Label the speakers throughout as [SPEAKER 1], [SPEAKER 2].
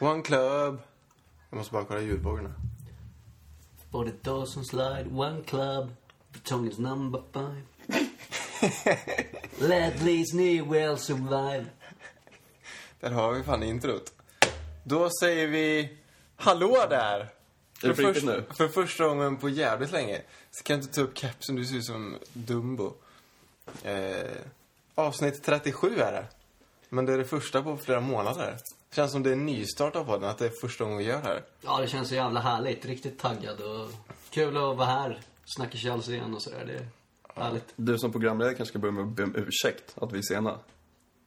[SPEAKER 1] One club. Jag måste bara kolla ljudvågorna.
[SPEAKER 2] For the Dawson slide, one club. Tongue is number five. Let these new well survive.
[SPEAKER 1] Där har vi fan introt. Då säger vi hallå där!
[SPEAKER 3] det på riktigt nu?
[SPEAKER 1] för första gången på jävligt länge. Så kan jag inte ta upp kepsen, du ser ut som Dumbo. Eh, avsnitt 37 är det. Men det är det första på flera månader. Känns som det är en nystart av podden, att det är första gången vi gör det här.
[SPEAKER 2] Ja, det känns så jävla härligt. Riktigt taggad och kul att vara här. Snacka tjals igen och sådär. Det är härligt.
[SPEAKER 3] Du som programledare kanske ska börja med att be om ursäkt att vi är sena.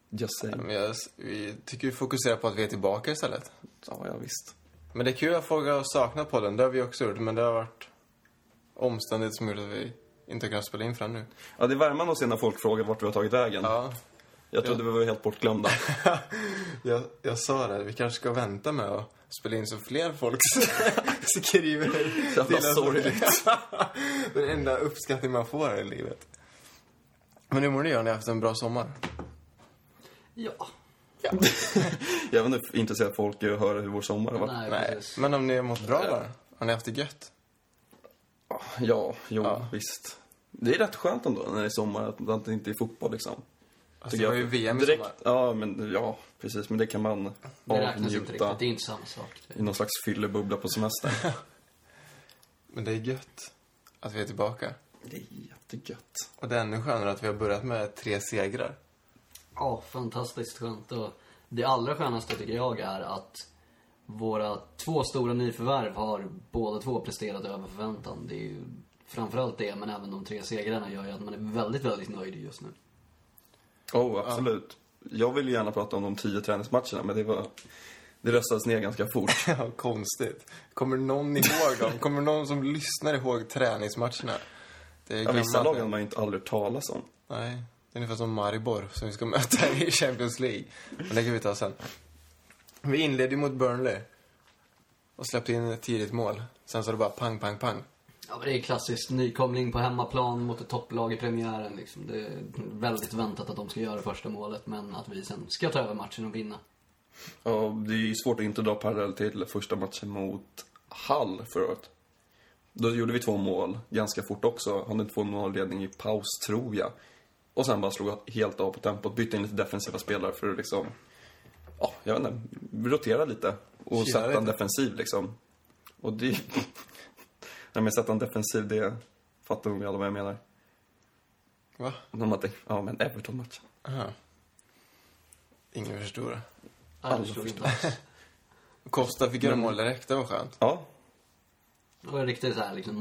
[SPEAKER 3] Just saying.
[SPEAKER 1] Men jag, vi tycker vi fokuserar på att vi är tillbaka istället.
[SPEAKER 3] Ja, ja visst.
[SPEAKER 1] Men det är kul att folk har saknat podden, det har vi också gjort. Men det har varit omständigheter som gjort att vi inte har kunnat spela in förrän nu.
[SPEAKER 3] Ja, det är värmande att se när folk frågar vart vi har tagit vägen.
[SPEAKER 1] Ja,
[SPEAKER 3] Jag trodde vi var helt bortglömda.
[SPEAKER 1] jag, jag sa det, vi kanske ska vänta med att spela in så fler folk skriver till
[SPEAKER 3] Jävla
[SPEAKER 1] oss.
[SPEAKER 3] sorgligt.
[SPEAKER 1] Den enda uppskattning man får här i livet. Men hur mår ni? Har ni haft en bra sommar?
[SPEAKER 2] Ja.
[SPEAKER 3] Jag vet inte intresserat folk är att höra hur vår sommar har varit.
[SPEAKER 2] Nej,
[SPEAKER 1] Nej.
[SPEAKER 2] precis.
[SPEAKER 1] Men om ni har mått bra bara? Har ni haft det gött?
[SPEAKER 3] Ja, jo,
[SPEAKER 1] Ja.
[SPEAKER 3] visst. Det är rätt skönt ändå när det är sommar att att det inte är fotboll liksom.
[SPEAKER 1] Alltså,
[SPEAKER 3] Tycker
[SPEAKER 1] det var
[SPEAKER 3] jag.
[SPEAKER 1] ju VM i
[SPEAKER 3] direkt,
[SPEAKER 1] sommar.
[SPEAKER 3] Ja, men ja, precis. Men det kan man
[SPEAKER 2] Det räknas inte
[SPEAKER 3] avnjuta
[SPEAKER 2] riktigt. Det är inte samma sak.
[SPEAKER 3] i någon slags fyllebubbla på semestern.
[SPEAKER 1] Men det är gött att vi är tillbaka.
[SPEAKER 3] det är jättegött.
[SPEAKER 1] Och det är ännu skönare att vi har börjat med tre segrar.
[SPEAKER 2] Ja, fantastiskt skönt. Och det allra skönaste tycker jag är att våra två stora nyförvärv har båda två presterat över förväntan. Det är ju framförallt det, men även de tre segrarna gör ju att man är väldigt, väldigt nöjd just nu.
[SPEAKER 3] Oh, absolut. Jag vill ju gärna prata om de tio träningsmatcherna, men det var... Det röstades ner ganska fort.
[SPEAKER 1] Ja, konstigt. Kommer någon ihåg dem? Kommer någon som lyssnar ihåg träningsmatcherna? Det är
[SPEAKER 3] Ja, vissa
[SPEAKER 1] gammalt.
[SPEAKER 3] lag har man ju inte aldrig hört talas om.
[SPEAKER 1] Nej, det är ungefär som Maribor som vi ska möta i Champions League. Men det kan vi ta sen. Vi inledde ju mot Burnley och släppte in ett tidigt mål. Sen så var det bara pang, pang, pang.
[SPEAKER 2] Ja, men det är klassiskt. Nykomling på hemmaplan mot ett topplag i premiären. Liksom. Det är väldigt väntat att de ska göra första målet, men att vi sen ska ta över matchen och vinna.
[SPEAKER 3] Ja, det är ju svårt att inte dra parallell till första matchen mot Hall förra året. Då gjorde vi två mål ganska fort också. Hade en 2-0-ledning i paus, tror jag. Och sen bara slog helt av på tempot. Bytte in lite defensiva spelare för att liksom... Ja, jag vet inte. Rotera lite.
[SPEAKER 1] Kyla
[SPEAKER 3] Och sätta en
[SPEAKER 1] lite.
[SPEAKER 3] defensiv liksom. Och det... Nej, men sätta en defensiv, det fattar nog alla vad jag menar.
[SPEAKER 1] Va?
[SPEAKER 3] De hade... Ja, men Everton-matchen.
[SPEAKER 1] Aha. Ingen förstod det.
[SPEAKER 2] Nej, det förstod inte alls.
[SPEAKER 1] Costa fick göra mål direkt, det var skönt.
[SPEAKER 3] Ja,
[SPEAKER 2] Det var riktigt så här, liksom,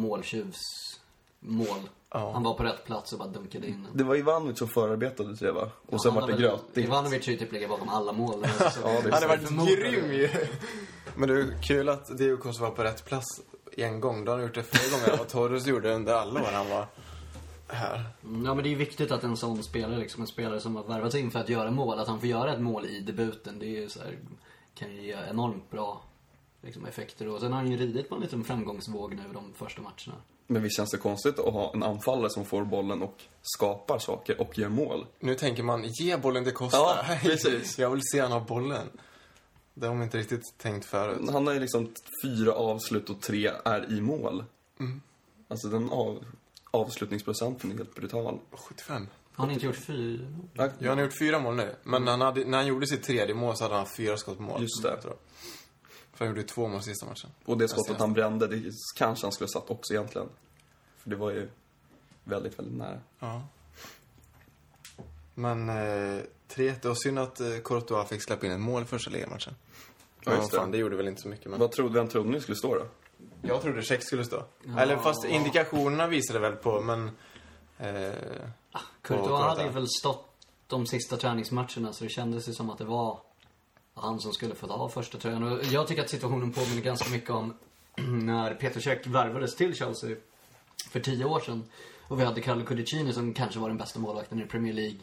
[SPEAKER 2] måltjuvsmål.
[SPEAKER 1] Ja.
[SPEAKER 2] Han var på rätt plats och bara dunkade in den.
[SPEAKER 3] det var Ivanovic som förarbetade till det, va? Och sen
[SPEAKER 2] Han
[SPEAKER 3] var det
[SPEAKER 2] hade-
[SPEAKER 3] grötigt.
[SPEAKER 2] Ivanovic har ju typ legat bakom alla mål. den här säsongen.
[SPEAKER 3] Ja, det är
[SPEAKER 1] Han hade
[SPEAKER 2] sant.
[SPEAKER 1] varit grym ju! Men det är kul att Diego Costa var på rätt plats en gång. Då har han gjort det fler gånger än vad Torres gjorde under alla år han var här.
[SPEAKER 2] Ja, men det är ju viktigt att en sån spelare, liksom en spelare som har värvats in för att göra mål, att han får göra ett mål i debuten. Det är ju så här, kan ju ge enormt bra liksom, effekter. Och sen har han ju ridit på en liten framgångsvåg nu de första matcherna.
[SPEAKER 3] Men visst känns det konstigt att ha en anfallare som får bollen och skapar saker och gör mål?
[SPEAKER 1] Nu tänker man, ge bollen till Costa.
[SPEAKER 3] Ja, precis.
[SPEAKER 1] Jag vill se han ha bollen. Det har man inte riktigt tänkt förut.
[SPEAKER 3] Han har ju liksom fyra avslut och tre är i mål.
[SPEAKER 1] Mm.
[SPEAKER 3] Alltså den av, avslutningsprocenten är helt brutal.
[SPEAKER 1] 75.
[SPEAKER 2] Har han inte gjort fyra?
[SPEAKER 1] Ja, han har gjort fyra mål nu. Men han hade, när han gjorde sitt tredje mål så hade han fyra skott på mål.
[SPEAKER 3] Mm. Just det.
[SPEAKER 1] Jag tror. För han gjorde två mål sista matchen.
[SPEAKER 3] Och det
[SPEAKER 1] Alltså, Jag
[SPEAKER 3] skottet
[SPEAKER 1] ser.
[SPEAKER 3] han brände, det kanske han skulle ha satt också egentligen. För det var ju väldigt, väldigt nära.
[SPEAKER 1] Ja. Men eh, 3-1. Det var synd att eh, Courtois fick släppa in ett mål i första ligamatchen.
[SPEAKER 3] Ja,
[SPEAKER 1] Men
[SPEAKER 3] just det.
[SPEAKER 1] fan, det gjorde väl inte så mycket. Men...
[SPEAKER 3] Vad trodde, vem trodde ni skulle stå då?
[SPEAKER 1] Jag trodde Tjeck skulle stå. Eller fast indikationerna visade väl på, men... Eh,
[SPEAKER 2] Courtois
[SPEAKER 1] Courtois.
[SPEAKER 2] hade ju väl stått de sista träningsmatcherna, så det kändes ju som att det var han som skulle få ta första tröjan. Och jag tycker att situationen påminner ganska mycket om när Peter Cech värvades till Chelsea för tio år sedan. Och vi hade Carlo Cudicini som kanske var den bästa målvakten i Premier League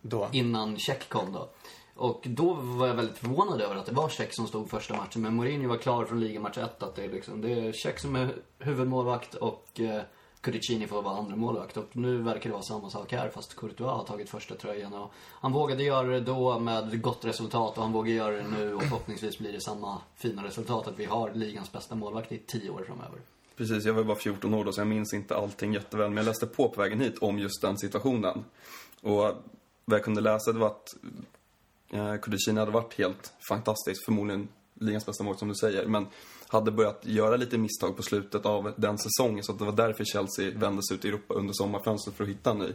[SPEAKER 1] då.
[SPEAKER 2] innan Cech kom då. Och då var jag väldigt förvånad över att det var Cech som stod första matchen. Men Mourinho var klar från ligamatch 1 att det är liksom, det är Cech som är huvudmålvakt och eh, Cudicini får vara andra målvakt och nu verkar det vara samma sak här fast Courtois har tagit första tröjan och han vågade göra det då med gott resultat och han vågar göra det nu och förhoppningsvis blir det samma fina resultat att vi har ligans bästa målvakt i tio år framöver.
[SPEAKER 3] Precis, jag var bara 14 år då så jag minns inte allting jätteväl. Men jag läste på på vägen hit om just den situationen. Och vad jag kunde läsa det var att eh, Kudicini hade varit helt fantastisk, förmodligen ligans bästa mål som du säger. Men hade börjat göra lite misstag på slutet av den säsongen så att det var därför Chelsea vände sig ut i Europa under sommarfönstret för att hitta en ny.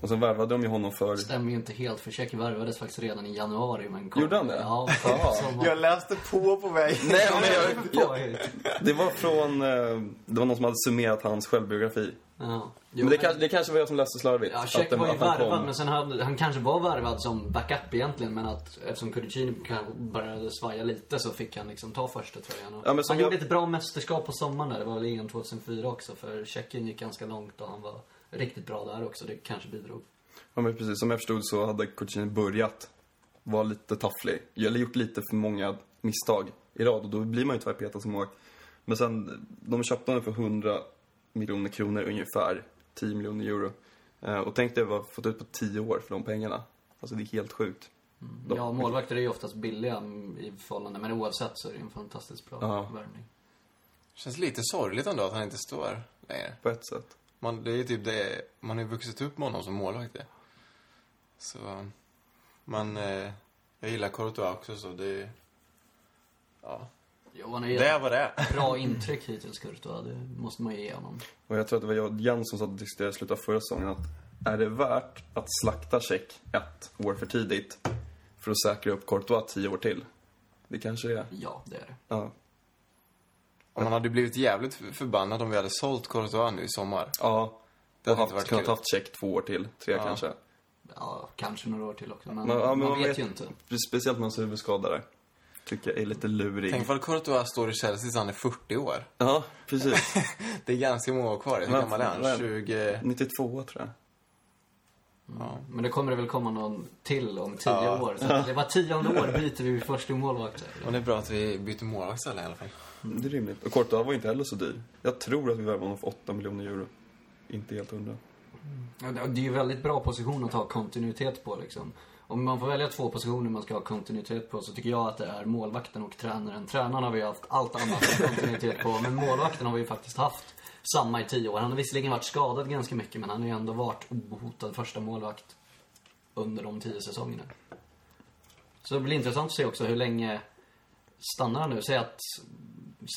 [SPEAKER 3] Och sen värvade de ju honom för...
[SPEAKER 2] Stämmer ju inte helt för Cech värvades faktiskt redan i januari men kom...
[SPEAKER 3] Gjorde han det?
[SPEAKER 2] Ja, förra sommaren.
[SPEAKER 1] Jag läste på på vägen.
[SPEAKER 3] Nej, men jag,
[SPEAKER 2] Ja, ja.
[SPEAKER 3] det var från... eh, Det var någon som hade summerat hans självbiografi.
[SPEAKER 2] Ja. Jo,
[SPEAKER 3] Men det, kanske, det kanske var jag som läste slarvigt.
[SPEAKER 2] Ja,
[SPEAKER 3] att
[SPEAKER 2] Check
[SPEAKER 3] den-
[SPEAKER 2] var ju
[SPEAKER 3] att han kom.
[SPEAKER 2] värvad, men sen hade, han kanske var värvad som backup egentligen. Men att eftersom Kudicini kan- började svaja lite så fick han liksom ta första tröjan. Och
[SPEAKER 3] Ja, men som
[SPEAKER 2] han
[SPEAKER 3] jag-
[SPEAKER 2] gjorde ett bra mästerskap på sommaren där. Det var väl EM 2004 också. För Tjeckien gick ganska långt och han var riktigt bra där också. Det kanske bidrog.
[SPEAKER 3] Ja, men precis. Som jag förstod så hade Coutinho börjat vara lite tafflig. Eller gjort lite för många misstag i rad. Och då blir man ju tyvärr petad som målvakt. Men sen, de köpte honom för 100 miljoner kronor ungefär. 10 miljoner euro. Eh, och tänk dig vad jag fått ut på 10 år för de pengarna. Alltså det är helt sjukt. De-
[SPEAKER 2] Ja, målvakter är ju oftast billiga mm, i förhållande. Men oavsett så är det en fantastiskt bra
[SPEAKER 3] Ja.
[SPEAKER 2] värvning.
[SPEAKER 1] Känns lite sorgligt ändå att han inte står längre.
[SPEAKER 3] På ett sätt.
[SPEAKER 1] Man, det är ju typ det, man har ju vuxit upp med honom som målvakt. det. Så, man, eh, jag gillar Courtois också så det, ja.
[SPEAKER 2] Jo, han har
[SPEAKER 1] Det
[SPEAKER 2] gett
[SPEAKER 1] var det.
[SPEAKER 2] bra intryck hittills Courtois. Det måste man ju ge honom.
[SPEAKER 3] Och jag tror att det var jag och Jens som satt och diskuterade i slutet av förra säsongen att är det värt att slakta check ett år för tidigt för att säkra upp Courtois 10 år till? Det kanske det är.
[SPEAKER 2] Ja, det är det.
[SPEAKER 3] Ja.
[SPEAKER 1] Och man hade ju blivit jävligt förbannad om vi hade sålt Courtois nu i sommar.
[SPEAKER 3] Ja.
[SPEAKER 1] Det
[SPEAKER 3] och
[SPEAKER 1] hade
[SPEAKER 3] haft,
[SPEAKER 1] inte varit
[SPEAKER 3] kunnat
[SPEAKER 1] kul.
[SPEAKER 3] haft check två år till, tre
[SPEAKER 1] Ja.
[SPEAKER 3] kanske.
[SPEAKER 2] Ja, kanske några år till också. Men,
[SPEAKER 3] Men, ja, men
[SPEAKER 2] man,
[SPEAKER 3] man
[SPEAKER 2] vet,
[SPEAKER 3] vet-
[SPEAKER 2] ju inte.
[SPEAKER 3] Speciellt med hans huvudskada där. Tycker jag är lite lurig.
[SPEAKER 1] Tänk vad Courtois står i Chelsea tills han är 40 år.
[SPEAKER 3] Ja, precis.
[SPEAKER 1] Det är ganska många år kvar. Hur
[SPEAKER 3] Men-
[SPEAKER 1] gammal är han?
[SPEAKER 3] men-
[SPEAKER 1] 20?
[SPEAKER 3] 92 tror jag.
[SPEAKER 1] Ja.
[SPEAKER 2] Men det kommer det väl komma någon till om tio år. Så att det var tionde år byter vi första målvakt.
[SPEAKER 1] Och det är bra att vi byter målvakt alla i alla fall.
[SPEAKER 3] Det är rimligt. Och Courtois var inte heller så dyr. Jag tror att vi värvade honom för 8 miljoner euro. Inte helt hundra.
[SPEAKER 2] Ja, Det det är ju väldigt bra position att ha kontinuitet på liksom. Om man får välja två positioner man ska ha kontinuitet på så tycker jag att det är målvakten och tränaren. Tränaren har vi haft allt annat än kontinuitet på. Men målvakten har vi ju faktiskt haft samma i tio år. Han har visserligen varit skadad ganska mycket men han har ju ändå varit ohotad första målvakt under de tio säsongerna. Så det blir intressant att se också hur länge stannar han nu? Säg att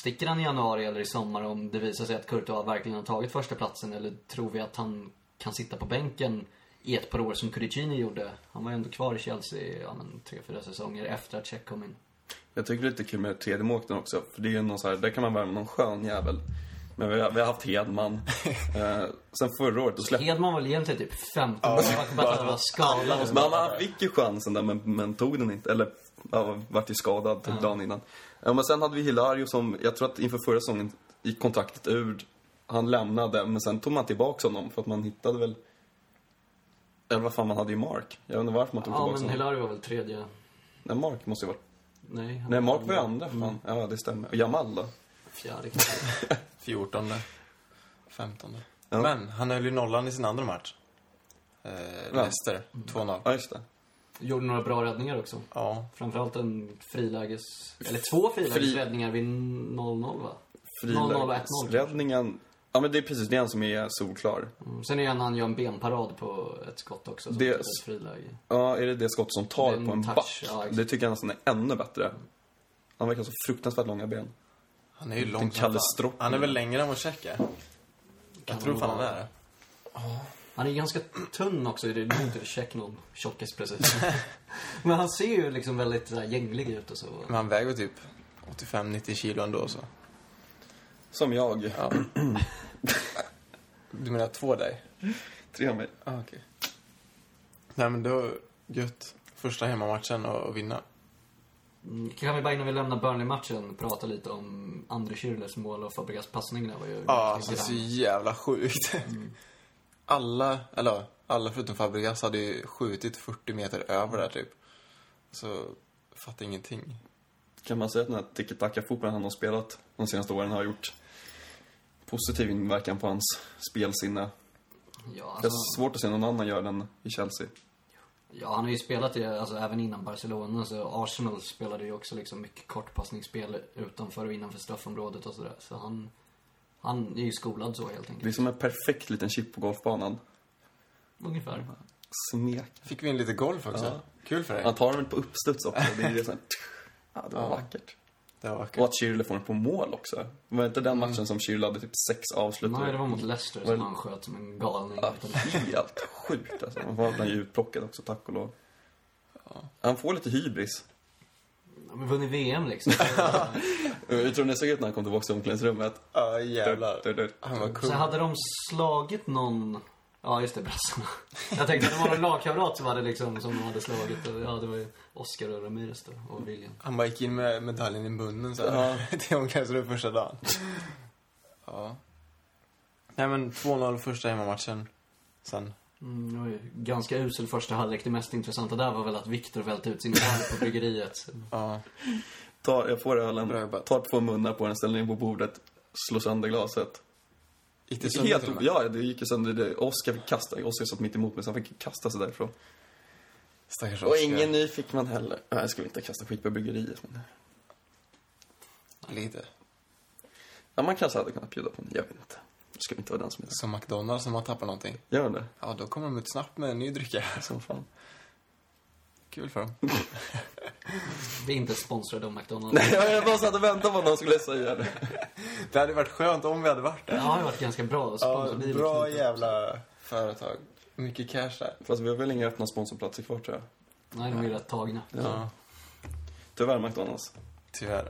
[SPEAKER 2] sticker han i januari eller i sommar om det visar sig att Courtois verkligen har tagit första platsen eller tror vi att han kan sitta på bänken i ett par år som Curicini gjorde? Han var ju ändå kvar i Chelsea i ja, men, tre, fyra säsonger efter att Cech kom in.
[SPEAKER 3] Jag tycker det är lite kul med tredje målvakten också. För det är ju någon så här, där kan man värva någon skön jävel. Men vi har, vi har haft Hedman. eh, sen förra året, då släppte
[SPEAKER 2] Hedman var väl egentligen typ 15 år, han bara att han var skadad. och så.
[SPEAKER 3] Men han fick ju chansen där, men, men tog den inte. Eller, ja, vart ju skadad typ dagen innan. Ja, men sen hade vi Hilario som, jag tror att inför förra säsongen gick kontraktet ur. Han lämnade, men sen tog man tillbaka honom för att man hittade väl... Eller vad fan, man hade ju Mark. Jag undrar varför man tog
[SPEAKER 2] Ja,
[SPEAKER 3] tillbaka
[SPEAKER 2] men
[SPEAKER 3] honom.
[SPEAKER 2] Hilario var väl tredje?
[SPEAKER 3] Nej, Mark måste ju varit...
[SPEAKER 2] Nej, han
[SPEAKER 3] Nej, Mark var ju andra, fan. Ja, det stämmer. Och Jamal då?
[SPEAKER 2] fjärde kanske.
[SPEAKER 1] 14, 15.
[SPEAKER 3] Ja.
[SPEAKER 1] Men han höll ju nollan i sin andra match. Eh, Leicester, 2-0.
[SPEAKER 3] Ja, just det.
[SPEAKER 2] Gjorde några bra räddningar också.
[SPEAKER 1] Ja.
[SPEAKER 2] Framförallt en friläges... Eller två frilägesräddningar vid 0-0 va? 0-0 och 1-0.
[SPEAKER 3] Frilägesräddningen. Ja, men det är precis det är han som är solklar.
[SPEAKER 2] Mm, Sen är han, han gör en benparad på ett skott också. Som
[SPEAKER 3] Det-
[SPEAKER 2] det... ett friläge.
[SPEAKER 3] Ja, är det det skott som tar
[SPEAKER 2] Det är en
[SPEAKER 3] på en
[SPEAKER 2] touch,
[SPEAKER 3] back?
[SPEAKER 2] ja, exakt.
[SPEAKER 3] det tycker jag nästan är ännu bättre. Han verkar ha så fruktansvärt långa ben.
[SPEAKER 1] Han är ju lång som
[SPEAKER 3] Kalle
[SPEAKER 1] fan.
[SPEAKER 3] Stropp.
[SPEAKER 1] Han är väl längre än vad Cech är? Jag
[SPEAKER 2] Kan
[SPEAKER 1] tror
[SPEAKER 2] han
[SPEAKER 1] fan han
[SPEAKER 2] vara.
[SPEAKER 1] är det.
[SPEAKER 2] Han är ganska tunn också. Det är inte check någon tjockis precis. Men han ser ju liksom väldigt så här, gänglig ut och så.
[SPEAKER 1] Men han väger typ 85-90 kilo ändå så.
[SPEAKER 3] Som jag.
[SPEAKER 1] Ja. du menar två dig?
[SPEAKER 3] Tre av mig.
[SPEAKER 1] Ah, okej. Nej men det var gött. Första hemmamatchen och vinna.
[SPEAKER 2] Mm, Kan vi bara innan vi lämnar Burnley-matchen prata lite om Andre Schürrles mål och Fabregas passning där var ju...
[SPEAKER 1] Ja, alltså så jävla sjukt. Alla, eller ja, alla förutom Fabregas hade ju skjutit 40 meter över där typ. Så fattar ingenting.
[SPEAKER 3] Kan man säga att den här tiki-taka-fotbollen han har spelat de senaste åren har gjort positiv inverkan på hans spelsinne.
[SPEAKER 2] Ja,
[SPEAKER 3] Det
[SPEAKER 2] alltså,
[SPEAKER 3] är svårt att se någon annan göra den i Chelsea.
[SPEAKER 2] ja, han har ju spelat i, alltså, även innan Barcelona. Så Arsenal spelade ju också liksom mycket kortpassningsspel utanför och innanför straffområdet och sådär. Så han, han är ju skolad så helt
[SPEAKER 3] Det är
[SPEAKER 2] enkelt.
[SPEAKER 3] som en perfekt liten chip på golfbanan.
[SPEAKER 2] Ungefär.
[SPEAKER 3] Smek.
[SPEAKER 1] Fick vi in lite golf också.
[SPEAKER 3] Ja.
[SPEAKER 1] Kul för dig.
[SPEAKER 3] Han tar den på uppstuds också. Det är ju sån här... Ja, det var
[SPEAKER 1] Ja.
[SPEAKER 3] vackert.
[SPEAKER 1] Det var kul.
[SPEAKER 3] Och att Schürrle får den på mål också. Var det inte den matchen som Schürrle hade typ sex avslut?
[SPEAKER 2] Nej, det var mot Leicester som
[SPEAKER 3] Mm. det-
[SPEAKER 2] han sköt som en galning. liksom.
[SPEAKER 3] Ja,
[SPEAKER 2] utan-
[SPEAKER 3] Helt sjukt alltså. Han var ju utplockad också, tack och lov. Han får lite hybris.
[SPEAKER 2] Ja, men vunnit VM liksom.
[SPEAKER 3] Eh, Jag tror det såg ut när han kom tillbaka till omklädningsrummet.
[SPEAKER 1] Ja, Ah, jävlar.
[SPEAKER 3] Dör, dör, dör.
[SPEAKER 1] Han var
[SPEAKER 2] Så
[SPEAKER 1] kung.
[SPEAKER 2] hade de slagit någon... Ja, just det, brassarna. Jag tänkte att det var någon lagkamrat som hade liksom, som de hade slagit. Och, ja, det var ju Oscar och Ramirez då, och William.
[SPEAKER 1] Han bara gick in med medaljen i munnen så här. till omklädningsrummet första dagen. ja. Nej men 2-0 första hemmamatchen. Sen.
[SPEAKER 2] Mm, det var ju ganska usel första halvlek. Det mest intressanta där var väl att Viktor välte ut sin öl på bryggeriet.
[SPEAKER 1] Ja.
[SPEAKER 3] Tar, jag får
[SPEAKER 1] Bra
[SPEAKER 3] ölen,
[SPEAKER 1] jobbat.
[SPEAKER 3] tar två munnar på den, ställer in på bordet, slår sönder glaset.
[SPEAKER 1] Gick det
[SPEAKER 3] Det
[SPEAKER 1] sönder
[SPEAKER 3] Helt,
[SPEAKER 1] till och med?
[SPEAKER 3] ja, det gick ju sönder. Det- Oskar fick kasta. Oskar satt mitt emot mig så han fick kasta sig därifrån.
[SPEAKER 1] Stackars
[SPEAKER 3] Och
[SPEAKER 1] Oscar.
[SPEAKER 3] ingen ny fick man heller. Nej, jag skulle inte kasta skit på bryggeriet. Men...
[SPEAKER 1] Lite.
[SPEAKER 3] Ja, man kanske hade kunnat bjuda på en, jag vet inte. Det ska inte vara den som är
[SPEAKER 1] Som McDonalds som har tappat någonting.
[SPEAKER 3] Gör det?
[SPEAKER 1] Ja, då kommer de ut snabbt med en ny drycka.
[SPEAKER 3] Som fan.
[SPEAKER 1] Kul för dem.
[SPEAKER 2] Vi är inte sponsrade av McDonalds.
[SPEAKER 3] Nej, jag bara satt och väntade på att någon skulle säga det.
[SPEAKER 1] Det hade varit skönt om vi hade varit
[SPEAKER 2] Det
[SPEAKER 1] där.
[SPEAKER 2] har ju varit ganska bra sponsordeal.
[SPEAKER 1] bra jävla företag. Mycket cash där.
[SPEAKER 3] Fast vi har väl inga öppna sponsorplatser kvar, tror jag.
[SPEAKER 2] Nej, de är ju rätt tagna.
[SPEAKER 1] Ja,
[SPEAKER 3] Tyvärr, McDonalds.
[SPEAKER 1] tyvärr.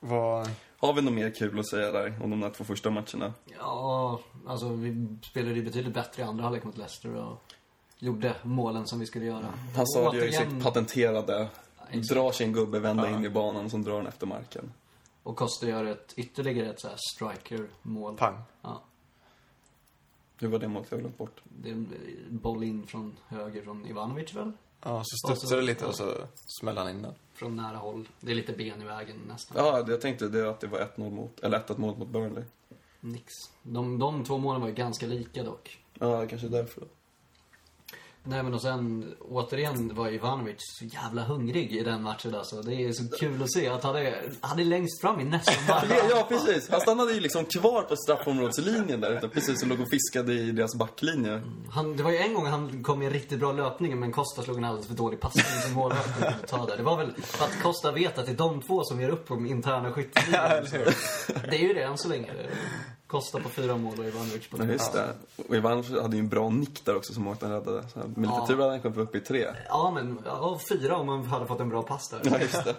[SPEAKER 1] Vad...
[SPEAKER 3] Har vi något mer kul att säga där om de där två första matcherna?
[SPEAKER 2] Ja, alltså vi spelade ju betydligt bättre i andra halvlek mot Leicester och gjorde målen som vi skulle göra.
[SPEAKER 3] Han sa Mm. ju i
[SPEAKER 2] Återigen-
[SPEAKER 3] sitt patenterade,
[SPEAKER 2] exakt.
[SPEAKER 3] drar sin gubbe, vända in i banan, som drar den efter marken.
[SPEAKER 2] Och Costa gör ett, ytterligare ett så här striker-mål.
[SPEAKER 1] Pang.
[SPEAKER 2] Ja,
[SPEAKER 3] Hur var det målet? Jag har glömt bort.
[SPEAKER 2] det är en boll in från höger från Ivanovic väl?
[SPEAKER 1] Ja, så studsade det lite och så smällde han in den.
[SPEAKER 2] Från nära håll. Det är lite ben i vägen nästan.
[SPEAKER 3] Ja, det jag tänkte det är att det var 1-0 mot, eller 1-1 mål mot Burnley.
[SPEAKER 2] Nix. De, de två målen var ju ganska lika dock.
[SPEAKER 3] Ja, kanske därför.
[SPEAKER 2] Nej men och sen återigen var Ivanovic så jävla hungrig i den matchen alltså. Det är så kul att se att han är, han är längst fram i nästan
[SPEAKER 3] Ja,
[SPEAKER 2] varje...
[SPEAKER 3] ja, precis. Han stannade ju liksom kvar på straffområdeslinjen där ute, precis, och låg och fiskade i deras backlinje.
[SPEAKER 2] Han, det var ju en gång han kom i en riktigt bra löpning men Costa slog en alldeles för dålig passning som målvakten kunde ta där. Det var väl för att Costa vet att det är de två som gör upp på de interna skytteligan. Det är ju det än så länge. Costa på fyra mål och Ivanovic på
[SPEAKER 3] Ja,
[SPEAKER 2] tre.
[SPEAKER 3] just det. Och Ivan hade ju en bra nick där också som Mårten räddade. Så här, med lite
[SPEAKER 2] Ja.
[SPEAKER 3] tur hade han kommit upp i tre.
[SPEAKER 2] Ja men, ja, fyra om man hade fått en bra pass där.
[SPEAKER 3] Ja, just det.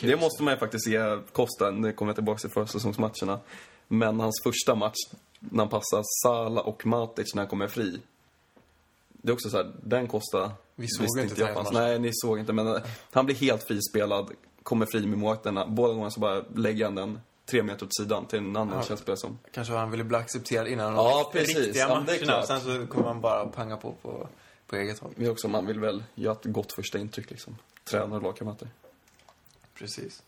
[SPEAKER 3] Det måste man ju faktiskt ge Costa, det kommer jag tillbaka till försäsongsmatcherna. Men hans första match, när han passar Sala och Matic när han kommer fri. Det är också så här, den Costa
[SPEAKER 1] Vi såg
[SPEAKER 3] visste
[SPEAKER 1] inte
[SPEAKER 3] jag
[SPEAKER 1] den
[SPEAKER 3] fanns.
[SPEAKER 1] matchen.
[SPEAKER 3] Nej, ni såg inte. Men eh, han blir helt frispelad, kommer fri med målvakterna. Båda gångerna så bara lägger han den tre meter åt sidan till en annan
[SPEAKER 1] Ja.
[SPEAKER 3] känns det som.
[SPEAKER 1] Kanske han ville bli accepterad innan de
[SPEAKER 3] Ja,
[SPEAKER 1] rikt-
[SPEAKER 3] precis.
[SPEAKER 1] riktiga
[SPEAKER 3] Ja, men det är
[SPEAKER 1] matcherna.
[SPEAKER 3] klart.
[SPEAKER 1] Sen så kommer han bara panga på på, på eget håll.
[SPEAKER 3] Men också, man vill väl göra ett gott första intryck liksom. Tränare och lagkamrater.
[SPEAKER 1] Precis.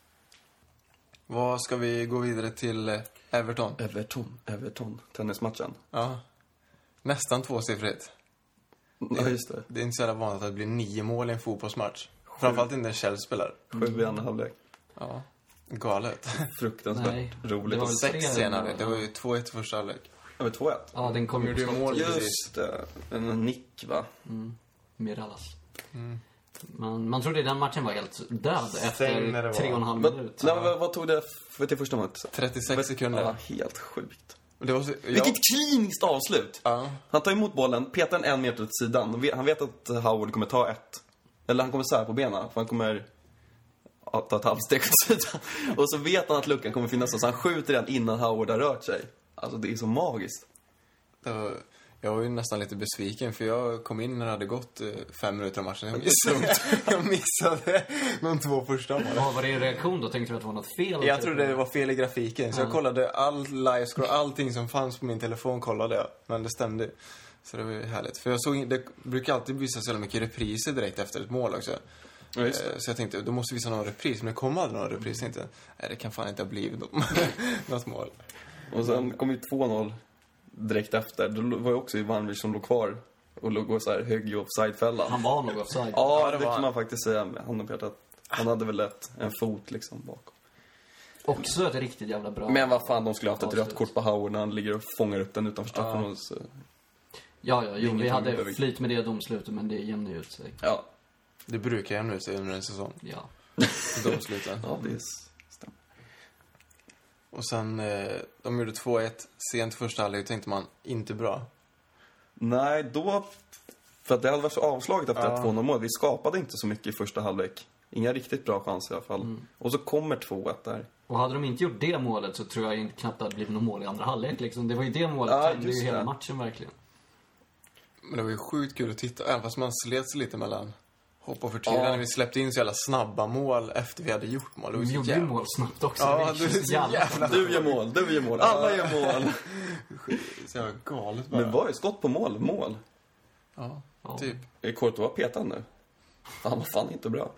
[SPEAKER 1] Vad ska vi gå vidare till eh, Everton?
[SPEAKER 3] Everton, Everton, tennismatchen.
[SPEAKER 1] Ja. Nästan tvåsiffrigt.
[SPEAKER 3] Ja, just det.
[SPEAKER 1] Det är inte så jävla vanligt att det blir nio mål i en fotbollsmatch. Framförallt inte när Chelsea spelar.
[SPEAKER 3] Sju i andra halvlek.
[SPEAKER 1] Ja. Galet.
[SPEAKER 3] Fruktansvärt
[SPEAKER 2] Nej,
[SPEAKER 3] roligt.
[SPEAKER 2] det var
[SPEAKER 3] att
[SPEAKER 2] väl
[SPEAKER 1] Sex
[SPEAKER 2] tre
[SPEAKER 1] senare.
[SPEAKER 2] mål,
[SPEAKER 1] Det
[SPEAKER 2] ja.
[SPEAKER 1] var ju 2-1 i första halvlek.
[SPEAKER 3] Över 2-1.
[SPEAKER 2] Ja, den kom ju
[SPEAKER 1] Gjorde
[SPEAKER 2] på
[SPEAKER 1] ju
[SPEAKER 2] skott.
[SPEAKER 1] mål.
[SPEAKER 3] Just Mm, det. En nick, va?
[SPEAKER 2] Miralas. Man, man trodde den matchen var helt död
[SPEAKER 1] Stäng när det
[SPEAKER 2] efter
[SPEAKER 1] var.
[SPEAKER 2] tre och en halv
[SPEAKER 3] Men,
[SPEAKER 2] minut.
[SPEAKER 3] nej, men vad, vad tog det för till första målet?
[SPEAKER 1] 36 sekunder.
[SPEAKER 3] Ja, helt sjukt.
[SPEAKER 1] Och Det var så, ja.
[SPEAKER 3] Vilket kliniskt avslut!
[SPEAKER 1] Ja.
[SPEAKER 3] Han tar emot bollen, petar den en meter åt sidan. Han vet- Han vet att Howard kommer ta ett. Eller han kommer sära på benen, för han kommer ja, ta ett halvsteg åt sidan. Och så vet han att luckan kommer finnas där, så han skjuter den innan Howard har rört sig. Alltså, det är så magiskt.
[SPEAKER 1] Det var, jag var ju nästan lite besviken för jag kom in när det hade gått eh, fem minuter av matchen. Jag missade, jag missade de två första målen.
[SPEAKER 2] Vad var din reaktion då? Tänkte du att det var något fel?
[SPEAKER 1] Jag trodde det var fel i grafiken så jag kollade all livescore, allting som fanns på min telefon kollade jag. Men det stämde ju. Så det var ju härligt. För jag såg, in- det brukar alltid visa så jävla mycket repriser direkt efter ett mål också.
[SPEAKER 3] Ja, just det.
[SPEAKER 1] Eh, Så jag tänkte, då måste vi visa någon repris. Men det kom aldrig någon repris. Jag tänkte, nej, det kan fan inte ha blivit dem. något mål.
[SPEAKER 3] Och sen kom ju 2-0 direkt efter. Då var ju också Ivanovic som låg kvar och låg och så här högg i offsidefällan.
[SPEAKER 2] Han var nog offside.
[SPEAKER 3] Ja, det, Ah.
[SPEAKER 1] det var
[SPEAKER 3] kan
[SPEAKER 1] han.
[SPEAKER 3] man faktiskt säga med handen på hjärtat. Han hade väl ett, en fot liksom bakom.
[SPEAKER 2] Också ett riktigt jävla bra...
[SPEAKER 3] Men vad fan, de skulle ha haft ett
[SPEAKER 2] Avslut.
[SPEAKER 3] rött kort på Howard när han ligger och fångar upp den utanför straffområdet. så-
[SPEAKER 2] Ja, ja, jo, vi
[SPEAKER 3] Ingenting behöver-
[SPEAKER 2] hade flyt med det domslutet, men det jämnade ut sig.
[SPEAKER 3] Ja.
[SPEAKER 1] Det brukar jag nu säga under en säsong.
[SPEAKER 2] Ja.
[SPEAKER 1] På de sluten.
[SPEAKER 3] ja, det är s- stämmer.
[SPEAKER 1] Och sen, eh, de gjorde 2-1 sent första halvlek. tänkte man, inte bra.
[SPEAKER 3] Nej, då... För att det hade varit så avslaget efter
[SPEAKER 1] Ja.
[SPEAKER 3] att 2-0 målet. Vi skapade inte så mycket i första halvlek. Inga riktigt bra chanser i alla fall. Och så kommer 2-1 där.
[SPEAKER 2] Och hade de inte gjort det målet så tror jag inte knappt det hade blivit något mål i andra halvlek liksom. Det var ju det målet
[SPEAKER 3] Ja,
[SPEAKER 2] som tände
[SPEAKER 3] just
[SPEAKER 2] ju hela
[SPEAKER 3] det.
[SPEAKER 2] matchen verkligen.
[SPEAKER 1] Men det var ju sjukt kul att titta. Även fast man slet sig lite mellan hopp och förtvivlan.
[SPEAKER 3] Ja.
[SPEAKER 1] När vi släppte in så jävla snabba mål efter vi hade gjort mål. Det var
[SPEAKER 2] De
[SPEAKER 1] så
[SPEAKER 2] gjorde ju
[SPEAKER 1] jävla-
[SPEAKER 2] mål snabbt också.
[SPEAKER 1] Ja,
[SPEAKER 2] det gick
[SPEAKER 1] det
[SPEAKER 2] ju
[SPEAKER 1] är
[SPEAKER 2] så
[SPEAKER 1] så
[SPEAKER 2] jävla
[SPEAKER 1] jävla-
[SPEAKER 2] snabbt.
[SPEAKER 3] Du gör mål, du gör mål, alla gör mål.
[SPEAKER 1] Så jävla galet bara.
[SPEAKER 3] Men var det skott på mål, mål?
[SPEAKER 1] Ja,
[SPEAKER 2] Ja.
[SPEAKER 1] typ.
[SPEAKER 3] Är Courtois petad nu? Han var fan inte bra.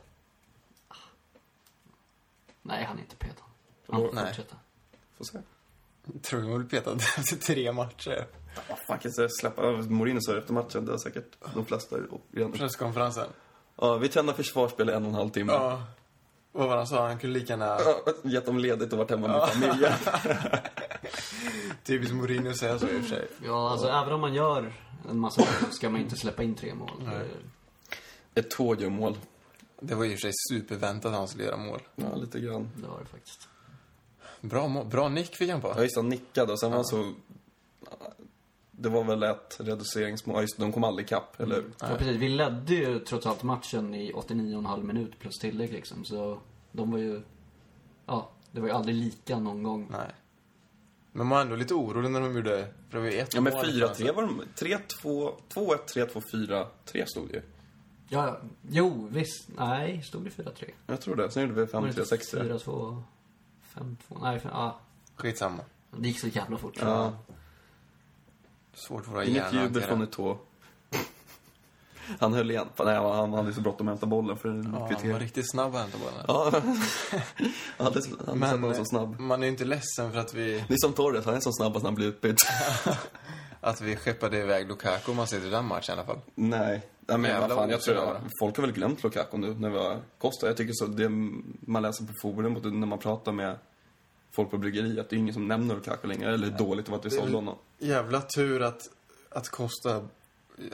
[SPEAKER 2] Nej, han är inte petad. Han får
[SPEAKER 1] Nej.
[SPEAKER 2] fortsätta.
[SPEAKER 3] Får se.
[SPEAKER 1] Tror du hon blev petad efter tre matcher?
[SPEAKER 3] Ja, fan kan jag släppa över Mourinho så här efter matchen. Det har säkert de flesta redan.
[SPEAKER 1] Presskonferensen.
[SPEAKER 3] Ja, vi tränar försvarsspel i en och en halv timme. Ja.
[SPEAKER 1] Ja. Vad var det han sa? Han kunde lika gärna...
[SPEAKER 3] Gett dem ledigt och varit hemma med familjen.
[SPEAKER 1] Typiskt Mourinho att säga så i och för sig.
[SPEAKER 2] Ja, alltså även om man gör en massa mål så ska man inte släppa in tre mål.
[SPEAKER 3] Ett tåg gör mål.
[SPEAKER 1] Det var i och för sig superväntat att han skulle göra mål.
[SPEAKER 3] Ja, lite grann.
[SPEAKER 2] Det var det faktiskt.
[SPEAKER 1] Bra mål. Bra nick fick han
[SPEAKER 3] Ja,
[SPEAKER 1] på.
[SPEAKER 3] just det, han nickade och sen var han så... Det var väl ett reduceringsmål. Ja, just det, de kom aldrig ikapp, eller hur?
[SPEAKER 2] Mm. Ja, precis. Vi ledde ju trots allt matchen i 89,5 minut plus tillägg liksom. Så de var ju... Ja, det var ju aldrig lika någon gång.
[SPEAKER 1] Nej. Men man var ändå lite orolig när de gjorde... För det var ju ett
[SPEAKER 3] Ja, men
[SPEAKER 1] mål,
[SPEAKER 3] 4-3
[SPEAKER 1] alltså.
[SPEAKER 3] var de... 3-2... 2-1, 3-2, 4-3 stod det ju.
[SPEAKER 2] Ja, ja. jo, visst. Nej, stod det 4-3?
[SPEAKER 3] Jag tror det. Sen gjorde vi
[SPEAKER 2] Var det
[SPEAKER 3] 5-3,
[SPEAKER 2] inte
[SPEAKER 3] 6-3.
[SPEAKER 2] 4-2, 5-2. Nej, fem, ja.
[SPEAKER 1] Skitsamma.
[SPEAKER 2] Det gick så jävla fort.
[SPEAKER 3] Ja.
[SPEAKER 1] Svårt för våra hjärnor
[SPEAKER 3] Inget
[SPEAKER 1] att
[SPEAKER 3] jubel
[SPEAKER 1] hantera.
[SPEAKER 3] från Utå. Han höll igen. Nej, han han hade så bråttom att hämta bollen för en
[SPEAKER 1] Ja, han var
[SPEAKER 3] kvittering.
[SPEAKER 1] riktigt snabb att hämta bollen.
[SPEAKER 3] Ja, han hade han hade
[SPEAKER 1] Men eh,
[SPEAKER 3] var så snabb.
[SPEAKER 1] man är ju inte ledsen för att vi,
[SPEAKER 3] Det är som Torres, han är som snabbast när han blir utbytt.
[SPEAKER 1] att vi skeppade iväg Lukaku om man ser till den matchen i alla fall.
[SPEAKER 3] Nej. Nej men
[SPEAKER 1] Jävla
[SPEAKER 3] vad fan, jag tror
[SPEAKER 1] otur,
[SPEAKER 3] jag,
[SPEAKER 1] va?
[SPEAKER 3] folk har väl glömt Lukaku nu när vi har Costa. Jag tycker så, det man läser på forum och när man pratar med folk på bryggeriet, det är ingen som nämner Lukaku längre. Eller dåligt av att vi
[SPEAKER 1] Det är
[SPEAKER 3] sålde
[SPEAKER 1] väl-
[SPEAKER 3] honom.
[SPEAKER 1] Jävla tur att, att Costa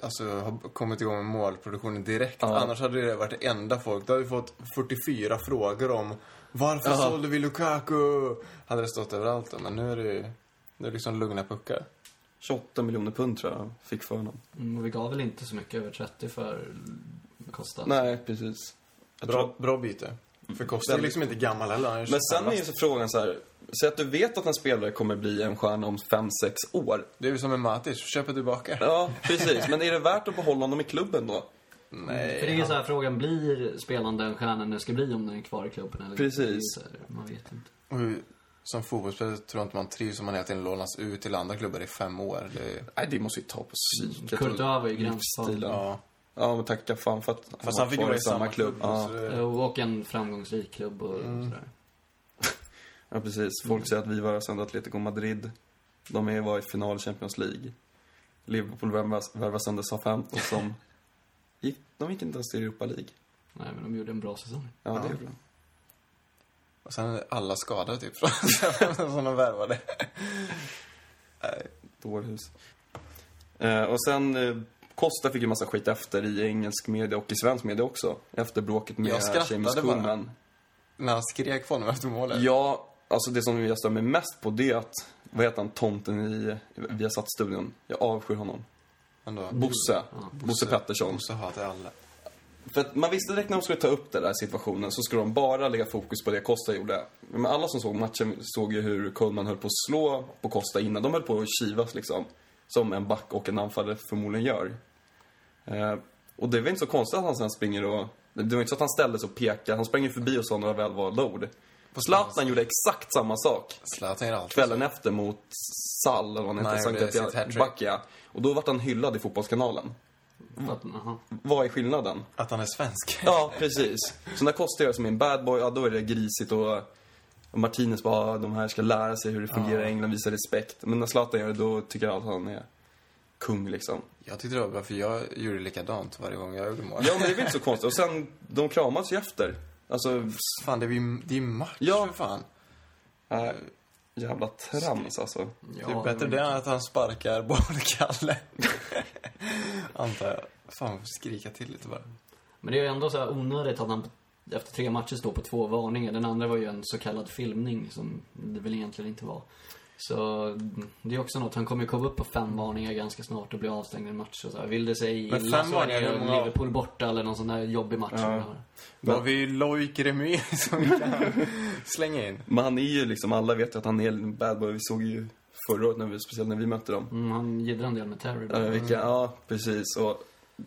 [SPEAKER 1] alltså, har kommit igång med målproduktionen direkt.
[SPEAKER 3] Ja.
[SPEAKER 1] Annars hade det varit det enda folk. Då hade vi fått 44 frågor om varför sålde vi Lukaku? Hade det stått överallt då. Men nu är det ju nu är det liksom lugna puckar.
[SPEAKER 3] 28 miljoner pund tror jag han fick för honom.
[SPEAKER 2] Mm, och vi gav väl inte så mycket över 30 för Costa.
[SPEAKER 1] Alltså.
[SPEAKER 3] Nej, precis. Jag tror-
[SPEAKER 1] Bra, bra byte. För Costa är
[SPEAKER 3] Väldigt.
[SPEAKER 1] liksom inte gammal heller. Han är
[SPEAKER 3] Men sen är
[SPEAKER 1] 25.
[SPEAKER 3] ju så frågan så här. Säg att du vet att en spelare kommer bli en stjärna om 5-6 år.
[SPEAKER 1] Det är ju som med Matic, köper tillbaka.
[SPEAKER 3] Ja, precis. Men är det värt att behålla honom i klubben då?
[SPEAKER 2] För det är
[SPEAKER 1] Nej.
[SPEAKER 2] ju så här frågan, blir spelaren den stjärnan den ska bli om den är kvar i klubben eller
[SPEAKER 3] Precis.
[SPEAKER 2] inte? Det är så här, Man vet inte.
[SPEAKER 1] Och hur- Som fotbollsspelare tror jag inte man trivs om man hela tiden lånas ut till andra klubbar i fem år. Det är,
[SPEAKER 3] Nej, det måste ju ta på psyket.
[SPEAKER 2] Courtois var ju
[SPEAKER 3] och
[SPEAKER 2] gränsfall.
[SPEAKER 3] livsstilen.
[SPEAKER 1] ja.
[SPEAKER 3] Ja, men tacka fan för att
[SPEAKER 1] Fast han fick
[SPEAKER 3] var
[SPEAKER 1] vara
[SPEAKER 3] kvar
[SPEAKER 1] i samma klubb.
[SPEAKER 3] Ja. Mm.
[SPEAKER 1] så det-
[SPEAKER 2] Eh, Och en framgångsrik klubb och sådär.
[SPEAKER 3] ja, precis. Folk säger att vi var sönder Atletico Madrid. De är var i final i Champions League. Liverpool värvas- värvas sönder Southampton som... Gick, de gick inte ens till Europa League.
[SPEAKER 2] Nej, men de gjorde en bra säsong.
[SPEAKER 3] Ja,
[SPEAKER 1] Ja.
[SPEAKER 3] det gjorde de.
[SPEAKER 1] Och sen är alla skadade typ från som de värvade.
[SPEAKER 3] dårhus. Eh, och sen, eh, Costa fick ju massa skit efter i engelsk media och i svensk media också. Efter bråket med
[SPEAKER 1] Jag skrattade
[SPEAKER 3] James
[SPEAKER 1] bara.
[SPEAKER 3] Coleman.
[SPEAKER 1] När han skrek på honom efter målet.
[SPEAKER 3] Ja, alltså det som jag stör mig mest på det är att, vad heter han, tomten i Viasat-studion. Jag avskyr honom.
[SPEAKER 1] Ändå.
[SPEAKER 3] Bosse. Bosse Pettersson.
[SPEAKER 1] Bosse hatar alla.
[SPEAKER 3] För att man visste direkt när de skulle ta upp den där situationen så skulle de bara lägga fokus på det Costa gjorde. Men alla som såg matchen såg ju hur Coleman höll på att slå på Costa innan. De höll på att kivas liksom. Som en back och en anfallare förmodligen gör. Eh, och det är väl inte så konstigt att han sen springer och... Det var inte så att han ställde sig och pekade. Han sprang ju förbi och sa några välvalda ord. Zlatan gjorde exakt samma sak
[SPEAKER 1] Zlatan gör alltid
[SPEAKER 3] kvällen efter mot Sall, eller vad han
[SPEAKER 1] Nej,
[SPEAKER 3] hette,
[SPEAKER 1] det är
[SPEAKER 3] Sankt
[SPEAKER 1] sitt hattrick.
[SPEAKER 3] Bakia. Och då vart han hyllad i Fotbollskanalen.
[SPEAKER 2] För att, aha.
[SPEAKER 3] Vad är skillnaden?
[SPEAKER 1] Att han är svensk.
[SPEAKER 3] Ja, precis. Så när Costa gör som en bad boy, ja då är det grisigt och och Martinez bara, "Ah, de här ska lära sig hur det fungerar i England, visa respekt. Men när Zlatan gör det, då tycker jag att han är kung liksom.
[SPEAKER 1] Jag tyckte det var bra, för jag gjorde likadant varje gång jag gjorde mål.
[SPEAKER 3] Ja, men det är väl inte så konstigt. Och sen, de kramas ju efter. Alltså,
[SPEAKER 1] Fan, det är ju det är ju match
[SPEAKER 3] Ja.
[SPEAKER 1] för fan.
[SPEAKER 3] äh, jävla trams alltså.
[SPEAKER 2] Ja,
[SPEAKER 1] det är bättre det än att han sparkar bollkalle. Antar jag. Fan, skrika till lite bara.
[SPEAKER 2] Men det är ju ändå så här onödigt att han efter tre matcher står på två varningar. Den andra var ju en så kallad filmning som det väl egentligen inte var. Så det är också något, han kommer ju komma upp på fem varningar ganska snart och bli avstängd i en match. Och så här. Vill det sig
[SPEAKER 1] Men
[SPEAKER 2] illa
[SPEAKER 1] fem
[SPEAKER 2] så är det
[SPEAKER 1] varningar, hur
[SPEAKER 2] ju
[SPEAKER 1] många-
[SPEAKER 2] Liverpool borta eller någon sån där jobbig match.
[SPEAKER 3] Ja.
[SPEAKER 2] Ja.
[SPEAKER 1] Då har vi ju Loic Remy som vi kan slänga in.
[SPEAKER 3] Men han är ju liksom, alla vet ju att han är en bad boy. Vi såg ju förra året, när vi, speciellt när vi mötte dem.
[SPEAKER 2] Mm, han jiddrar en del med Terry.
[SPEAKER 3] Ja, vilka, ja, precis. Och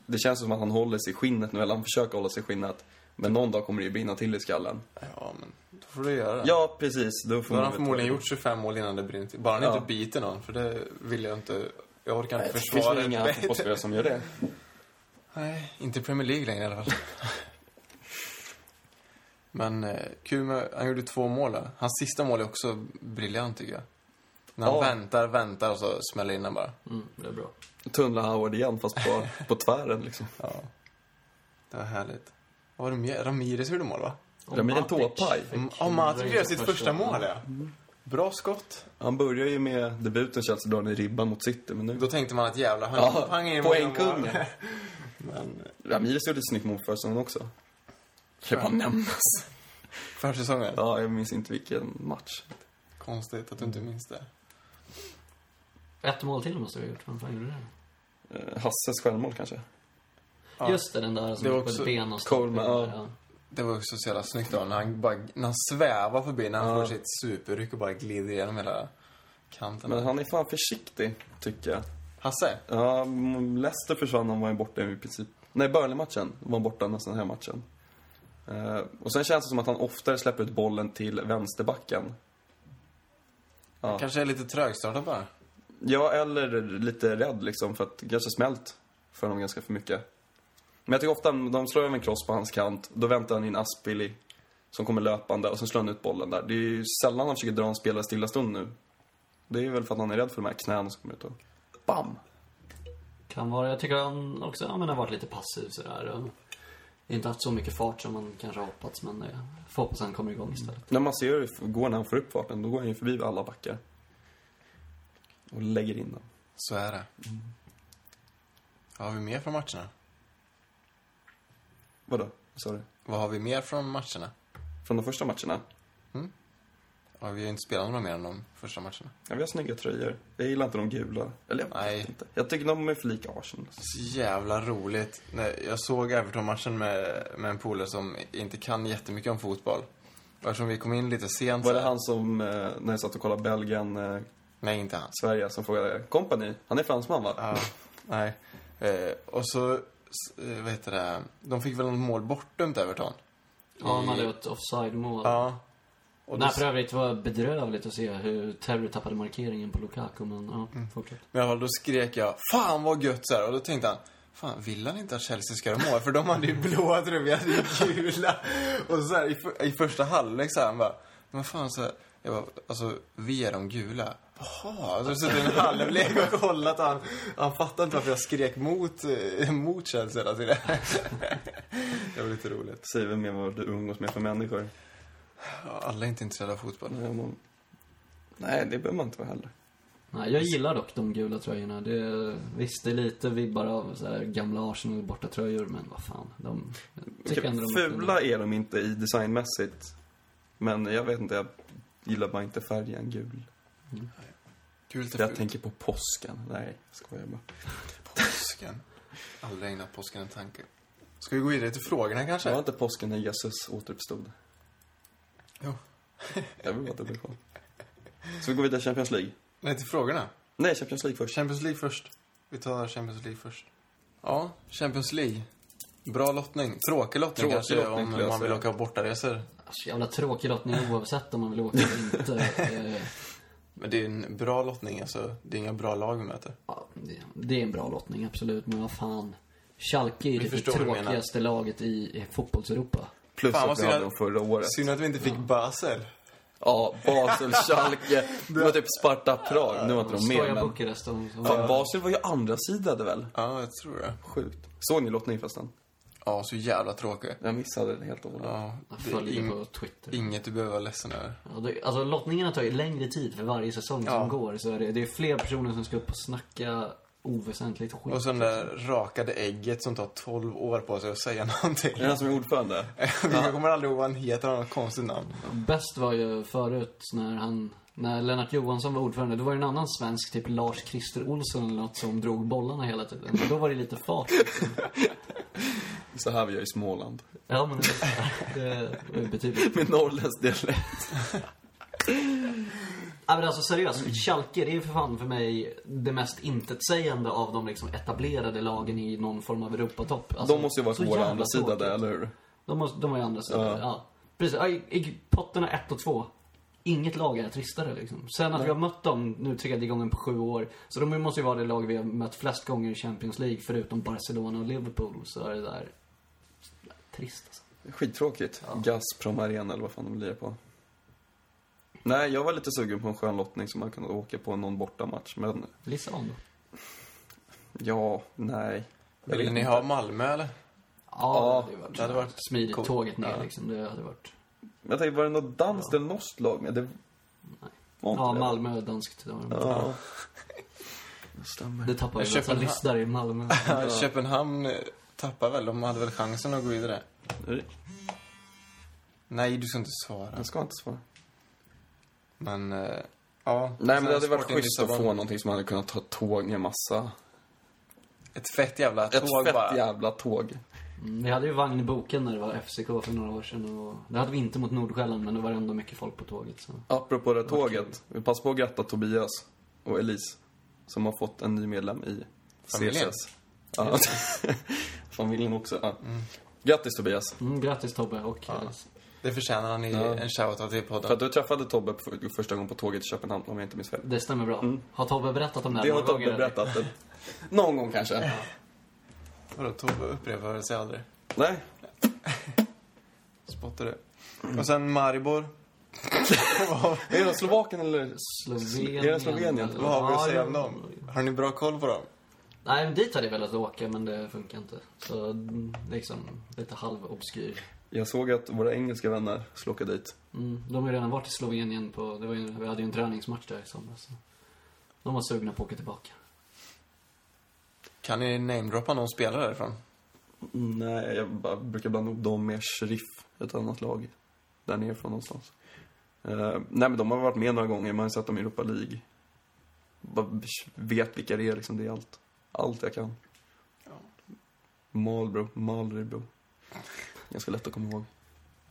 [SPEAKER 3] det känns som att han håller sig i skinnet nu, eller han försöker hålla sig i skinnet. Men någon dag kommer det ju brinna till i skallen.
[SPEAKER 1] Ja, men då får du göra det.
[SPEAKER 3] Ja, precis. Då får
[SPEAKER 1] Då har han
[SPEAKER 3] man väl ta det.
[SPEAKER 1] förmodligen gjort 25 mål innan det brinner till. Bara han
[SPEAKER 3] Ja.
[SPEAKER 1] inte biter någon, för det vill jag inte. Jag orkar
[SPEAKER 3] Nej,
[SPEAKER 1] inte
[SPEAKER 3] Det finns
[SPEAKER 1] försvara
[SPEAKER 3] väl
[SPEAKER 1] ett
[SPEAKER 3] inga
[SPEAKER 1] bett.
[SPEAKER 3] fotbollsspelare som gör det.
[SPEAKER 1] Nej, inte i Premier League längre i alla fall. Men eh, kul med, han gjorde två mål där. Hans sista mål är också briljant tycker jag. När han
[SPEAKER 3] Ja.
[SPEAKER 1] väntar, väntar och så smäller in den bara.
[SPEAKER 2] Mm, det är bra.
[SPEAKER 3] Tunnla Howard igen, fast på, på tvären liksom.
[SPEAKER 1] Ja. Det var härligt. Vad var det mer? Ramirez gjorde mål va?
[SPEAKER 2] Och
[SPEAKER 3] Det blir en
[SPEAKER 2] Matic
[SPEAKER 3] tåpaj.
[SPEAKER 2] fick-
[SPEAKER 1] Ja, Matic gör
[SPEAKER 2] gjorde
[SPEAKER 1] sitt första mål ja. Bra skott.
[SPEAKER 3] Han börjar ju med debuten Chelsea, drar ner ribban mot City, men nu...
[SPEAKER 1] Då tänkte man att jävlar, han
[SPEAKER 3] Ja,
[SPEAKER 1] han in många mål.
[SPEAKER 3] poängkungen.
[SPEAKER 1] Men
[SPEAKER 3] Ramirez gjorde ett snyggt mål för säsongen också. Kan bara nämnas.
[SPEAKER 1] försäsongen?
[SPEAKER 3] Ja, jag minns inte vilken match.
[SPEAKER 1] Konstigt att du inte minns det.
[SPEAKER 2] Ett mål till måste vi ha gjort. Vem fan gjorde det?
[SPEAKER 3] Eh, Hasses självmål kanske?
[SPEAKER 1] Ja.
[SPEAKER 2] Just det, den där som
[SPEAKER 1] Det var
[SPEAKER 2] gick på
[SPEAKER 1] också
[SPEAKER 2] ett ben och
[SPEAKER 3] Coleman,
[SPEAKER 2] stoppade in
[SPEAKER 3] ja.
[SPEAKER 2] där,
[SPEAKER 1] Det var också så jävla snyggt då, när han, bara, när han svävar förbi, när han
[SPEAKER 3] Ja.
[SPEAKER 1] får sitt superryck och bara glider igenom hela kanten.
[SPEAKER 3] Men han är fan försiktig, tycker jag.
[SPEAKER 1] Hasse?
[SPEAKER 3] Ja, m- Leicester försvann, han var ju borta i princip. Nej, Burnley-matchen var han borta nästan här matchen. Eh, och sen känns det som att han oftare släpper ut bollen till vänsterbacken. Ja.
[SPEAKER 1] Kanske är lite trögstartad bara.
[SPEAKER 3] Ja, eller lite rädd liksom för att det kanske smält för honom ganska för mycket. Men jag tycker ofta när de slår över en cross på hans kant, då väntar han in Aspili som kommer löpande och sen slår han ut bollen där. Det är ju sällan han försöker dra en spelare stilla stund nu. Det är väl för att han är rädd för de här knäna som kommer ut och... Bam!
[SPEAKER 2] Kan vara. Jag tycker han också ja, men har varit lite passiv sådär. Och inte haft så mycket fart som man kanske hoppats, men eh, får hoppas han kommer igång istället.
[SPEAKER 3] När man ser hur det går när han får upp farten, då går han ju förbi alla backar. Och lägger in den.
[SPEAKER 1] Så är det. Vad har vi mer från matcherna?
[SPEAKER 3] Vadå? Sorry.
[SPEAKER 1] Vad har vi mer från matcherna?
[SPEAKER 3] Från de första matcherna?
[SPEAKER 1] Ja, vi har ju inte spelat några mer än de första matcherna.
[SPEAKER 3] Ja, vi har snygga tröjor. Jag gillar inte de gula. Eller jag
[SPEAKER 1] Nej.
[SPEAKER 3] vet inte. Jag tycker de är för lika Arsenal.
[SPEAKER 1] Så jävla roligt. Nej, Jag såg Everton-matchen med, med en polare som inte kan jättemycket om fotboll. Och Eftersom vi kom in lite sent...
[SPEAKER 3] Var
[SPEAKER 1] så-
[SPEAKER 3] det han som, eh, när jag satt och kollade Belgien, eh,
[SPEAKER 1] Nej, inte han.
[SPEAKER 3] Sverige, som frågade kompani? Han är fransman va?
[SPEAKER 1] Ja, nej. Eh, och så, s- eh, vad heter det, de fick väl något mål bortdömt Everton?
[SPEAKER 2] Mm. Ja, han hade ett offside-mål.
[SPEAKER 1] Ja. Och då,
[SPEAKER 2] Nej, för övrigt var det bedrövligt att se hur Terry tappade markeringen på Lukaku, men ja, fortsätt.
[SPEAKER 1] men i alla fall, då skrek jag Fan vad gött så här. Och då tänkte han Fan, vill han inte att Chelsea ska göra mål? För de hade ju blåa tröjor, vi hade ju gula. Och så här, i, för, i första halvlek så här, han bara Men fan så här, jag bara, alltså vi är de gula. Jaha, så har suttit en halvlek och kollat och han, han fattade inte varför jag skrek mot, eh, mot Chelsea hela tiden. Det var lite roligt.
[SPEAKER 3] Säger väl mer vad du umgås med för människor.
[SPEAKER 1] Ja, Alla är inte intresserade av fotboll.
[SPEAKER 3] Nej, man... Nej, det behöver man inte vara heller.
[SPEAKER 2] Nej, jag gillar dock de gula tröjorna. Det, visst, det är lite vibbar av så här, gamla Arsenal borta tröjor men vad fan. De, jag tycker ändå de är fina.
[SPEAKER 3] Fula är de inte i designmässigt. Men jag vet inte, jag gillar bara inte färgen gul.
[SPEAKER 1] Kul till
[SPEAKER 3] Jag tänker på påsken. Nej, skojar bara.
[SPEAKER 1] påsken. Aldrig ägnat påsken en tanke. Ska vi gå vidare till frågorna kanske?
[SPEAKER 3] Det var inte påsken när Jesus återuppstod.
[SPEAKER 1] Jo.
[SPEAKER 3] Jag vill bara dubbelkolla. Ska vi gå vidare till Champions League?
[SPEAKER 1] Nej, till frågorna.
[SPEAKER 3] Nej, Champions League först.
[SPEAKER 1] Champions League först. Vi tar Champions League först. Ja, Champions League. Bra lottning. Tråkig lottning
[SPEAKER 3] Tråkig
[SPEAKER 1] kanske
[SPEAKER 3] lottning,
[SPEAKER 1] om
[SPEAKER 3] skulle jag
[SPEAKER 1] man vill
[SPEAKER 3] säga.
[SPEAKER 1] åka på bortaresor.
[SPEAKER 2] Alltså, jävla tråkig lottning oavsett om man vill åka eller inte. Eh,
[SPEAKER 1] Men det är en bra lottning alltså. Det är inga bra lag vi möter.
[SPEAKER 2] Ja, det, det är en bra lottning, absolut. Men vad fan. Schalke är
[SPEAKER 1] Vi
[SPEAKER 2] det
[SPEAKER 1] förstår vad du
[SPEAKER 2] tråkigaste laget i i fotbolls-Europa.
[SPEAKER 3] Plus
[SPEAKER 1] Fan, vad
[SPEAKER 3] att vi
[SPEAKER 1] synd
[SPEAKER 3] hade
[SPEAKER 1] att-
[SPEAKER 3] dem förra året.
[SPEAKER 1] Synd att vi inte fick Basel.
[SPEAKER 3] Ja, Basel, Schalke. Det var typ Sparta, Prag. Nu var inte de med,
[SPEAKER 2] Skoja
[SPEAKER 3] men...
[SPEAKER 2] Bukarest. De, de,
[SPEAKER 3] Fan, Basel var ju andra sidade väl?
[SPEAKER 1] Ja, jag tror det.
[SPEAKER 3] Sjukt. Såg ni lottning förresten?
[SPEAKER 1] Ja, så jävla tråkigt.
[SPEAKER 3] Jag missade det helt och hållet.
[SPEAKER 1] Ja,
[SPEAKER 2] jag
[SPEAKER 1] det är
[SPEAKER 2] följer
[SPEAKER 1] ing-
[SPEAKER 2] på Twitter.
[SPEAKER 1] inget du behöver vara ledsen över.
[SPEAKER 2] Ja, det, alltså lottningarna tar ju längre tid för varje säsong
[SPEAKER 1] Ja.
[SPEAKER 2] som går. Så är det, det är fler personer som ska upp och snacka oväsentligt skit.
[SPEAKER 1] Och sen det där rakade ägget som tar 12 år på sig att säga någonting.
[SPEAKER 3] Är det han som är ordförande?
[SPEAKER 1] Vi kommer aldrig ihåg vad han heter, han har ett konstigt namn.
[SPEAKER 2] Bäst var ju förut när han, när Lennart Johansson var ordförande, då var det en annan svensk, typ Lars-Christer Olsson eller något, som drog bollarna hela tiden. Då var det lite fart.
[SPEAKER 3] Så här vi gör i Småland.
[SPEAKER 2] Ja, men det var ju betydligt.
[SPEAKER 3] Med norrländsk
[SPEAKER 1] Alltså,
[SPEAKER 3] dialekt.
[SPEAKER 2] Ja, men alltså seriöst, Schalke, det är ju för fan för mig det mest intetsägande av de liksom etablerade lagen i någon form av Europatopp. Alltså,
[SPEAKER 3] De måste ju vara
[SPEAKER 2] så
[SPEAKER 3] svåra
[SPEAKER 2] jävla
[SPEAKER 3] andra sidan
[SPEAKER 2] tråkigt.
[SPEAKER 3] där, eller hur?
[SPEAKER 2] De, måste, de var ju andra sidan.
[SPEAKER 3] Ja.
[SPEAKER 2] Ja. Precis. Ja, i- i Potterna 1 och 2. Inget lag är tristare liksom. Sen att vi har mött dem nu tredje gången på sju år. Så de måste ju vara det lag vi har mött flest gånger i Champions League. Förutom Barcelona och Liverpool. Så är det där trist alltså.
[SPEAKER 3] Skittråkigt. Gazprom Arena eller vad fan de lirar på. Nej, jag var lite sugen på en skön lottning som man kunde åka på någon bortamatch, men
[SPEAKER 2] Lissabon då?
[SPEAKER 3] ja, nej. Jag
[SPEAKER 1] Vill
[SPEAKER 3] vet
[SPEAKER 1] ni
[SPEAKER 3] inte.
[SPEAKER 1] ha Malmö eller?
[SPEAKER 2] Ja,
[SPEAKER 1] det hade varit
[SPEAKER 2] smidigt.
[SPEAKER 1] coolt.
[SPEAKER 2] Tåget ner
[SPEAKER 1] Ja.
[SPEAKER 2] liksom. Det hade varit...
[SPEAKER 3] Jag tänkte, var det något danskt eller norskt lag med? Det var inte
[SPEAKER 2] Ja,
[SPEAKER 3] det.
[SPEAKER 2] Malmö och danskt. Det, var...
[SPEAKER 3] Ja. Det stämmer.
[SPEAKER 2] det tappar ju
[SPEAKER 1] Jag köper
[SPEAKER 2] nästan
[SPEAKER 1] den här.
[SPEAKER 2] list där i Malmö.
[SPEAKER 1] Köpenhamn eh, tappar väl, de hade väl chansen att gå vidare. Nej, du ska inte svara.
[SPEAKER 3] Jag ska inte svara.
[SPEAKER 1] Men, eh, ja.
[SPEAKER 3] Nej,
[SPEAKER 1] Sen
[SPEAKER 3] men det hade varit
[SPEAKER 1] Sporting
[SPEAKER 3] schysst att få
[SPEAKER 1] Lissabon.
[SPEAKER 3] någonting som man hade kunnat ta tåg ner massa.
[SPEAKER 1] Ett fett jävla
[SPEAKER 3] Ett
[SPEAKER 1] tåg
[SPEAKER 3] fett
[SPEAKER 1] bara.
[SPEAKER 3] jävla tåg.
[SPEAKER 2] Mm, Vi hade ju vagn i boken när det var FCK för några år sedan. Och... Det hade vi inte mot Nordsjälland, men det var ändå mycket folk på tåget. Så.
[SPEAKER 3] Apropå det tåget, vi passar på att gratta Tobias och Elise som har fått en ny medlem i
[SPEAKER 1] Familjen.
[SPEAKER 3] CSS. Ja. Familjen också. Ja.
[SPEAKER 1] Mm.
[SPEAKER 3] Grattis Tobias!
[SPEAKER 2] Mm, grattis Tobbe och Alice.
[SPEAKER 1] Det förtjänar han i
[SPEAKER 3] Ja.
[SPEAKER 1] en shoutout till
[SPEAKER 3] För
[SPEAKER 1] podden.
[SPEAKER 3] att du träffade Tobbe för första gången på tåget i Köpenhamn om jag inte minns fel.
[SPEAKER 2] Det stämmer bra. Har Tobbe berättat om det här
[SPEAKER 3] Det har
[SPEAKER 2] någon gång,
[SPEAKER 3] Tobbe
[SPEAKER 2] eller?
[SPEAKER 3] berättat. en- Någon gång kanske.
[SPEAKER 1] Vadå, Tobbe upprepar sig aldrig.
[SPEAKER 3] Nej,
[SPEAKER 1] Spottar du.
[SPEAKER 3] Mm.
[SPEAKER 1] Och sen Maribor.
[SPEAKER 3] är det Slovakien eller?
[SPEAKER 2] Slovenien.
[SPEAKER 3] Är det Slovenien?
[SPEAKER 2] eller-
[SPEAKER 1] Vad har vi att säga om
[SPEAKER 2] Ja,
[SPEAKER 1] dem? Har ni bra koll på dem?
[SPEAKER 2] Nej, men dit hade jag velat åka, men det funkar inte. Så mm, liksom, lite halvobskyr.
[SPEAKER 3] Jag såg att våra engelska vänner skulle åka dit.
[SPEAKER 2] Mm, de har ju redan varit i Slovenien på, det var ju, vi hade ju en träningsmatch där i somras. så De var sugna på att åka tillbaka.
[SPEAKER 1] Kan ni namedroppa någon spelare därifrån?
[SPEAKER 3] Nej, jag bara brukar blanda ihop dem med Sheriff, ett annat lag. Där nere från någonstans. Eh, nej, men de har varit med några gånger. Man har sett dem i Europa League. Bara vet vilka det är liksom. Det är allt. Allt jag kan. Malbro, Malrebro. Ganska lätt att komma ihåg.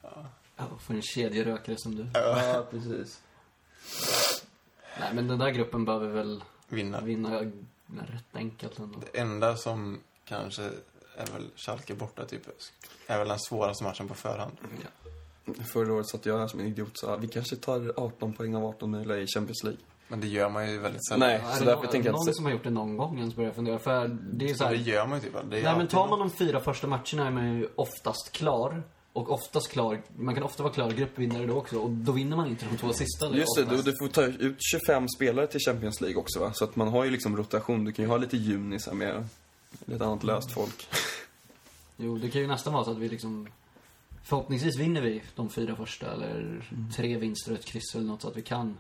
[SPEAKER 2] Ja, för en kedjerökare som du.
[SPEAKER 3] Ja, precis.
[SPEAKER 2] Nej, men den där gruppen behöver väl
[SPEAKER 1] Vinna.
[SPEAKER 2] vinna ja, rätt enkelt ändå.
[SPEAKER 1] Det enda som kanske är väl Schalke borta, typ. Är väl den svåraste matchen på förhand.
[SPEAKER 3] Förra året satt jag här som en idiot och sa vi kanske tar 18 poäng av 18 möjliga i Champions League.
[SPEAKER 1] Men det gör man ju väldigt sällan.
[SPEAKER 3] Nej,
[SPEAKER 2] Är
[SPEAKER 3] så
[SPEAKER 2] det
[SPEAKER 3] därför
[SPEAKER 2] någon,
[SPEAKER 3] tänker jag
[SPEAKER 2] någon
[SPEAKER 3] att...
[SPEAKER 2] som har gjort det någon gång ens börjar jag fundera. För det är så
[SPEAKER 1] Det
[SPEAKER 2] här,
[SPEAKER 1] gör man ju typ aldrig.
[SPEAKER 2] Nej men tar man de fyra första matcherna är man ju oftast klar. Och oftast klar, man kan ofta vara klar gruppvinnare då också. Och då vinner man inte de två sista. eller
[SPEAKER 3] Just det, du,
[SPEAKER 2] oftast.
[SPEAKER 3] du får ta ut 25 spelare till Champions League också va? Så att man har ju liksom rotation. Du kan ju ha lite junisar med lite annat löst folk.
[SPEAKER 2] Jo, det kan ju nästan vara så att vi liksom... Förhoppningsvis vinner vi de fyra första eller tre vinster och ett kryss eller något så att vi kan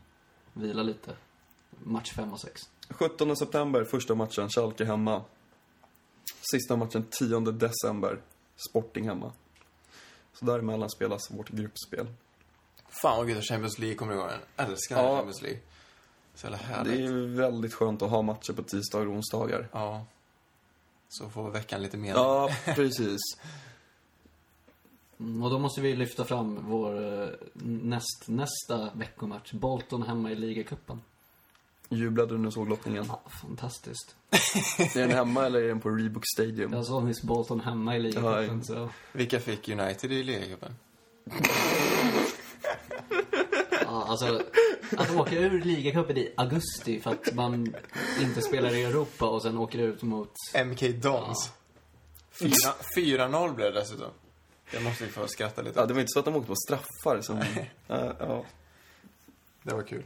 [SPEAKER 2] vila lite. Match fem och sex.
[SPEAKER 3] 17 september, första matchen, Schalke hemma. Sista matchen 10 december, Sporting hemma. Så däremellan spelas vårt gruppspel.
[SPEAKER 1] Fan vad gött att Champions League kommer igång. Jag älskar
[SPEAKER 3] Ja.
[SPEAKER 1] Champions League. Så jävla
[SPEAKER 3] Det är
[SPEAKER 1] härligt.
[SPEAKER 3] ju väldigt skönt att ha matcher på tisdagar och onsdagar.
[SPEAKER 1] Ja. Så får veckan lite mer.
[SPEAKER 3] Ja, precis.
[SPEAKER 2] Mm, Och då måste vi lyfta fram vår eh, näst, nästa veckomatch. Bolton hemma i ligacupen.
[SPEAKER 3] Jublade du när du såg lottningen?
[SPEAKER 2] Ja, fantastiskt.
[SPEAKER 3] Är den hemma eller är den på Reebok Stadium?
[SPEAKER 2] Jag såg nyss Bolton hemma i ligacupen
[SPEAKER 3] Ja,
[SPEAKER 2] så...
[SPEAKER 1] Vilka fick United i ligacupen?
[SPEAKER 2] Ja, alltså, att åka ur ligacupen i augusti för att man inte spelar i Europa och sen åker ut mot...
[SPEAKER 1] MK Dons. Fyra- 4-0 blev det dessutom. Jag måste ju få skratta lite.
[SPEAKER 3] Ja, det var inte så att de åkte på straffar som... Ja, ja.
[SPEAKER 1] Det var kul.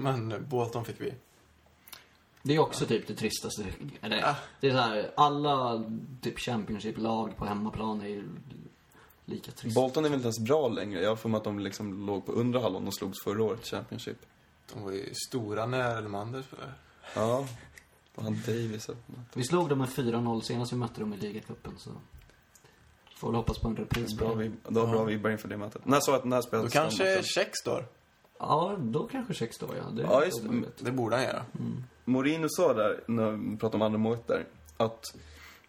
[SPEAKER 1] Men eh, Bolton fick vi.
[SPEAKER 2] Det är också typ det tristaste. Eller,
[SPEAKER 1] Ah.
[SPEAKER 2] Det är så här, alla typ Championship-lag på hemmaplan är ju lika trist.
[SPEAKER 3] Bolton är väl inte ens bra längre. Jag har för mig att de liksom låg på undre halvan och slogs förra året i Championship.
[SPEAKER 1] De var ju stora när Elmander spelade.
[SPEAKER 3] Ja. Och han Davis.
[SPEAKER 2] vi slog dem med 4-0 senast vi mötte dem i ligacupen så... Får väl hoppas på en repris på
[SPEAKER 3] Bra
[SPEAKER 2] det.
[SPEAKER 3] vi, då var bra vibbar inför det mötet. När sa jag att när spelades
[SPEAKER 1] Då
[SPEAKER 3] den
[SPEAKER 1] kanske
[SPEAKER 3] matchen?
[SPEAKER 1] Check står.
[SPEAKER 2] Ja, då kanske sex då ja. Det är
[SPEAKER 3] Ja,
[SPEAKER 2] inte
[SPEAKER 3] just det.
[SPEAKER 2] omöjligt.
[SPEAKER 1] Det borde han göra.
[SPEAKER 3] Mourinho sa där, när vi pratade om andra målet där, att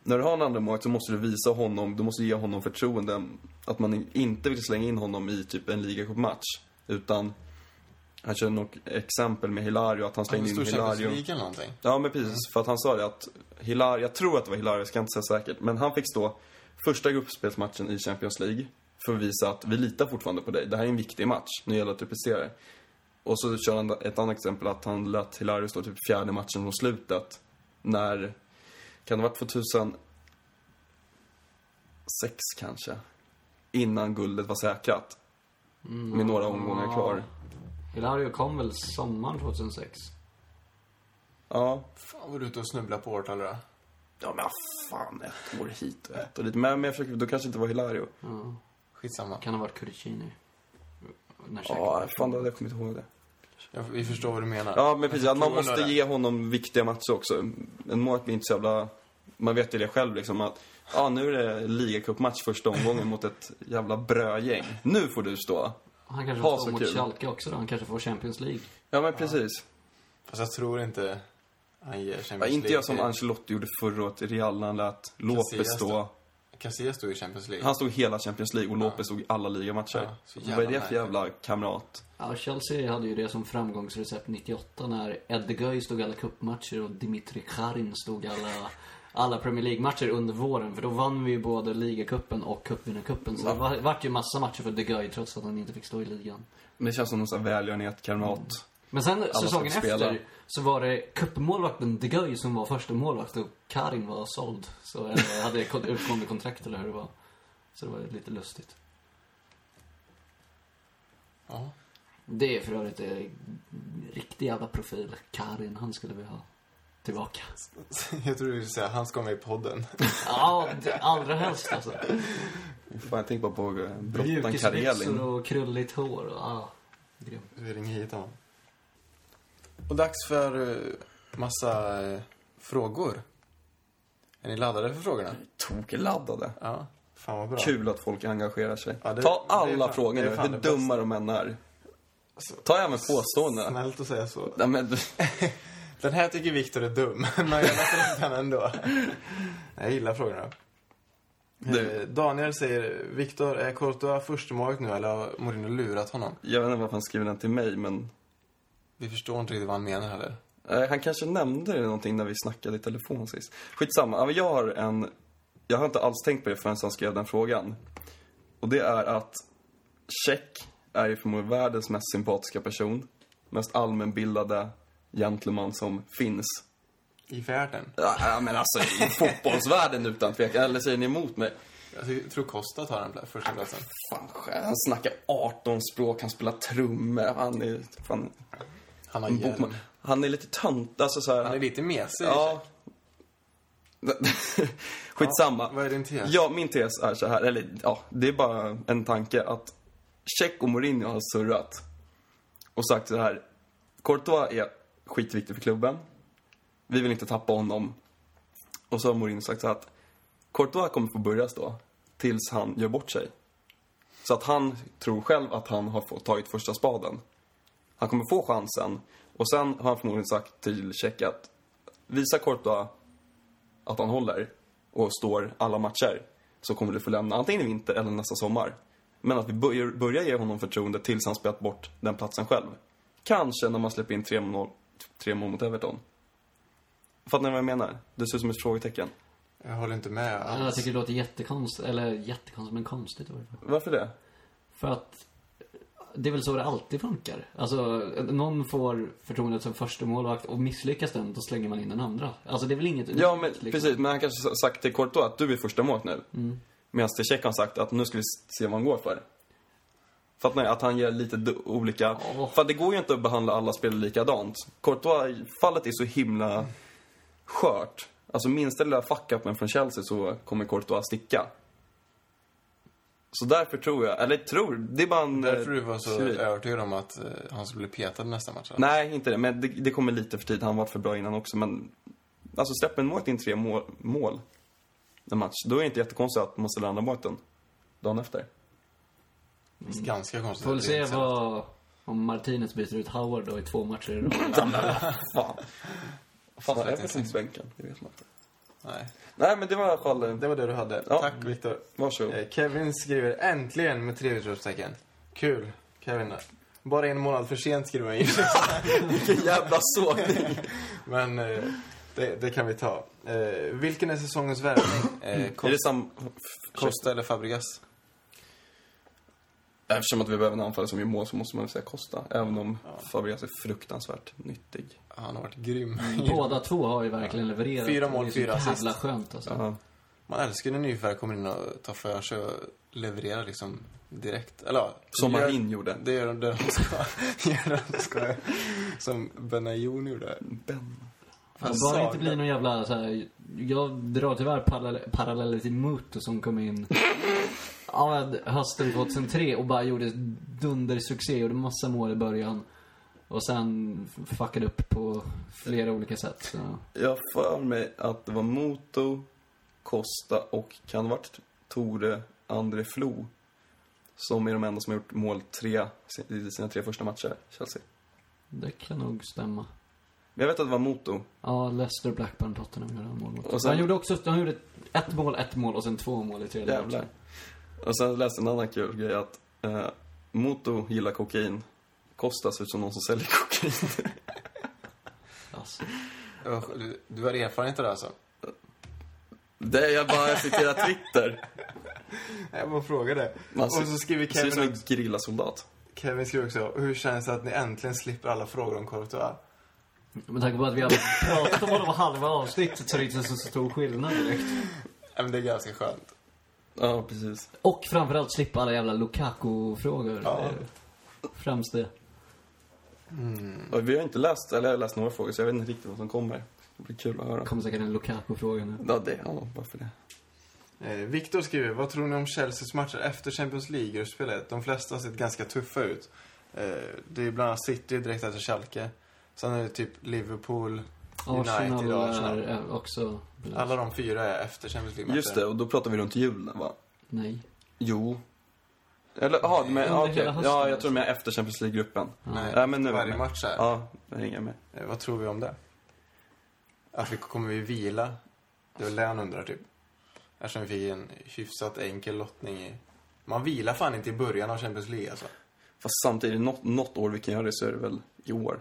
[SPEAKER 3] när du har en andra målet så måste du visa honom, du måste ge honom förtroende. Att man inte vill slänga in honom i typ en ligacupmatch. Utan, han körde något exempel med Hilario, att han
[SPEAKER 1] Han
[SPEAKER 3] slängde
[SPEAKER 1] stor
[SPEAKER 3] in
[SPEAKER 1] Champions
[SPEAKER 3] Hilario.
[SPEAKER 1] League eller någonting.
[SPEAKER 3] Ja, men precis. För att han sa det att Hilario, jag tror att det var Hilario, jag ska inte säga säkert. Men han fick stå första gruppspelsmatchen i Champions League för att visa att vi litar fortfarande på dig. Det här är en viktig match, nu gäller det att du presterar. Och så kör han ett annat exempel att han lät Hilario stå typ fjärde matchen mot slutet. När, kan det ha varit 2006 kanske? Innan guldet var säkrat. Med några omgångar kvar.
[SPEAKER 2] Hilario kom väl sommaren 2006?
[SPEAKER 3] Ja,
[SPEAKER 1] Fan vad du är ute och snubblar på årtal då.
[SPEAKER 3] Ja, men fan, ett år hit och ett år dit. Men, men jag försöker, då kanske det inte var Hilario.
[SPEAKER 2] Ja.
[SPEAKER 1] Skitsamma.
[SPEAKER 2] Kan ha varit Curicini. När
[SPEAKER 3] Ja,
[SPEAKER 2] käken-
[SPEAKER 3] fan, då hade jag kommit ihåg det.
[SPEAKER 1] Jag, vi förstår vad du menar.
[SPEAKER 3] Ja, men precis. Att man
[SPEAKER 1] Förtroende
[SPEAKER 3] måste
[SPEAKER 1] där.
[SPEAKER 3] ge honom viktiga matcher också. En målvakt blir inte så jävla... Man vet ju det själv liksom att, ja, nu är det ligacupmatch första omgången mot ett jävla brögäng. Nu får du stå.
[SPEAKER 2] Han kanske
[SPEAKER 3] Ha,
[SPEAKER 2] får
[SPEAKER 3] så
[SPEAKER 2] stå mot
[SPEAKER 3] kul.
[SPEAKER 2] Schalke också då. Han kanske får Champions League.
[SPEAKER 3] Ja, men precis.
[SPEAKER 1] Fast jag tror inte han ger Champions
[SPEAKER 3] Ja,
[SPEAKER 1] League.
[SPEAKER 3] inte jag som
[SPEAKER 1] till-
[SPEAKER 3] Ancelotti gjorde förra året i Real när han lät Lopez
[SPEAKER 1] Casillas
[SPEAKER 3] stå.
[SPEAKER 1] Casillas stod i Champions League.
[SPEAKER 3] Han stod hela Champions League och Lopez stod i alla ligamatcher.
[SPEAKER 1] Ja, så jävla
[SPEAKER 3] Vad är det för
[SPEAKER 1] märkligt.
[SPEAKER 3] jävla kamrat?
[SPEAKER 2] Ja, Chelsea hade ju det som framgångsrecept 98 när Edde Gueye stod alla cupmatcher och Dimitri Karin stod alla, alla Premier League-matcher under våren. För då vann vi ju både ligacupen och cupvinnarcupen. Så det var, vart ju massa matcher för De Gueye trots att han inte fick stå i ligan.
[SPEAKER 3] Men det känns som någon sån här välgörenhet, kamrat.
[SPEAKER 2] Men sen säsongen
[SPEAKER 3] ska spela.
[SPEAKER 2] efter så var det cupmålvakten De Guy som var första målvakt och Karin var såld. Så eller, hade kon- utgående kontrakt eller hur det var. Så det var lite lustigt.
[SPEAKER 1] Ja.
[SPEAKER 2] Det är för övrigt en riktig jävla profil. Karin, han skulle vi ha tillbaka.
[SPEAKER 1] Jag tror du skulle säga, han ska med i podden.
[SPEAKER 2] Ja, det- allra helst alltså.
[SPEAKER 3] Fan, jag tänker bara på eh, brottan
[SPEAKER 2] Mjukisbyxor
[SPEAKER 3] Karelin.
[SPEAKER 2] och krulligt hår och ja, grym.
[SPEAKER 1] Vi ringer hit honom. Och dags för eh, massa eh, frågor. Är ni laddade för frågorna?
[SPEAKER 3] Tokladdade.
[SPEAKER 1] Ja. Fan vad bra.
[SPEAKER 3] Kul att folk engagerar sig.
[SPEAKER 1] Ja, det-
[SPEAKER 3] Ta
[SPEAKER 1] det är
[SPEAKER 3] alla
[SPEAKER 1] fan-
[SPEAKER 3] frågor
[SPEAKER 1] det är
[SPEAKER 3] nu,
[SPEAKER 1] fan
[SPEAKER 3] hur
[SPEAKER 1] det Alltså,
[SPEAKER 3] dumma de än är. Ta även påståendena.
[SPEAKER 1] Snällt att säga så.
[SPEAKER 3] Nej, men,
[SPEAKER 1] Den här tycker Viktor är dum, men jag läser upp den ändå. Jag gillar frågorna.
[SPEAKER 3] Du.
[SPEAKER 1] Eh, Daniel säger, Viktor, är Courtois förstemålvakt nu eller har Mourinho lurat honom?
[SPEAKER 3] jag vet inte varför han skrev den till mig, men
[SPEAKER 1] Vi förstår inte riktigt vad han menar heller.
[SPEAKER 3] eh, han kanske nämnde det någonting när vi snackade i telefon sist. Skitsamma, Ja, men jag har en... Jag har inte alls tänkt på det förrän han skrev den frågan. Och det är att Check är ju förmodligen världens mest sympatiska person. Mest allmänbildade gentleman som finns.
[SPEAKER 1] I färden.
[SPEAKER 3] Ja, Ja, men alltså i fotbollsvärlden utan tvekan. Eller säger ni emot mig?
[SPEAKER 1] Alltså, Jag ty- tror Costa tar den pla- första platsen.
[SPEAKER 3] Fan, själv. han snackar 18 språk, han spelar trummor. Han är, fan,
[SPEAKER 1] Han har
[SPEAKER 3] en bokman.
[SPEAKER 1] hjälm.
[SPEAKER 3] Han är lite tönt, alltså så här.
[SPEAKER 1] Han är lite mesig.
[SPEAKER 3] ja. Skitsamma.
[SPEAKER 1] Ja, vad är din tes?
[SPEAKER 3] Ja, min tes är så här, eller ja, det är bara en tanke att Check och Mourinho har surrat och sagt så här. Courtois är skitviktig för klubben. Vi vill inte tappa honom. Och så har Mourinho sagt så här att Courtois kommer få börja stå tills han gör bort sig. Så att han tror själv att han har fått, tagit första spaden. Han kommer få chansen. Och sen har han förmodligen sagt till Check att visa Courtois att han håller och står alla matcher så kommer du få lämna antingen i vinter eller nästa sommar. Men att vi börjar, börjar ge honom förtroende tills han spelat bort den platsen själv. Kanske när man släpper in tre mål, tre mål mot Everton. Fattar ni vad jag menar? Det ser ut som ett frågetecken.
[SPEAKER 1] Jag håller inte med
[SPEAKER 2] Men Jag
[SPEAKER 1] alls.
[SPEAKER 2] tycker det låter jättekonstigt, eller jättekonstigt men konstigt i alla fall.
[SPEAKER 3] Varför det?
[SPEAKER 2] För att det är väl så det alltid funkar. Alltså, någon får förtroendet som första målvakt och misslyckas den, då slänger man in den andra. Alltså det är väl inget
[SPEAKER 3] Ja, men
[SPEAKER 2] liksom.
[SPEAKER 3] precis. Men han kanske sagt till Courtois att du är första målet nu. Medan till Cech har han sagt att nu ska vi se vad han går för. Fattar ni? Att han ger lite du- olika...
[SPEAKER 2] Ja.
[SPEAKER 3] För att det går ju inte att behandla alla spelare likadant. Courtois-fallet är så himla skört. Alltså minsta lilla fuck-upen från Chelsea så kommer Courtois sticka. Så därför tror jag, eller tror, det är bara en... eh,
[SPEAKER 1] Därför du var så
[SPEAKER 3] teori.
[SPEAKER 1] övertygad om att eh, han skulle bli petad nästa match? eller?
[SPEAKER 3] Nej, inte det. Men det, det kommer lite för tid. Han var för bra innan också. Men alltså släpper en målvakt in tre mål, mål en match, då är det inte jättekonstigt att man ställer andra målvakten dagen efter.
[SPEAKER 1] Det är Ganska konstigt.
[SPEAKER 2] Får väl
[SPEAKER 1] att det
[SPEAKER 2] se
[SPEAKER 1] inte-
[SPEAKER 2] vad... Om Martinez byter ut Howard då i två matcher i rad.
[SPEAKER 3] Fan. Fan,
[SPEAKER 1] Så
[SPEAKER 3] var
[SPEAKER 1] att det inte-
[SPEAKER 3] Evertons-bänken? Det vet man inte.
[SPEAKER 1] Nej.
[SPEAKER 3] Nej, men det var i alla fall... eh,
[SPEAKER 1] Det var det du hade.
[SPEAKER 3] Ja.
[SPEAKER 1] Tack, Viktor.
[SPEAKER 3] Varsågod.
[SPEAKER 1] Eh, Kevin skriver äntligen med tre utropstecken. Kul, Kevin. Bara en månad för sent skriver han in.
[SPEAKER 3] Vilken jävla sågning!
[SPEAKER 1] Men eh, det, det kan vi ta. Eh, vilken är säsongens värvning? Eh,
[SPEAKER 3] Är
[SPEAKER 1] Costa,
[SPEAKER 3] det sam...
[SPEAKER 1] Costa eller Fabregas?
[SPEAKER 3] Eftersom att vi behöver en anfallare som gör mål så måste man väl säga Costa. Även om Fabregas är fruktansvärt nyttig.
[SPEAKER 1] Han har varit grym.
[SPEAKER 2] Båda två har ju verkligen levererat.
[SPEAKER 1] Fyra
[SPEAKER 2] Det är
[SPEAKER 1] mål,
[SPEAKER 2] så
[SPEAKER 1] fyra assist.
[SPEAKER 2] jävla skönt alltså.
[SPEAKER 3] Ja.
[SPEAKER 1] Man älskar när nyförvärv kommer in och tar för sig och levererar liksom direkt. Eller ja,
[SPEAKER 3] Som
[SPEAKER 1] gör-
[SPEAKER 3] Marin gjorde.
[SPEAKER 1] Det gör de där de ska. gör det de ska. Som Benayoun gjorde.
[SPEAKER 3] Ben.
[SPEAKER 1] Fan,
[SPEAKER 3] Alltså,
[SPEAKER 2] Bara det inte
[SPEAKER 1] saknar-
[SPEAKER 2] blir någon jävla så här, Jag drar tyvärr parallell, paralleller till Muto som kom in ja, hösten 2003 och bara gjorde dundersuccé. Gjorde massa mål i början. Och sen fuckade upp på flera olika sätt. Så.
[SPEAKER 3] Jag har för mig att det var Moto, Costa och kan det ha varit Tore André Flo som är de enda som har gjort mål tre i sina tre första matcher, Chelsea.
[SPEAKER 2] Det kan nog stämma.
[SPEAKER 3] Men jag vet att det var Moto.
[SPEAKER 2] Ja, Leicester, Blackburn, Tottenham gjorde han mål mot.
[SPEAKER 3] Och sen-
[SPEAKER 2] Han gjorde också, han gjorde ett mål, ett mål och sen två mål i tredje
[SPEAKER 3] Jävlar. Och sen läste jag en annan kul grej att eh, Moto gillar kokain. Costa ser ut som någon som säljer kokain.
[SPEAKER 2] Alltså,
[SPEAKER 1] Usch, Du, du har erfarenhet av det alltså?
[SPEAKER 3] Det är jag bara jag citerar Twitter.
[SPEAKER 1] Jag bara frågade.
[SPEAKER 3] Man ser-
[SPEAKER 1] och så skriver
[SPEAKER 3] Ser ut som
[SPEAKER 1] Kevin,
[SPEAKER 3] en grillasoldat.
[SPEAKER 1] Kevin skriver också, hur känns det att ni äntligen slipper alla frågor om Courtois?
[SPEAKER 2] med tanke på att vi hade pratat om honom halva avsnittet så är det inte så stor skillnad direkt.
[SPEAKER 1] Ja, men det är ganska skönt.
[SPEAKER 3] Ja, precis.
[SPEAKER 2] Och framförallt slippa alla jävla Lukaku-frågor.
[SPEAKER 1] Ja.
[SPEAKER 2] Det är Främst det.
[SPEAKER 1] Mm.
[SPEAKER 3] Och vi har inte läst, eller jag har läst några frågor så jag vet inte riktigt vad som kommer. Det blir kul att höra.
[SPEAKER 2] Det kommer säkert en Lukaku-fråga nu.
[SPEAKER 3] Ja, det, ja, varför det?
[SPEAKER 1] Eh, Viktor skriver, vad tror ni om Chelseas matcher efter Champions League-gruppspelet? De flesta har sett ganska tuffa ut. Eh, det är bland annat City direkt efter Schalke. Sen är det typ Liverpool,
[SPEAKER 2] Arsenal
[SPEAKER 1] United och Arsenal.
[SPEAKER 2] är eh, också...
[SPEAKER 1] Alla de fyra är efter Champions League-matcher.
[SPEAKER 3] Just det, och då pratar vi runt julen va?
[SPEAKER 2] Nej.
[SPEAKER 3] Jo. Eller, aha, du men,
[SPEAKER 2] Under
[SPEAKER 3] ja, okej.
[SPEAKER 2] hela hösten,
[SPEAKER 3] Ja, jag
[SPEAKER 2] alltså.
[SPEAKER 3] tror de är efter Champions League-gruppen.
[SPEAKER 1] Nej,
[SPEAKER 3] Ja, men nu är
[SPEAKER 1] varje
[SPEAKER 3] jag med.
[SPEAKER 1] match här.
[SPEAKER 3] Ja, jag hänger med.
[SPEAKER 1] Eh, vad tror vi om det? Att vi kommer vi vila? Det är väl det han undrar typ. Eftersom vi fick en hyfsat enkel lottning i... Man vilar fan inte i början av Champions League alltså.
[SPEAKER 3] Fast samtidigt, något, något år vi kan göra det så är det väl i år.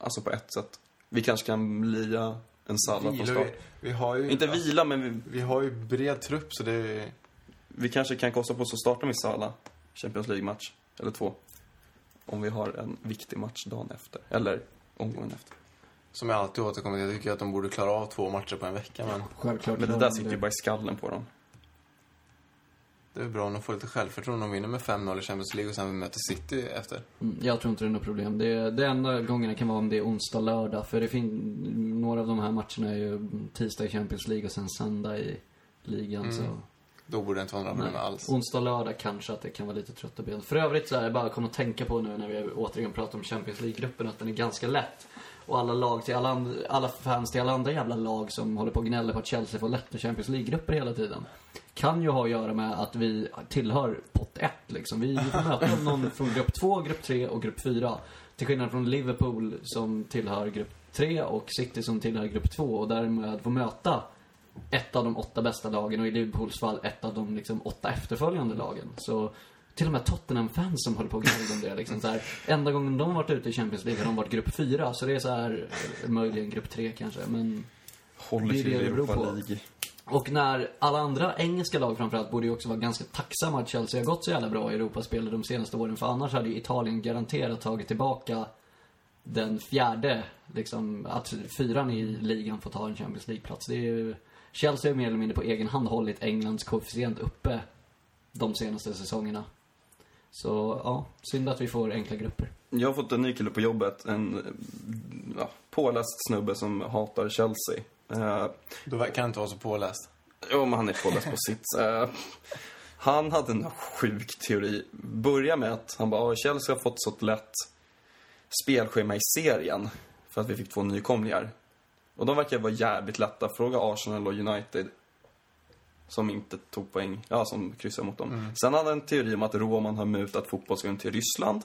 [SPEAKER 3] Alltså på ett sätt. Vi kanske kan lia en sallad från
[SPEAKER 1] Vilar
[SPEAKER 3] start.
[SPEAKER 1] vi, vi har ju...
[SPEAKER 3] Inte vila, men vi,
[SPEAKER 1] Vi har ju bred trupp så det är...
[SPEAKER 3] vi kanske kan kosta på oss att starta med Sala Champions League-match, eller två. Om vi har en viktig match dagen efter, eller omgången efter.
[SPEAKER 1] Som jag alltid återkommer till, jag tycker att de borde klara av två matcher på en vecka men
[SPEAKER 2] Självklart.
[SPEAKER 3] Men det där sitter ju bara i skallen på dem.
[SPEAKER 1] det är väl bra om de får lite självförtroende. De vinner med 5-0 i Champions League och sen möter City efter.
[SPEAKER 2] Mm, Jag tror inte det är något problem. Det, det enda gången det kan vara om det är onsdag, lördag. För det fin... några av de här matcherna är ju tisdag i Champions League och sen söndag i ligan.
[SPEAKER 1] Mm.
[SPEAKER 2] Så.
[SPEAKER 1] Då borde det inte vara några problem alls.
[SPEAKER 2] Onsdag, lördag kanske att det kan vara lite trötta ben. För övrigt så här, jag bara kom att tänka på nu när vi återigen pratar om Champions League-gruppen att den är ganska lätt. Och alla lag till alla, and- alla fans till alla andra jävla lag som håller på och gnäller på att Chelsea får lätta Champions League-grupper hela tiden. Kan ju ha att göra med att vi tillhör pott 1 liksom. Vi får möta någon från grupp 2, grupp 3 och grupp 4. Till skillnad från Liverpool som tillhör grupp 3 och City som tillhör grupp 2 och därmed får möta ett av de åtta bästa lagen och i Liverpools fall ett av de liksom, åtta efterföljande lagen. Så till och med Tottenham-fans som håller på och gnäller om det. Liksom, så här, enda gången de varit ute i Champions League har de varit grupp fyra. Så det är så här, eh, möjligen grupp tre kanske. Men
[SPEAKER 3] Håller
[SPEAKER 2] Det är
[SPEAKER 3] till
[SPEAKER 2] det det beror
[SPEAKER 3] Europa
[SPEAKER 2] på.
[SPEAKER 3] League.
[SPEAKER 2] Och när alla andra engelska lag framförallt borde ju också vara ganska tacksamma att Chelsea har gått så jävla bra i Europaspel de senaste åren. För annars hade ju Italien garanterat tagit tillbaka den fjärde, liksom, att fyran i ligan får ta en Champions League-plats. Det är ju, Chelsea har mer eller mindre på egen hand hållit Englands koefficient uppe de senaste säsongerna. Så ja, synd att vi får enkla grupper.
[SPEAKER 3] Jag har fått en ny kille på jobbet, en eh, ja, påläst snubbe som hatar Chelsea. Eh,
[SPEAKER 1] Då kan jag inte vara så påläst.
[SPEAKER 3] Jo, men han är påläst på sitt. Eh, han hade en sjuk teori. Börja med att han bara, "Ah, Chelsea har fått så ett lätt spelschema i serien för att vi fick två nykomlingar. Och de verkar vara jävligt lätta. Fråga Arsenal och United. Som inte tog poäng, ja som kryssade mot dem. Sen hade han en teori om att Roman har mutat fotbolls till Ryssland.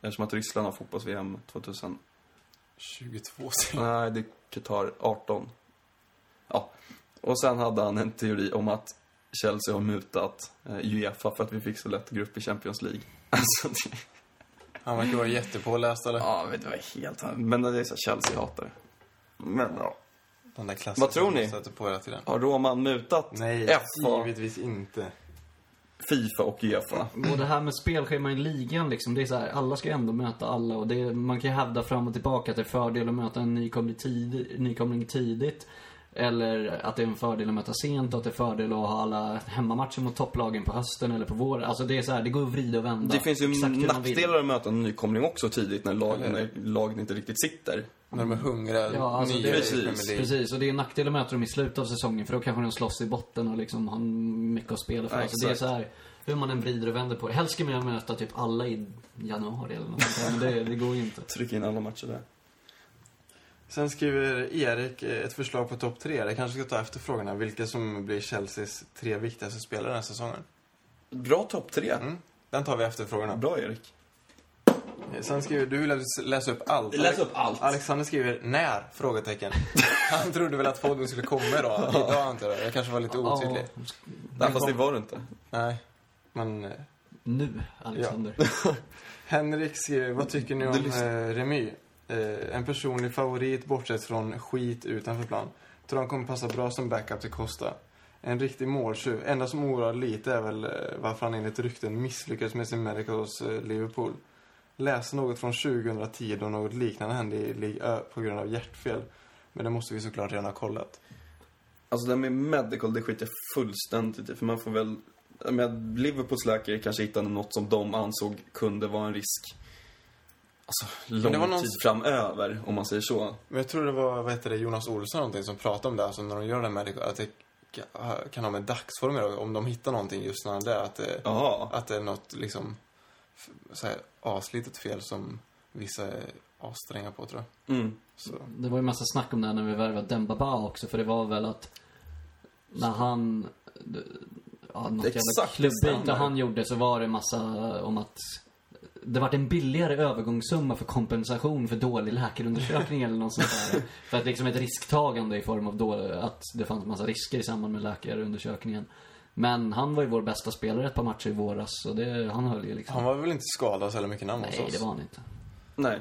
[SPEAKER 3] Eftersom att Ryssland har fotbolls-VM 2000
[SPEAKER 1] 22 sen.
[SPEAKER 3] Nej, det är Qatar 18. Ja. Och sen hade han en teori om att Chelsea har mutat eh, Uefa för att vi fick så lätt grupp i Champions League. Alltså, det,
[SPEAKER 1] Han verkar vara jättepåläst eller?
[SPEAKER 3] ja, men det var helt... Men det är så här, Chelsea hatar. Men ja.
[SPEAKER 1] Den där klassen
[SPEAKER 3] Vad tror ni?
[SPEAKER 1] Sätter på hela tiden.
[SPEAKER 3] Har Roman mutat
[SPEAKER 1] Nej,
[SPEAKER 3] FA,
[SPEAKER 1] givetvis inte.
[SPEAKER 3] Fifa och Uefa?
[SPEAKER 2] Och det här med spelschema i ligan liksom, det är så här, alla ska ju ändå möta alla och det, man kan ju hävda fram och tillbaka att det är fördel att möta en nykomling, tid, nykomling tidigt. Eller att det är en fördel att möta sent och att det är fördel att ha alla hemmamatcher mot topplagen på hösten eller på våren. Alltså det är så här, det går att vrida och vända.
[SPEAKER 3] Det finns ju
[SPEAKER 2] exakt hur man vill.
[SPEAKER 3] nackdelar att möta en nykomling också tidigt när lagen, när lagen inte riktigt sitter.
[SPEAKER 1] När de är hungriga,
[SPEAKER 2] Ja, alltså
[SPEAKER 1] nya
[SPEAKER 2] det-
[SPEAKER 1] i Premier
[SPEAKER 3] precis,
[SPEAKER 1] League.
[SPEAKER 2] Precis, och det är en nackdel att möta dem i slutet av säsongen för då kanske de slåss i botten och liksom har mycket att spela för.
[SPEAKER 3] Ja,
[SPEAKER 2] alltså, det är
[SPEAKER 3] exakt.
[SPEAKER 2] så här, hur man än vrider och vänder på det. Helst ska man ju möta typ alla i januari eller något sånt där, men det, det går ju inte.
[SPEAKER 3] Tryck in alla matcher där.
[SPEAKER 1] Sen skriver Erik eh, ett förslag på topp tre. Det kanske ska ta efter frågorna. Vilka som blir Chelseas tre viktigaste spelare den här säsongen.
[SPEAKER 3] Bra topp tre.
[SPEAKER 1] Mm. Den tar vi efter frågorna.
[SPEAKER 3] Bra, Erik.
[SPEAKER 1] Eh, Sen skriver du, vill läsa upp allt.
[SPEAKER 3] Läs upp allt.
[SPEAKER 1] Alexander skriver när? Frågetecken. Han trodde väl att podden skulle komma idag. Idag antar jag. Jag kanske var lite otydlig.
[SPEAKER 2] Ja,
[SPEAKER 3] Nej, fast det var det inte.
[SPEAKER 1] Nej, men... eh,
[SPEAKER 2] nu, Alexander.
[SPEAKER 1] Henrik skriver, vad tycker ni om
[SPEAKER 3] Du lyssnar.
[SPEAKER 1] eh, Remy? Eh, en personlig favorit bortsett från skit utanför plan. Tror han kommer passa bra som backup till Costa. En riktig måltjuv. Enda som oroar lite är väl eh, varför han enligt rykten misslyckades med sin medical hos eh, Liverpool. Läste något från 2010 då något liknande hände i Ligue Ö på grund av hjärtfel. Men det måste vi såklart redan ha kollat.
[SPEAKER 3] Alltså det här med medical, det skiter jag fullständigt i. typ. För man får väl... jag menar, Liverpools läkare kanske hittade något som de ansåg kunde vara en risk. Alltså,
[SPEAKER 1] det var
[SPEAKER 3] lång
[SPEAKER 1] någon-
[SPEAKER 3] tid framöver, om man säger så.
[SPEAKER 1] Men jag tror det var, vad heter det, Jonas Olsson någonting som pratade om det, alltså när de gör det här med, att det kan ha med dagsform att göra, om de hittar någonting just när det är, att eh, det,
[SPEAKER 3] Jaha.
[SPEAKER 1] att det är något liksom, f- så här aslitet fel som vissa är asstränga på tror jag.
[SPEAKER 3] Mm.
[SPEAKER 1] Så.
[SPEAKER 2] Det var ju massa snack om det här när vi värvade Dembaba också, för det var väl att när han... Ja, något jävla
[SPEAKER 3] Exakt, det
[SPEAKER 2] klubbyte
[SPEAKER 3] stämmer.
[SPEAKER 2] han gjorde så var det massa om att det vart en billigare övergångssumma för kompensation för dålig läkarundersökning eller något sånt där. För att liksom ett risktagande i form av då, att det fanns massa risker i samband med läkarundersökningen. Men han var ju vår bästa spelare ett par matcher i våras, så det, han höll ju liksom.
[SPEAKER 1] Han var väl inte skadad så jävla mycket namn hos
[SPEAKER 2] Nej,
[SPEAKER 1] oss?
[SPEAKER 2] det var han inte.
[SPEAKER 3] Nej.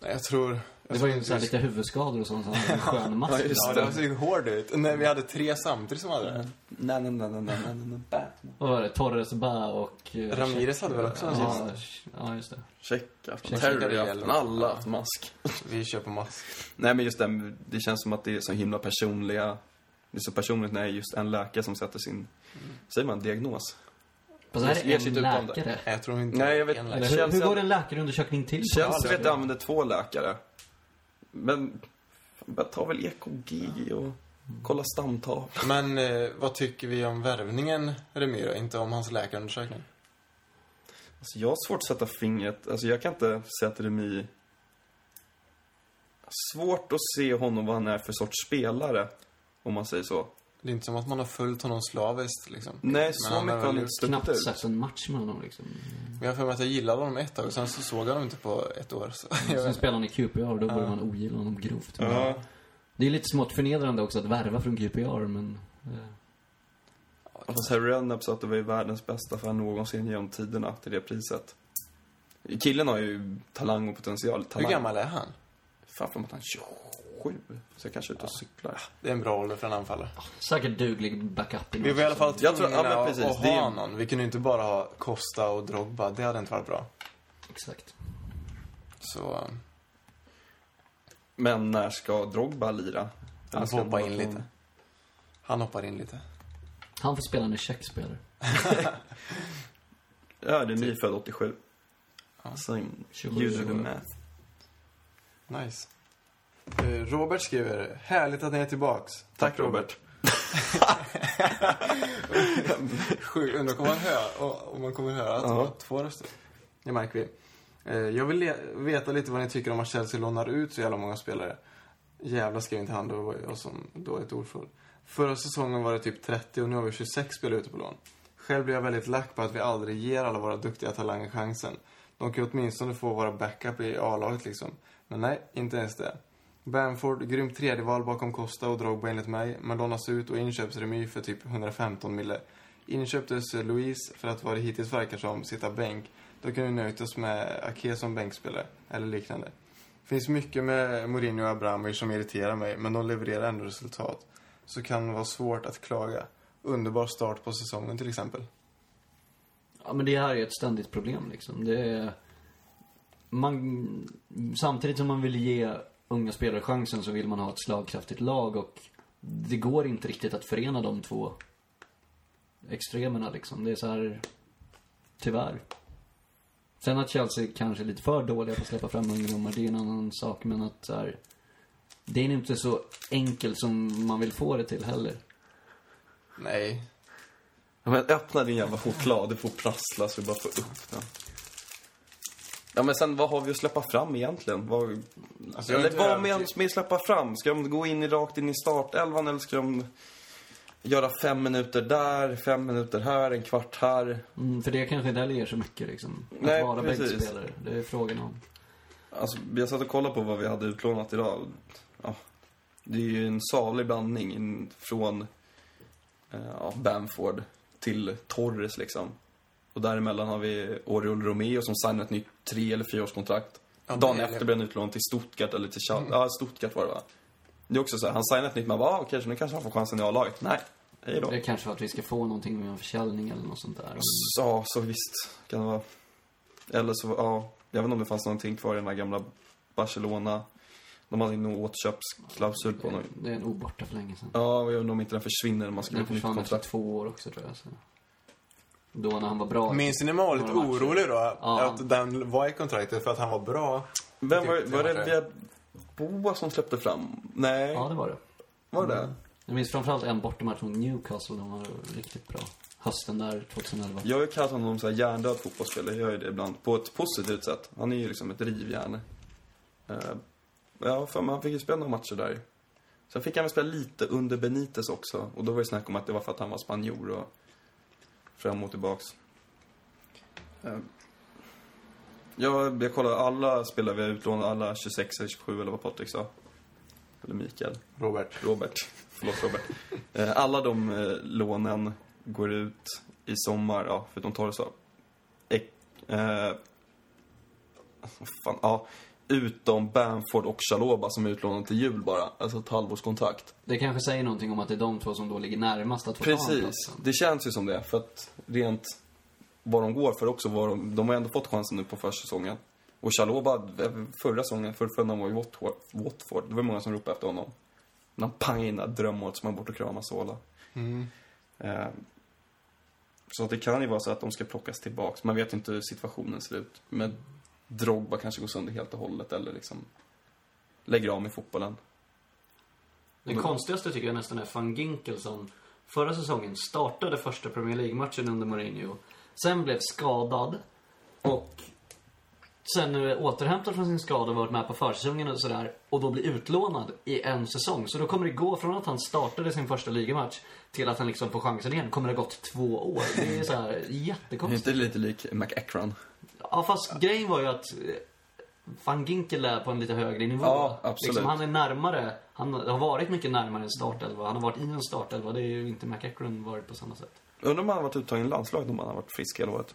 [SPEAKER 1] Nej, Jag tror... Jag
[SPEAKER 2] Det var
[SPEAKER 1] tror
[SPEAKER 2] ju så här
[SPEAKER 1] vi-
[SPEAKER 2] lite huvudskador och sånt, så han hade en skön match.
[SPEAKER 3] Ja, just
[SPEAKER 1] Alltså, Ja, det såg ju hård ut. Nej, vi hade tre samtidigt som hade det.
[SPEAKER 3] Nej, nej, nej, nej, nej, nej, nej, Batman.
[SPEAKER 2] Vad var det? Torres Bä och... eh,
[SPEAKER 1] Ramirez hade väl också en
[SPEAKER 2] ja,
[SPEAKER 1] sist?
[SPEAKER 2] ja, just det.
[SPEAKER 3] Checka.
[SPEAKER 1] Checka
[SPEAKER 3] Terry
[SPEAKER 1] det
[SPEAKER 3] har haft
[SPEAKER 1] gäller.
[SPEAKER 3] en- alla har haft mask.
[SPEAKER 1] Vi kör på mask.
[SPEAKER 3] Nej, men just det, det känns som att det är så himla personliga... Det är så personligt när det är just en läkare som sätter sin, säger man, diagnos?
[SPEAKER 2] Fast är
[SPEAKER 3] Ge
[SPEAKER 2] det
[SPEAKER 3] sig
[SPEAKER 2] en
[SPEAKER 3] inte utan det.
[SPEAKER 2] läkare?
[SPEAKER 1] Nej, jag tror inte...
[SPEAKER 3] Nej, jag vet-
[SPEAKER 1] en
[SPEAKER 2] Eller
[SPEAKER 1] läkare.
[SPEAKER 2] hur, hur
[SPEAKER 3] Chelsea-
[SPEAKER 2] går en läkarundersökning till?
[SPEAKER 3] Chelsea vet jag använder två läkare. Men jag tar väl EKG och kollar stamtavlan.
[SPEAKER 1] Men eh, vad tycker vi om värvningen, Remiro? Inte om hans läkarundersökning?
[SPEAKER 3] Alltså jag har svårt att sätta fingret, alltså jag kan inte säga att Remy... Svårt att se honom vad han är för sorts spelare, om man säger så.
[SPEAKER 1] Det är inte som att man har följt honom slaviskt liksom.
[SPEAKER 3] Nej, så
[SPEAKER 1] han
[SPEAKER 3] mycket
[SPEAKER 1] har
[SPEAKER 3] har han
[SPEAKER 1] väl
[SPEAKER 3] inte stuckit
[SPEAKER 2] Knappt
[SPEAKER 3] ut.
[SPEAKER 2] sett en match med honom liksom.
[SPEAKER 1] Men jag har för mig att jag gillade honom ett tag, sen så såg jag honom inte på ett år. Så. jag
[SPEAKER 2] Sen
[SPEAKER 1] vet.
[SPEAKER 2] spelade han i QPR och då började man ogilla honom grovt. Men
[SPEAKER 3] Ja.
[SPEAKER 2] Det är lite smått förnedrande också att värva från QPR men... eh,
[SPEAKER 3] Fast Harry Redknapp sa att det var ju världens bästa för någonsin genom tiderna till det priset. Killen har ju talang och potential. Talang.
[SPEAKER 1] Hur gammal är han?
[SPEAKER 3] Fan, för att han är 27 sju. Så jag kanske är ute och cyklar.
[SPEAKER 1] Det är en bra ålder för en anfallare.
[SPEAKER 2] Säkert duglig backup
[SPEAKER 1] Vi
[SPEAKER 2] i matchen.
[SPEAKER 1] var i alla fall
[SPEAKER 3] Jag tror-
[SPEAKER 1] tvungna
[SPEAKER 3] ja, men precis,
[SPEAKER 1] att
[SPEAKER 3] det
[SPEAKER 1] ha
[SPEAKER 3] är-
[SPEAKER 1] någon. Vi kunde ju inte bara ha Costa och Drogba. Det hade inte varit bra.
[SPEAKER 2] Exakt.
[SPEAKER 1] Så
[SPEAKER 3] Men när ska Drogba lira? Eller
[SPEAKER 1] han
[SPEAKER 3] ska
[SPEAKER 1] får hoppa
[SPEAKER 3] bara
[SPEAKER 1] in
[SPEAKER 3] få-
[SPEAKER 1] lite. Han hoppar in lite.
[SPEAKER 2] Han får spela när Check spelar.
[SPEAKER 3] Ja, det är nyfödd 87.
[SPEAKER 1] Typ. Ja.
[SPEAKER 3] Sen
[SPEAKER 2] 27
[SPEAKER 3] you do the
[SPEAKER 2] år.
[SPEAKER 3] math.
[SPEAKER 1] Nice. Eh, Robert skriver, härligt att ni är tillbaks.
[SPEAKER 3] Tack, Robert.
[SPEAKER 1] Sjukt, undrar om man, hör, om man kommer höra att det
[SPEAKER 3] Ja.
[SPEAKER 1] var två röster. Det märker vi. Eh, Jag vill le- veta lite vad ni tycker om att Chelsea lånar ut så jävla många spelare. Jävla skrev inte han, då var jag som dåligt ordfull. Förra säsongen var det typ 30 och nu har vi 26 spelare ute på lån. Själv blir jag väldigt lack på att vi aldrig ger alla våra duktiga talanger chansen. De kan ju åtminstone få vara backup i A-laget liksom. Men nej, inte ens det. Bamford, grymt tredjeval bakom Costa och Drogba enligt mig, men lånas ut och inköpsremy för typ 115 mille. Inköptes eh, Luis för att vad det hittills verkar som sitta bänk. Då kan vi nöjt oss med Ake som bänkspelare, eller liknande. Finns mycket med Mourinho och Abramovic som irriterar mig, men de levererar ändå resultat. Så kan det vara svårt att klaga. Underbar start på säsongen till exempel.
[SPEAKER 2] Ja, men det här är ett ständigt problem liksom. Det är... man... Samtidigt som man vill ge unga spelare chansen så vill man ha ett slagkraftigt lag och det går inte riktigt att förena de två extremerna liksom. Det är så här, tyvärr. Sen att Chelsea kanske är lite för dåliga på att släppa fram ungdomar, det är en annan sak. Men att så här, det är inte så enkelt som man vill få det till heller.
[SPEAKER 1] Nej.
[SPEAKER 3] Ja, men öppna din jävla choklad, du får prassla så du bara får upp den. Ja, men sen vad har vi att släppa fram egentligen? Vad,
[SPEAKER 1] Alltså, jag är
[SPEAKER 3] eller
[SPEAKER 1] inte
[SPEAKER 3] vad
[SPEAKER 1] övertygad.
[SPEAKER 3] menas med att släppa fram? Ska de gå in i, rakt in i startelvan eller ska de göra fem minuter där, fem minuter här, en kvart här?
[SPEAKER 2] Mm, för det kanske inte heller ger så mycket liksom. Att
[SPEAKER 3] Nej,
[SPEAKER 2] vara
[SPEAKER 3] precis.
[SPEAKER 2] bänkspelare, det är frågan om.
[SPEAKER 3] Alltså, jag satt och kollade på vad vi hade utlånat idag. Ja, det är ju en salig blandning in- från eh, ja, Bamford till Torres liksom. Och däremellan har vi Oriol Romeo som signar ett nytt tre eller fyraårskontrakt.
[SPEAKER 1] Ja,
[SPEAKER 3] Dagen
[SPEAKER 1] det är- Mm.
[SPEAKER 3] efter blir han utlånad till Stuttgart eller till Schalke. Ja, Stuttgart var det va? Det är också så här, han signar ett nytt, man bara, ah, okej, så nu kanske han får chansen i A-laget. Nej, hej då.
[SPEAKER 2] Det är kanske för att vi ska få någonting med en försäljning eller något sånt där.
[SPEAKER 3] Ja, så visst kan det vara. Eller så, ja. Jag vet inte om det fanns någonting kvar i den här gamla Barcelona. De hade ju nog återköpsklausul på honom.
[SPEAKER 2] Det är en oborta för länge sedan.
[SPEAKER 3] Ja, jag undrar om inte den försvinner när man skriver
[SPEAKER 2] Den
[SPEAKER 3] ett nytt
[SPEAKER 2] försvann efter
[SPEAKER 3] kontrakt.
[SPEAKER 2] två år också tror jag. Så. Då när han var bra.
[SPEAKER 1] Minns ni när man var lite
[SPEAKER 2] Några matcher.
[SPEAKER 1] orolig då?
[SPEAKER 2] Ja.
[SPEAKER 1] Att den var i kontraktet för att han var bra.
[SPEAKER 3] Vem var, var det
[SPEAKER 1] Typ,
[SPEAKER 3] Boa som släppte fram? Nej,
[SPEAKER 2] Ja, det var det.
[SPEAKER 3] var det det?
[SPEAKER 2] Jag minns framförallt en bortamatch mot Newcastle. De var riktigt bra. Hösten där 2011.
[SPEAKER 3] Jag har ju kallat honom så här hjärndöd fotbollsspelare, jag gör ju det ibland. På ett positivt sätt. Han är ju liksom ett rivjärn. Eh, ja, för man fick ju spela några matcher där. Sen fick han väl spela lite under Benitez också. Och då var det snack om att det var för att han var spanjor och fram och tillbaks. Eh, jag, jag kollar alla spelare vi har utlånat, alla 26 eller 27 eller vad Patrik sa. Eller Mikael.
[SPEAKER 1] Robert.
[SPEAKER 3] Robert. Förlåt, Robert. Eh, Alla de eh, lånen går ut i sommar, ja, förutom Torres. då. Ek- Eh, vad fan, ja, utom Bamford och Chaloba som är utlånade till jul bara. Alltså ett halvårskontrakt.
[SPEAKER 2] Det kanske säger någonting om att det är de två som då ligger närmast att få ta en
[SPEAKER 3] Precis.
[SPEAKER 2] plats.
[SPEAKER 3] Det känns ju som det. För att rent vad de går för också. Vad de, de har ändå fått chansen nu på försäsongen. Och Chaloba, förra säsongen, förra förra var i Watford. Watford. Det var många som ropade efter honom. När han pangade in det där drömmålet som han bort och kramade Sola.
[SPEAKER 1] Mm.
[SPEAKER 3] Eh, Så att det kan ju vara så att de ska plockas tillbaks. Man vet inte hur situationen ser ut. Men Drogba kanske går sönder helt och hållet eller liksom lägger av med fotbollen.
[SPEAKER 2] Det konstigaste tycker jag nästan är van Ginkel som förra säsongen startade första Premier League-matchen under Mourinho. Sen blev skadad och sen nu är återhämtad från sin skada och varit med på försäsongen och sådär och då blir utlånad i en säsong. Så då kommer det gå från att han startade sin första ligamatch till att han liksom får chansen igen. Kommer det ha gått två år? Det är så här
[SPEAKER 3] Är
[SPEAKER 2] jättekonstigt.
[SPEAKER 3] inte lite lik McEachran?
[SPEAKER 2] Ja, fast grejen var ju att eh, van Ginkel är på en lite högre nivå.
[SPEAKER 3] Ja, absolut.
[SPEAKER 2] Liksom, han är närmare, han har varit mycket närmare en startelva. Han har varit i en startelva. Det är ju inte McEachran varit på samma sätt.
[SPEAKER 3] Undrar om han har varit uttagen i landslaget om han har varit frisk hela året.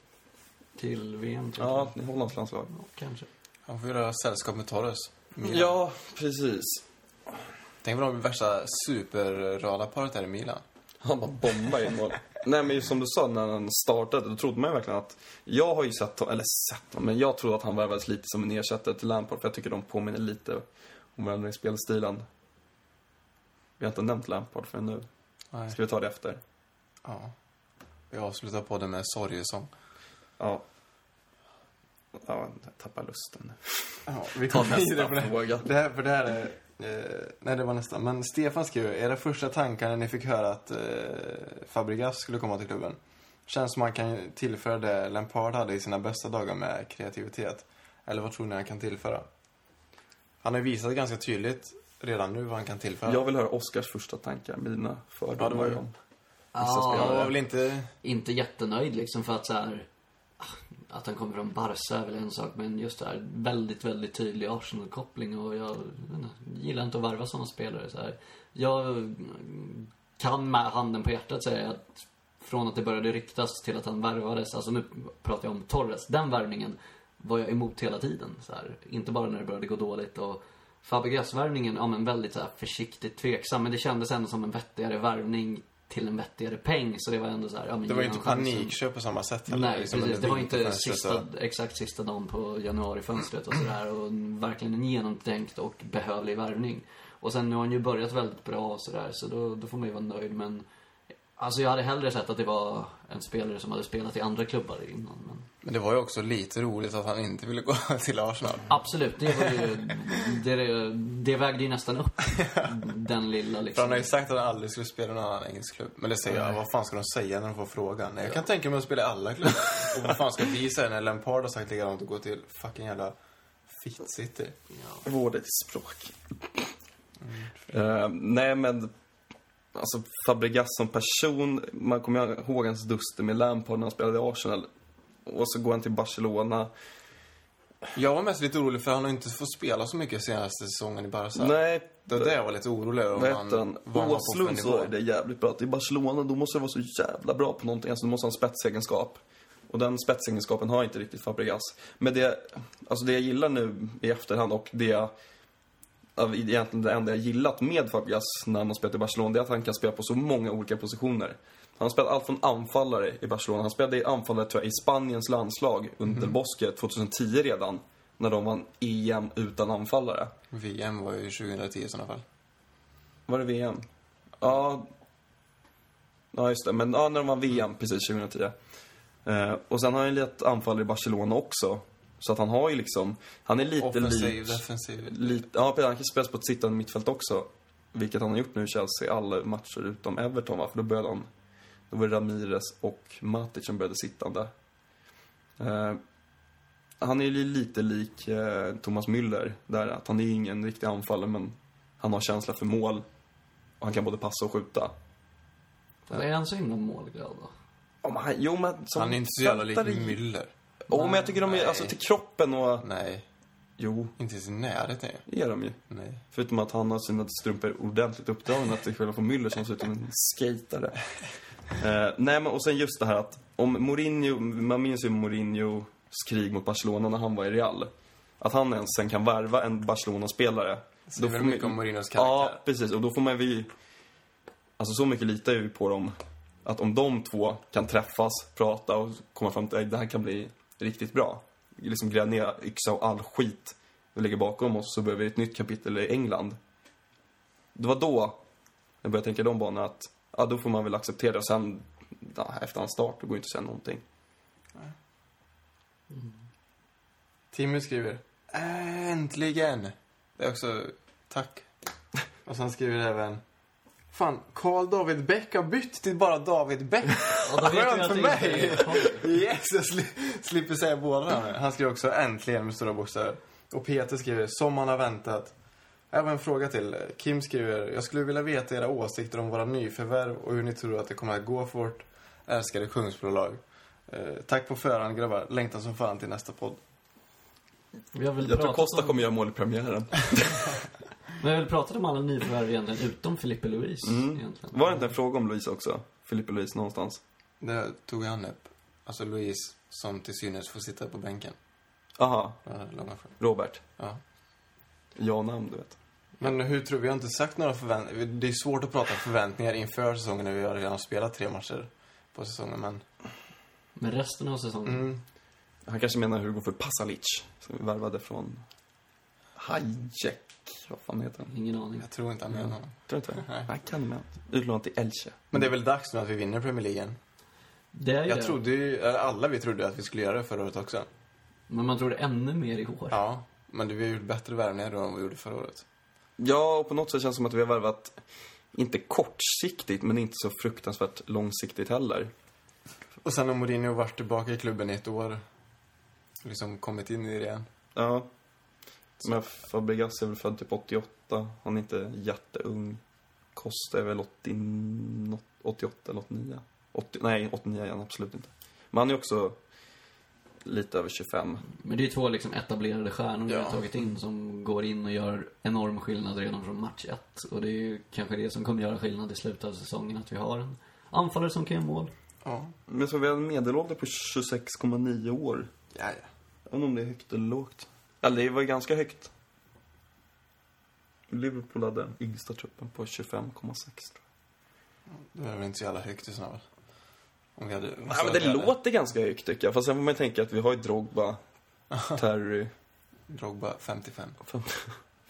[SPEAKER 2] Till VM, tror jag.
[SPEAKER 3] Ja, i Hollands landslag.
[SPEAKER 2] Ja, kanske.
[SPEAKER 1] Han får göra sällskap med Torres.
[SPEAKER 3] Ja, precis.
[SPEAKER 1] Tänk om de blir värsta superradarparet här i Milan.
[SPEAKER 3] Han bara bombar in mål. Nej, men som du sa, när han startade, då trodde man ju verkligen att... Jag har ju sett hon- eller sett honom, men jag trodde att han värvades lite som en ersättare till Lampard, för jag tycker de påminner lite om varandra i spelstilen. Vi har inte nämnt Lampard förrän nu.
[SPEAKER 1] Nej.
[SPEAKER 3] Ska vi ta det efter?
[SPEAKER 1] Ja. Vi avslutar podden med en sorgesång.
[SPEAKER 3] Ja. Ja, jag tappar lusten nu.
[SPEAKER 1] Ja, vi
[SPEAKER 3] Ta
[SPEAKER 1] kommer vidare på
[SPEAKER 3] nästa
[SPEAKER 1] det.
[SPEAKER 3] fråga.
[SPEAKER 1] Det här, för det här är... Eh, nej, det var nästa. Men Stefan skrev era första tankar när ni fick höra att eh, Fabregas skulle komma till klubben. Känns som man kan tillföra det Lampard hade i sina bästa dagar med kreativitet. Eller vad tror ni han kan tillföra? Han har ju visat ganska tydligt redan nu vad han kan tillföra.
[SPEAKER 3] Jag vill höra Oscars första tankar, mina
[SPEAKER 1] Ja, det var
[SPEAKER 3] fördomar.
[SPEAKER 1] ju-
[SPEAKER 3] om-
[SPEAKER 1] Han
[SPEAKER 2] Ja,
[SPEAKER 1] var väl inte...
[SPEAKER 2] inte jättenöjd liksom för att så här, ah, Att han kommer från Barca är väl en sak, men just det här väldigt, väldigt tydlig Arsenal-koppling och jag vet inte, gillar inte att värva sådana spelare så här. Jag mm, kan med handen på hjärtat säga att från att det började ryktas till att han värvades, alltså nu pratar jag om Torres, den värvningen var jag emot hela tiden. Så här. Inte bara när det började gå dåligt och Fabregas-värvningen, ja men väldigt så här, försiktigt tveksam, men det kändes ändå som en vettigare värvning till en vettigare peng, så det var ändå så här, ja men
[SPEAKER 1] Det var ju
[SPEAKER 2] ge
[SPEAKER 1] inte
[SPEAKER 2] honom chansen.
[SPEAKER 1] panikköp på samma sätt heller.
[SPEAKER 2] Nej,
[SPEAKER 1] Liksom,
[SPEAKER 2] precis.
[SPEAKER 1] under
[SPEAKER 2] Det var inte
[SPEAKER 1] vinterfönstret
[SPEAKER 2] sista,
[SPEAKER 1] och-
[SPEAKER 2] exakt sista dagen på januarifönstret och sådär.
[SPEAKER 1] Mm.
[SPEAKER 2] Och verkligen en genomtänkt och behövlig värvning. Och sen nu har han ju börjat väldigt bra och sådär, så då, då får man ju vara nöjd. Men alltså jag hade hellre sett att det var en spelare som hade spelat i andra klubbar innan. Men...
[SPEAKER 1] Men det var ju också lite roligt att han inte ville gå till Arsenal.
[SPEAKER 2] Absolut, det, var ju, det, det vägde ju nästan upp den lilla
[SPEAKER 1] För han har
[SPEAKER 2] liksom.
[SPEAKER 1] ju sagt att han aldrig skulle spela i någon annan engelsk klubb. Men det säger jag, vad fan ska de säga när de får frågan? Nej, jag kan tänka mig att spela i alla klubbar. och vad fan ska vi säga när Lampard har sagt likadant och gå till fucking jävla Fit City?
[SPEAKER 2] Ja.
[SPEAKER 3] Vårdigt språk. Eh, nej, men... Alltså, Fabregas som person, man kommer ihåg hans duster med Lampard när han spelade i Arsenal. Och så går han till Barcelona.
[SPEAKER 1] Jag var mest lite orolig för han har inte fått spela så mycket senaste säsongen i Barca.
[SPEAKER 3] Nej,
[SPEAKER 1] Det var det jag var lite orolig över.
[SPEAKER 3] vad
[SPEAKER 1] om
[SPEAKER 3] hette han?
[SPEAKER 1] vad var på för
[SPEAKER 3] Åslund
[SPEAKER 1] nivå.
[SPEAKER 3] sa ju det jävligt bra. Att i Barcelona, då måste det vara så jävla bra på någonting. Alltså, då måste han ha en spetsegenskap. Och den spetsegenskapen har inte riktigt Fabregas. Men det, alltså det jag gillar nu i efterhand och det jag av egentligen det enda jag gillat med Fabregas när han har spelat i Barcelona, det är att han kan spela på så många olika positioner. Han har spelat allt från anfallare i Barcelona, han spelade i anfallare tror jag, i Spaniens landslag under Bosque 2010 redan, när de vann EM utan anfallare.
[SPEAKER 1] VM var ju 2010 i sådana fall.
[SPEAKER 3] Var det VM? Ja. Ja, just det. Men ja, när de var VM precis 2010. Eh, och sen har han ju lett anfallare i Barcelona också. Så att han har ju liksom, han är lite
[SPEAKER 1] Offensiv,
[SPEAKER 3] lik...
[SPEAKER 1] defensiv.
[SPEAKER 3] Lite, ja, precis. han kan spela på ett sittande mittfält också. Vilket han har gjort nu i Chelsea, alla matcher utom Everton va? För då började han, då var det Ramirez och Matic som började sittande. Eh, han är ju lite lik eh, Thomas Müller där, att han är ingen riktig anfallare men han har känsla för mål. Och han kan både passa och skjuta.
[SPEAKER 2] Fast Är han så himla målglad då?
[SPEAKER 3] Ja, men han, jo, men som
[SPEAKER 1] Han är inte så jävla lik
[SPEAKER 3] fattare-
[SPEAKER 1] Müller.
[SPEAKER 3] Jo, men jag tycker de är,
[SPEAKER 1] Nej.
[SPEAKER 3] alltså till kroppen och...
[SPEAKER 1] Nej,
[SPEAKER 3] Jo,
[SPEAKER 1] inte ens i närheten ju.
[SPEAKER 3] det är de ju.
[SPEAKER 1] Nej.
[SPEAKER 3] Förutom att han har sina strumpor ordentligt uppdragna till skillnad från Müller som ser ut som en skatare. Eh, nej, men och sen just det här att om Mourinho, man minns ju Mourinhos krig mot Barcelona när han var i Real. Att han ens sen kan värva en Barcelona-spelare.
[SPEAKER 1] Så det är väl mycket om Mourinhos
[SPEAKER 3] Ja,
[SPEAKER 1] karaktär.
[SPEAKER 3] precis. Och då får man ju... Alltså så mycket litar vi på dem. Att om de två kan träffas, prata och komma fram till att det här kan bli riktigt bra. Liksom gräva ner yxa och all skit vi lägger bakom oss så behöver vi ett nytt kapitel i England. Det var då jag började tänka i de banorna att ja, då får man väl acceptera det. Och sen ja, efter hans start, då går ju inte att säga någonting.
[SPEAKER 1] Timmy skriver Äntligen! Det är också tack. Och sen skriver även Fan, Carl David Beck har bytt till bara David Beck.
[SPEAKER 2] Ja, då vet jag
[SPEAKER 1] Skönt
[SPEAKER 2] att
[SPEAKER 1] för
[SPEAKER 2] det
[SPEAKER 1] mig!
[SPEAKER 2] inte är-
[SPEAKER 1] Yes, jag sli- slipper säga båda nu. Han skriver också äntligen med stora bokstäver. Och Peter skriver som han har väntat. Jag har en fråga till. Kim skriver, jag skulle vilja veta era åsikter om våra nyförvärv och hur ni tror att det kommer att gå för vårt älskade Kungsbrolag. Eh, tack på förhand grabbar, längtar som fan till nästa podd.
[SPEAKER 2] Vi har väl
[SPEAKER 3] Jag tror
[SPEAKER 2] pratat
[SPEAKER 3] Costa
[SPEAKER 2] om-
[SPEAKER 3] kommer göra mål i premiären.
[SPEAKER 2] Men jag vill prata om alla nyförvärv egentligen, utom Filipe Luis
[SPEAKER 1] Mm.
[SPEAKER 2] egentligen.
[SPEAKER 3] Var det inte en fråga om Louise också? Filippe Louise någonstans?
[SPEAKER 1] Det tog han upp. Alltså Louise som till synes får sitta på bänken.
[SPEAKER 3] Aha,
[SPEAKER 1] Det var det långa frågan.
[SPEAKER 3] Robert.
[SPEAKER 1] Ja.
[SPEAKER 3] Ja namn, du vet.
[SPEAKER 1] Men hur tror vi har inte sagt några förväntningar. Det är svårt att prata förväntningar inför säsongen när vi har redan spelat tre matcher på säsongen. Men
[SPEAKER 2] Men resten av säsongen.
[SPEAKER 1] mm,
[SPEAKER 3] Han kanske menar Hugo för Pasalic, som vi värvade från Hajek, vad fan heter
[SPEAKER 1] Mm.
[SPEAKER 3] han?
[SPEAKER 2] Ingen aning.
[SPEAKER 1] jag tror inte han menar honom.
[SPEAKER 3] Tror du inte det?
[SPEAKER 1] Nej.
[SPEAKER 3] Han kan med Utlånad till Elche.
[SPEAKER 1] Men det är väl dags nu att vi vinner Premier League
[SPEAKER 2] Det är ju
[SPEAKER 1] Jag
[SPEAKER 2] det.
[SPEAKER 1] trodde ju, eller alla vi trodde att vi skulle göra det förra året också.
[SPEAKER 2] Men man tror det ännu mer i år.
[SPEAKER 1] Ja, men vi har gjort bättre värvningar då än vad vi gjorde förra året.
[SPEAKER 3] Ja, och på något sätt känns det som att vi har värvat, inte kortsiktigt, men inte så fruktansvärt långsiktigt heller.
[SPEAKER 1] Och sen har Mourinho varit tillbaka i klubben i ett år. Liksom kommit in i det igen.
[SPEAKER 3] Ja. Men Fabregas är väl född typ 88, han är inte jätteung. Costa är väl 80, nå- 88 eller 89? 80, nej, 89 är han absolut inte. Men han är också lite över 25.
[SPEAKER 2] Men det är ju två liksom etablerade stjärnor vi
[SPEAKER 1] Ja.
[SPEAKER 2] har tagit in som går in och gör enorm skillnad redan från match ett. Och det är ju kanske det som kommer göra skillnad i slutet av säsongen, att vi har en anfallare som kan göra mål.
[SPEAKER 1] Ja.
[SPEAKER 3] Men så vi har en medelålder på 26,9 år.
[SPEAKER 1] Ja, ja.
[SPEAKER 3] Jag vet inte om det är högt eller lågt. Eller det var ganska högt. Liverpool hade den yngsta truppen på 25,6 tror jag.
[SPEAKER 1] Det är väl inte så jävla högt i sådana fall. Om vi hade...
[SPEAKER 3] Nej, men det låter ganska högt tycker jag. Fast sen får man ju tänka att vi har ju Drogba, Terry.
[SPEAKER 1] Drogba 55.
[SPEAKER 3] Fem-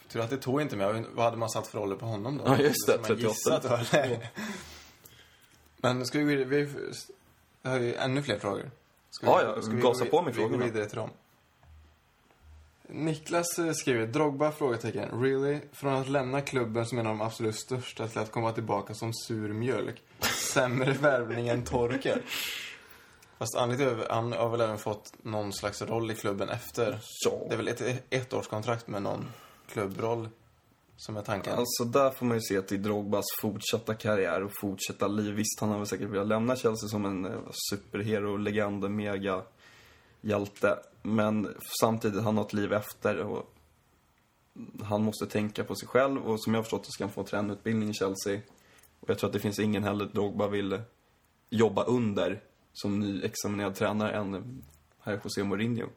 [SPEAKER 1] Tur att det tog inte med. Vad hade man satt för ålder på honom då?
[SPEAKER 3] Ja, just det,
[SPEAKER 1] Som man
[SPEAKER 3] 38.
[SPEAKER 1] gissat, va? Nej. Men ska vi gå vidare? Vi jag har ju ännu fler frågor. Ska
[SPEAKER 3] Ja, ja, gasa på med
[SPEAKER 1] Vi
[SPEAKER 3] frågorna.
[SPEAKER 1] går vidare till dem. Niklas eh, skriver, Drogba? Frågetecken. Really? Från att lämna klubben som en av de absolut största till att komma tillbaka som sur mjölk. Sämre värvning än torker. Fast anledningen till att han har väl även fått någon slags roll i klubben efter.
[SPEAKER 3] Ja.
[SPEAKER 1] Det är väl ett ettårskontrakt med någon klubbroll som är tanken.
[SPEAKER 3] Alltså där får man ju se till Drogbas fortsatta karriär och fortsatta liv. Visst, han har väl säkert velat lämna Chelsea som en eh, superhero, legend, mega hjälte. Men samtidigt, han har ett liv efter och han måste tänka på sig själv och som jag har förstått det ska han få en tränarutbildning i Chelsea. Och jag tror att det finns ingen heller Drogba vill jobba under som nyexaminerad tränare än herr José Mourinho.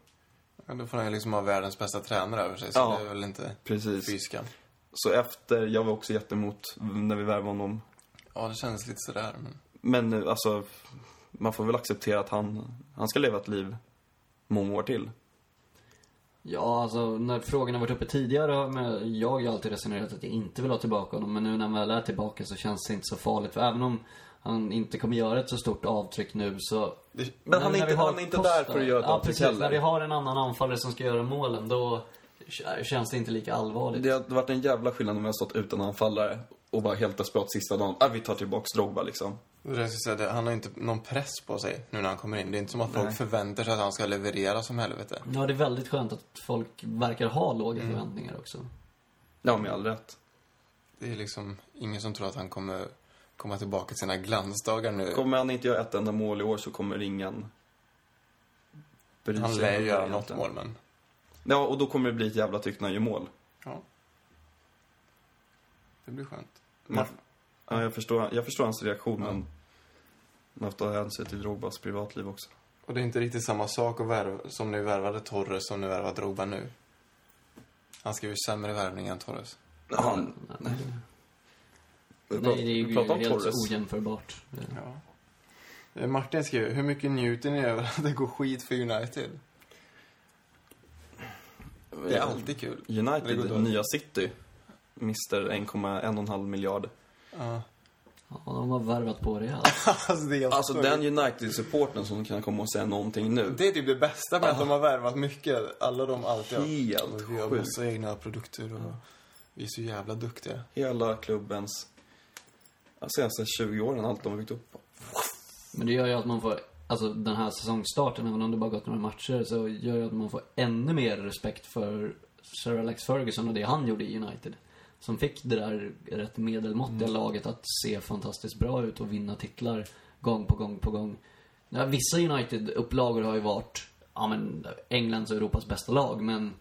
[SPEAKER 1] Ja, Då får han ju liksom ha världens bästa tränare över sig, så
[SPEAKER 3] Ja.
[SPEAKER 1] det är väl inte
[SPEAKER 3] Precis.
[SPEAKER 1] fyskan.
[SPEAKER 3] Så efter, jag var också jättemot när vi värvade honom.
[SPEAKER 1] Ja, det känns lite sådär. Men...
[SPEAKER 3] Men eh, alltså, man får väl acceptera att han, han ska leva ett liv många år till.
[SPEAKER 2] Ja, alltså när frågan har varit uppe tidigare har med- jag har ju alltid resonerat att jag inte vill ha tillbaka honom. Men nu när han väl är tillbaka så känns det inte så farligt. För även om han inte kommer göra ett så stort avtryck nu så...
[SPEAKER 1] Det...
[SPEAKER 3] Men han
[SPEAKER 2] när
[SPEAKER 3] är
[SPEAKER 2] vi
[SPEAKER 3] inte,
[SPEAKER 2] har
[SPEAKER 3] han är inte
[SPEAKER 2] Costa-
[SPEAKER 3] där för att göra ett
[SPEAKER 2] ja,
[SPEAKER 3] avtryck
[SPEAKER 2] precis. När vi
[SPEAKER 3] heller.
[SPEAKER 2] har en annan anfallare som ska göra målen då k- känns det inte lika allvarligt.
[SPEAKER 3] Det har varit en jävla skillnad om jag har stått utan anfallare och bara helt desperat sista dagen, ah, vi tar tillbaks Drogba liksom.
[SPEAKER 1] Och det jag skulle säga, det- han har inte någon press på sig nu när han kommer in. Det är inte som att folk
[SPEAKER 3] Nej.
[SPEAKER 1] förväntar sig att han ska leverera som helvete.
[SPEAKER 2] Ja, det är väldigt skönt att folk verkar ha låga
[SPEAKER 3] Mm.
[SPEAKER 2] förväntningar också.
[SPEAKER 3] Ja, med all rätt.
[SPEAKER 1] Det är liksom ingen som tror att han kommer komma tillbaka till sina glansdagar nu.
[SPEAKER 3] Kommer han inte göra ett enda mål i år så kommer ingen bry
[SPEAKER 1] han
[SPEAKER 3] sig
[SPEAKER 1] lär
[SPEAKER 3] om
[SPEAKER 1] ju
[SPEAKER 3] det
[SPEAKER 1] göra något
[SPEAKER 3] egentligen.
[SPEAKER 1] mål, men...
[SPEAKER 3] Ja, och då kommer det bli ett jävla tyck när han gör mål.
[SPEAKER 1] Ja. Det blir skönt.
[SPEAKER 3] Men, ja, jag, förstår, jag förstår hans reaktion,
[SPEAKER 1] Ja.
[SPEAKER 3] men man får ta hänsyn till Drogbas privatliv också.
[SPEAKER 1] Och det är inte riktigt samma sak att värva, som nu värvade Torres som nu värvar Drogba nu. Han skrev ju sämre värvning än Torres.
[SPEAKER 3] Han,
[SPEAKER 2] Nej,
[SPEAKER 3] vi
[SPEAKER 2] det är ju
[SPEAKER 3] vi pratar om
[SPEAKER 2] helt
[SPEAKER 3] Torres.
[SPEAKER 2] ojämförbart.
[SPEAKER 1] Ja. Eh, Martin skriver, hur mycket njuter ni över att det går skit för United? Det är alltid kul. Det går
[SPEAKER 3] United,
[SPEAKER 1] dåligt.
[SPEAKER 3] nya City, mister 1,1,5 miljard.
[SPEAKER 1] Ja.
[SPEAKER 2] Ja, de har värvat på det här.
[SPEAKER 1] Alltså det är helt
[SPEAKER 3] Alltså
[SPEAKER 1] sjukt.
[SPEAKER 3] den United-supporten som kan komma och säga någonting nu.
[SPEAKER 1] Det är typ det bästa med att de har värvat mycket. Alla de alltid har.
[SPEAKER 3] Helt
[SPEAKER 1] Vi har
[SPEAKER 3] sjukt.
[SPEAKER 1] massa egna produkter och vi är så jävla duktiga.
[SPEAKER 3] Hela klubbens, ja, senaste 20 åren, allt de har byggt upp.
[SPEAKER 2] Men det gör ju att man får, alltså den här säsongstarten, även om det bara gått några matcher, så gör ju att man får ännu mer respekt för Sir Alex Ferguson och det han gjorde i United. Som fick det där rätt medelmåttiga
[SPEAKER 3] Mm.
[SPEAKER 2] laget att se fantastiskt bra ut och vinna titlar gång på gång på gång. Ja, vissa United-upplagor har ju varit, ja men, Englands och Europas bästa lag, men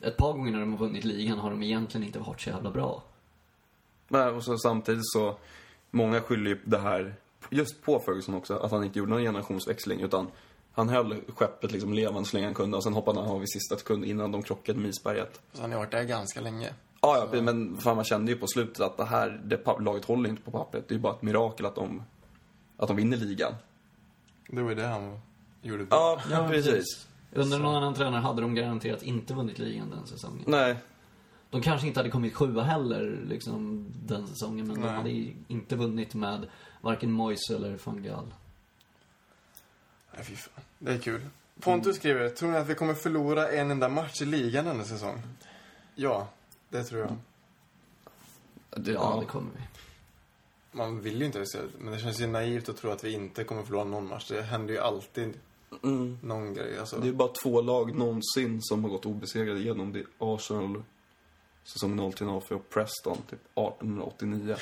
[SPEAKER 2] ett par gånger när de har vunnit ligan har de egentligen inte varit så jävla bra.
[SPEAKER 3] Nej, och så samtidigt så, många skyller ju det här just på Ferguson också, att han inte gjorde någon generationsväxling utan han höll skeppet liksom levande så länge han kunde och sen hoppade han av i sista sekund innan de krockade med isberget.
[SPEAKER 1] Så han har varit där ganska länge.
[SPEAKER 3] Ja, ja, precis, men fan, man kände ju på slutet att det här, det, pa- laget håller inte på pappret. Det är ju bara ett mirakel att de, att de vinner ligan.
[SPEAKER 1] Det var ju det han gjorde bra.
[SPEAKER 3] Ja, precis.
[SPEAKER 2] Under någon annan tränare hade de garanterat inte vunnit ligan den säsongen.
[SPEAKER 3] Nej,
[SPEAKER 2] De kanske inte hade kommit sjua heller liksom, den säsongen, men de
[SPEAKER 1] Nej.
[SPEAKER 2] hade ju inte vunnit med varken Moise eller van Gaal.
[SPEAKER 1] Nej, fy fan. Det är kul. Pontus
[SPEAKER 2] Mm.
[SPEAKER 1] skriver, tror ni att vi kommer förlora en enda match i ligan denna säsong? Ja, det tror jag.
[SPEAKER 3] det,
[SPEAKER 2] Ja,
[SPEAKER 3] ja.
[SPEAKER 2] det kommer vi.
[SPEAKER 1] Man vill ju inte se det, men det känns ju naivt att tro att vi inte kommer förlora någon match. Det händer ju alltid
[SPEAKER 3] Mm.
[SPEAKER 1] någon grej. Alltså,
[SPEAKER 3] det är ju bara två lag någonsin som har gått obesegrade igenom. Det är Arsenal, säsong 03-04 och Preston, typ 1889.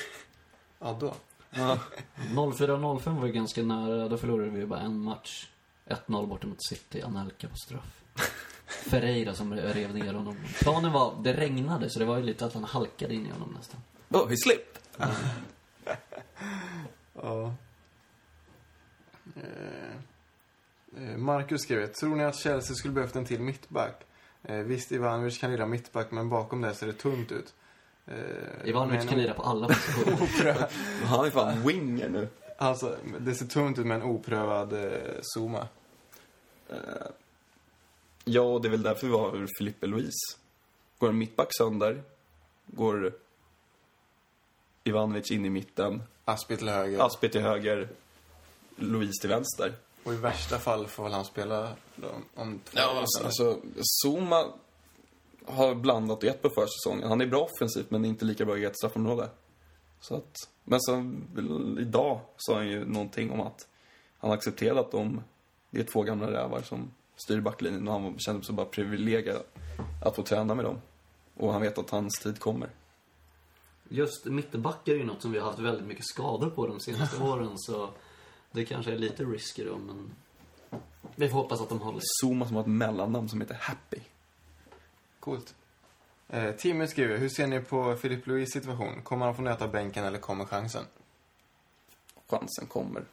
[SPEAKER 1] ja, då.
[SPEAKER 3] Ja.
[SPEAKER 2] 04-05 var ju ganska nära. Då förlorade vi ju bara en match. 1-0 borta mot City, Anelka på straff. Ferreira som rev ner honom. Planen var, det regnade så det var ju lite att han halkade in i honom nästan.
[SPEAKER 3] Då, vi slipp!
[SPEAKER 1] Ja. Eh, eh, Marcus skriver, tror ni att Chelsea skulle behövt en till mittback? Eh, visst, Ivanovic kan lira mittback, men bakom det ser det tungt ut. Eh,
[SPEAKER 2] Ivanovic
[SPEAKER 1] men-
[SPEAKER 2] kan lira på alla positioner.
[SPEAKER 3] Han är fan winger nu.
[SPEAKER 1] Alltså, det ser tungt ut med en oprövad eh, Zuma.
[SPEAKER 3] Eh, Ja, och det är väl därför vi har Filippe Luis. Går en mittback sönder, går Ivanovic in i mitten,
[SPEAKER 1] Aspi till höger.
[SPEAKER 3] Aspi till höger, Luis till vänster.
[SPEAKER 1] Och i värsta fall får väl han spela då, om två
[SPEAKER 3] Ja, alltså, alltså Zuma har blandat och gett på försäsongen. Han är bra offensivt, men inte lika bra i ett straffområde. Så att, men sen, väl, idag sa han ju någonting om att han accepterat att de, det är två gamla rävar som styr backlinjen och han kände sig bara privilegierad att få träna med dem. Och han vet att hans tid kommer.
[SPEAKER 2] Just mittbackar är ju något som vi har haft väldigt mycket skador på de senaste åren så det kanske är lite risky då men vi får hoppas att de håller.
[SPEAKER 3] Zuma som har ett mellannamn som heter Happy.
[SPEAKER 1] Coolt. Eh, Timmy skriver, hur ser ni på Filip Louis situation? Kommer han få nöta bänken eller kommer chansen?
[SPEAKER 3] Chansen kommer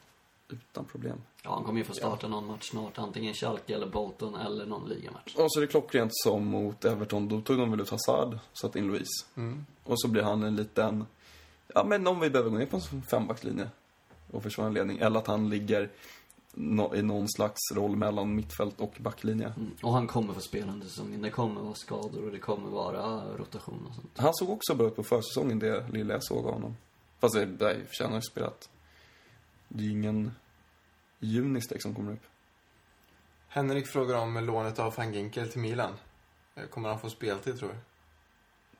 [SPEAKER 3] utan problem.
[SPEAKER 2] Ja, han kommer ju få starta någon match snart, antingen Schalke eller Bolton eller någon ligamatch.
[SPEAKER 3] Och så är det klockrent som mot Everton, då tog de väl ut Hazard, satte in Luis.
[SPEAKER 1] Mm.
[SPEAKER 3] Och så blir han en liten, ja men om vi behöver gå ner på en fembackslinje och försvara en ledning. Eller att han ligger nå- i någon slags roll mellan mittfält och backlinje.
[SPEAKER 2] Mm. Och han kommer få spela under säsongen. Det kommer vara skador och det kommer vara rotation och sånt.
[SPEAKER 3] Han såg också bra ut på försäsongen, det lilla jag såg av honom. Fast det, nej, förtjänar ju spelat. Det är ju ingen Junistek som kommer upp.
[SPEAKER 1] Henrik frågar om lånet av van Ginkel till Milan. Eh, Kommer han få speltid, tror du?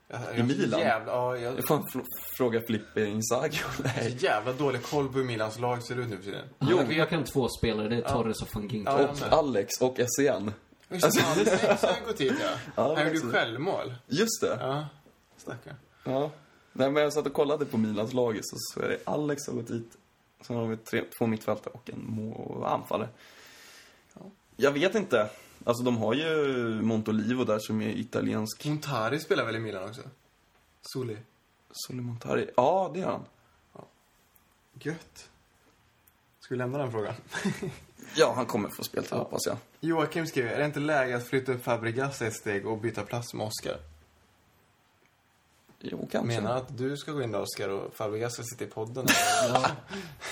[SPEAKER 1] Jag- jag-
[SPEAKER 3] Milan?
[SPEAKER 1] Jävla, ja, jag
[SPEAKER 3] Jag får en fr- fråga Filippe Inzaghi om det
[SPEAKER 1] har
[SPEAKER 3] här.
[SPEAKER 1] så jävla dålig koll på hur Milans lag ser ut nu för tiden.
[SPEAKER 2] Jo. Jag, jag kan två spelare, det är Torres och van Ginkel.
[SPEAKER 1] Ja, jag
[SPEAKER 3] Och
[SPEAKER 1] med.
[SPEAKER 3] Alex och E SCN.
[SPEAKER 1] Just det, han hade sex när han gick till, ja.
[SPEAKER 3] Ja,
[SPEAKER 1] Han gjorde
[SPEAKER 3] precis.
[SPEAKER 1] ju självmål.
[SPEAKER 3] Just det.
[SPEAKER 1] Ja, stackarn.
[SPEAKER 3] Ja. Nej, men jag satt och kollade på Milans lag så, så är det Alex som har gått dit. Sen har de tre, två mittfältare och en må- anfallare. Jag vet inte. Alltså de har ju Montolivo där som är italiensk.
[SPEAKER 1] Montari spelar väl i Milan också? Soli.
[SPEAKER 3] Soli Montari. Ja, det är han.
[SPEAKER 1] Gött. Ska vi lämna den frågan?
[SPEAKER 3] Ja, han kommer få speltid hoppas jag.
[SPEAKER 1] Joakim skriver, är det inte läge att flytta upp Fabregas ett steg och byta plats med Oscar?
[SPEAKER 3] Jo, kanske.
[SPEAKER 1] Menar att du ska gå in där Oscar och Fabregas ska sitta i podden?
[SPEAKER 2] Ja,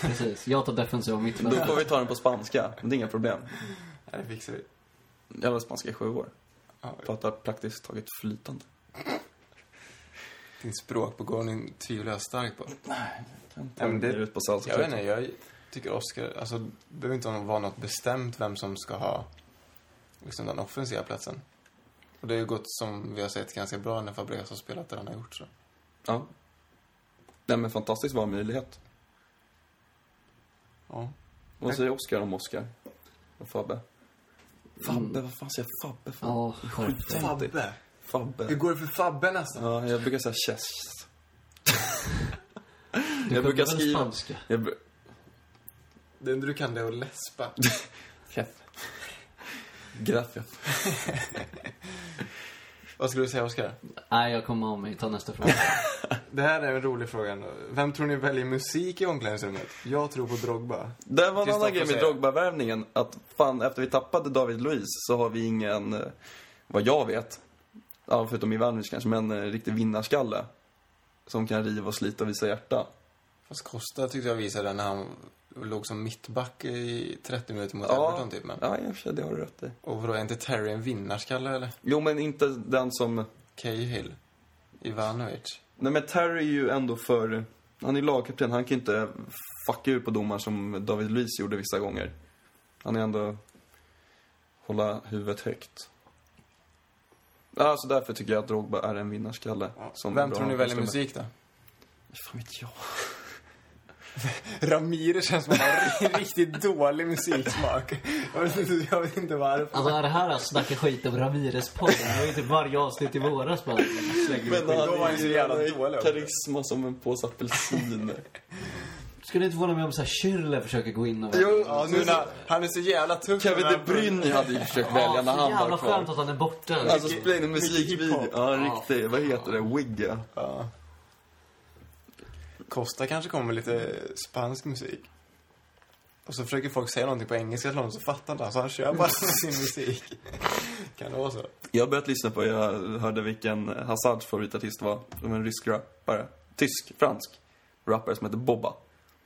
[SPEAKER 2] precis. Jag tar defensiva
[SPEAKER 3] Då får
[SPEAKER 2] mittfältare.
[SPEAKER 3] vi ta den på spanska. Det är inga problem.
[SPEAKER 1] Nej, det fixar vi.
[SPEAKER 3] Jag har spanska i sju år.
[SPEAKER 1] Ja,
[SPEAKER 3] Pratar praktiskt taget flytande.
[SPEAKER 1] din språkbegåvning tvivlar jag starkt på.
[SPEAKER 3] Kan ta
[SPEAKER 1] Ja, men det-
[SPEAKER 3] det... ut på salsa.
[SPEAKER 1] Jag vet inte, jag tycker Oscar, alltså det behöver inte vara något bestämt vem som ska ha liksom den offensiva platsen. Och det har ju gått som vi har sett ganska bra när Fabregas har spelat där han har gjort så.
[SPEAKER 3] Ja. Nej, men fantastiskt bra möjlighet.
[SPEAKER 1] Ja.
[SPEAKER 3] Vad säger Oskar om Oskar? Och Fabbe? Mm. Fabbe, vad fan säger jag Fabbe för?
[SPEAKER 2] Ja, skärp dig.
[SPEAKER 1] Fabbe! Hur
[SPEAKER 3] Fabbe.
[SPEAKER 1] går det för Fabbe nästan?
[SPEAKER 3] Ja, jag brukar säga Chess.
[SPEAKER 2] Du
[SPEAKER 3] jag
[SPEAKER 2] kunde
[SPEAKER 3] brukar
[SPEAKER 2] väl
[SPEAKER 3] skriva...
[SPEAKER 2] spanska?
[SPEAKER 3] Jag br-
[SPEAKER 1] Det enda du kan det är att läspa.
[SPEAKER 3] Chef. Gracias.
[SPEAKER 1] Vad skulle du säga Oscar?
[SPEAKER 2] Nej, jag kommer av mig. Ta nästa fråga.
[SPEAKER 1] Det här är en rolig fråga ändå. Vem tror ni väljer musik i omklädningsrummet? Jag tror på Drogba.
[SPEAKER 3] Det var en
[SPEAKER 1] Kristoffer
[SPEAKER 3] annan grej med
[SPEAKER 1] säger.
[SPEAKER 3] Drogba-värvningen. Att fan, efter vi tappade David Luiz så har vi ingen, eh, vad jag vet, Ja, förutom Ivanovic kanske, men en riktig vinnarskalle. Som kan riva och slita och visa hjärta.
[SPEAKER 1] Fast Costa tyckte jag visade när han låg som mittback i 30 minuter mot
[SPEAKER 3] Ja.
[SPEAKER 1] Everton typ. Men.
[SPEAKER 3] Ja, i och för sig, det har du rätt i.
[SPEAKER 1] Och vadå, är inte Terry en vinnarskalle eller?
[SPEAKER 3] Jo, men inte den som...
[SPEAKER 1] Cahill? Ivanovic?
[SPEAKER 3] Nej, men Terry är ju ändå för... Han är lagkapten, han kan ju inte fucka ur på domaren som David Luiz gjorde vissa gånger. Han är ändå... Hålla huvudet högt. Ja, så därför tycker jag att Drogba är en vinnarskalle. som är
[SPEAKER 1] Vem
[SPEAKER 3] bra
[SPEAKER 1] tror ni väljer
[SPEAKER 3] avslutare.
[SPEAKER 1] musik då?
[SPEAKER 3] Fan vet jag.
[SPEAKER 1] Ramirez känns som att han har en riktigt dålig musiksmak. Jag vet inte, jag vet inte varför.
[SPEAKER 2] Alltså är det här att snacka skit om Ramirez-podden? Det var ju typ varje avsnitt i våras bara.
[SPEAKER 3] Men
[SPEAKER 1] då var han ju så jävla dålig.
[SPEAKER 3] Karisma som en påse apelsin.
[SPEAKER 2] Skulle det inte vara med om så här Schürrle försöker gå in och...
[SPEAKER 1] ja, nu när, han är så jävla tuff.
[SPEAKER 3] Kevin
[SPEAKER 1] när
[SPEAKER 3] De
[SPEAKER 1] han-
[SPEAKER 3] Bruyne hade ju försökt välja när
[SPEAKER 2] så
[SPEAKER 3] han var
[SPEAKER 2] jävla skönt
[SPEAKER 3] kvar.
[SPEAKER 2] att han är borta.
[SPEAKER 3] Alltså spela in en musikvideo.
[SPEAKER 1] hiphop.
[SPEAKER 3] Ja, riktigt. Vad heter det? Wigga.
[SPEAKER 1] Ja. Costa kanske kommer med lite spansk musik. Och så försöker folk säga någonting på engelska till honom så fattar inte han så han kör bara sin musik. Kan det vara så?
[SPEAKER 3] Jag har börjat lyssna på, jag hörde vilken Hazards favoritartist var. Det var en rysk rappare. Tysk, fransk. Rappare som heter Bobba.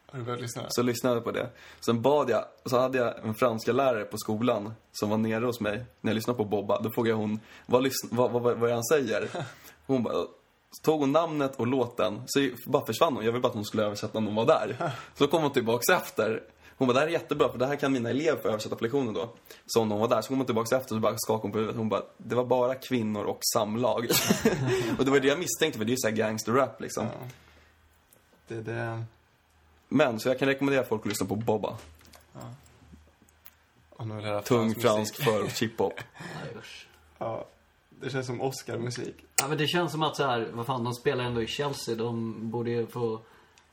[SPEAKER 1] Har du börjat lyssna?
[SPEAKER 3] Så lyssnade jag på det. Sen bad jag, så hade jag en franska lärare på skolan som var nere hos mig när jag lyssnade på Bobba. Då frågade jag hon, vad, lyssn- vad, vad, vad, vad är det han säger? Hon bara, så tog hon namnet och låten, så bara försvann hon. Jag ville bara att hon skulle översätta om hon var där. Så kom hon tillbaks efter. Hon bara, det här är jättebra för det här kan mina elever få översätta på lektionen då. Så om hon var där, så kom hon tillbaks efter och så bara skakade hon på huvudet. Hon bara, det var bara kvinnor och samlag. och det var det jag misstänkte för det är ju såhär gangsterrap liksom.
[SPEAKER 1] Ja. Det, det...
[SPEAKER 3] Men, så jag kan rekommendera folk att lyssna på Bobba.
[SPEAKER 1] Om de vill höra
[SPEAKER 3] Tung
[SPEAKER 1] musik.
[SPEAKER 3] fransk för hiphop.
[SPEAKER 2] Nej, usch.
[SPEAKER 1] Ja. Det känns som Oscar-musik.
[SPEAKER 2] Ja, men det känns som att så här, vad fan, de spelar ändå i Chelsea. De borde ju få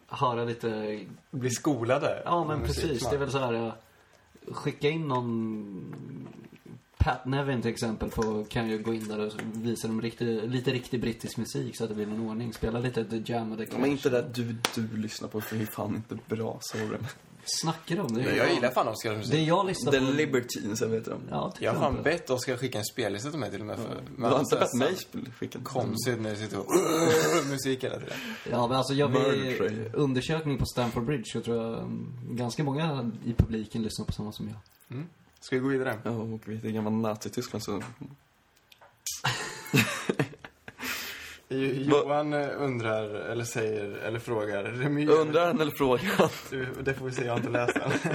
[SPEAKER 2] höra lite...
[SPEAKER 1] Bli skolade.
[SPEAKER 2] Ja, men
[SPEAKER 3] Mm,
[SPEAKER 1] Musik.
[SPEAKER 2] precis. Det är väl så här... eh, Skicka in någon... Pat Nevin till exempel får, kan ju gå in där och visa dem riktig, lite riktig brittisk musik så att det blir någon ordning. Spela lite The Jam och The Clash.
[SPEAKER 3] Men inte det där du, du lyssnar på, för det är fan inte bra, sorry.
[SPEAKER 2] Snackar de nu?
[SPEAKER 1] Nej, Jag gillar fan Oscars musik.
[SPEAKER 2] Det jag lyssnar
[SPEAKER 3] The
[SPEAKER 2] på...
[SPEAKER 3] Libertines, jag vet det.
[SPEAKER 2] Ja, till
[SPEAKER 1] Jag har fan
[SPEAKER 2] exempel.
[SPEAKER 1] bett Oscar skicka en spellista till mig till och med. För,
[SPEAKER 3] Mm. Du har inte bett
[SPEAKER 1] så här
[SPEAKER 3] mig spela- skicka
[SPEAKER 1] Konstigt när du sitter och musik hela tiden.
[SPEAKER 2] Ja, men alltså jag
[SPEAKER 3] Murder Trail.
[SPEAKER 2] vid undersökning på Stamford Bridge så tror jag mm, ganska många i publiken lyssnar på samma som jag.
[SPEAKER 1] Ska vi gå vidare?
[SPEAKER 3] Ja, och vi är gamla Nazityskland så...
[SPEAKER 1] Jo-
[SPEAKER 3] Va-
[SPEAKER 1] Johan eh, undrar, eller säger, eller frågar. Remy,
[SPEAKER 3] Undrar han eller frågar
[SPEAKER 1] Du, Det får vi se, jag har inte läst den.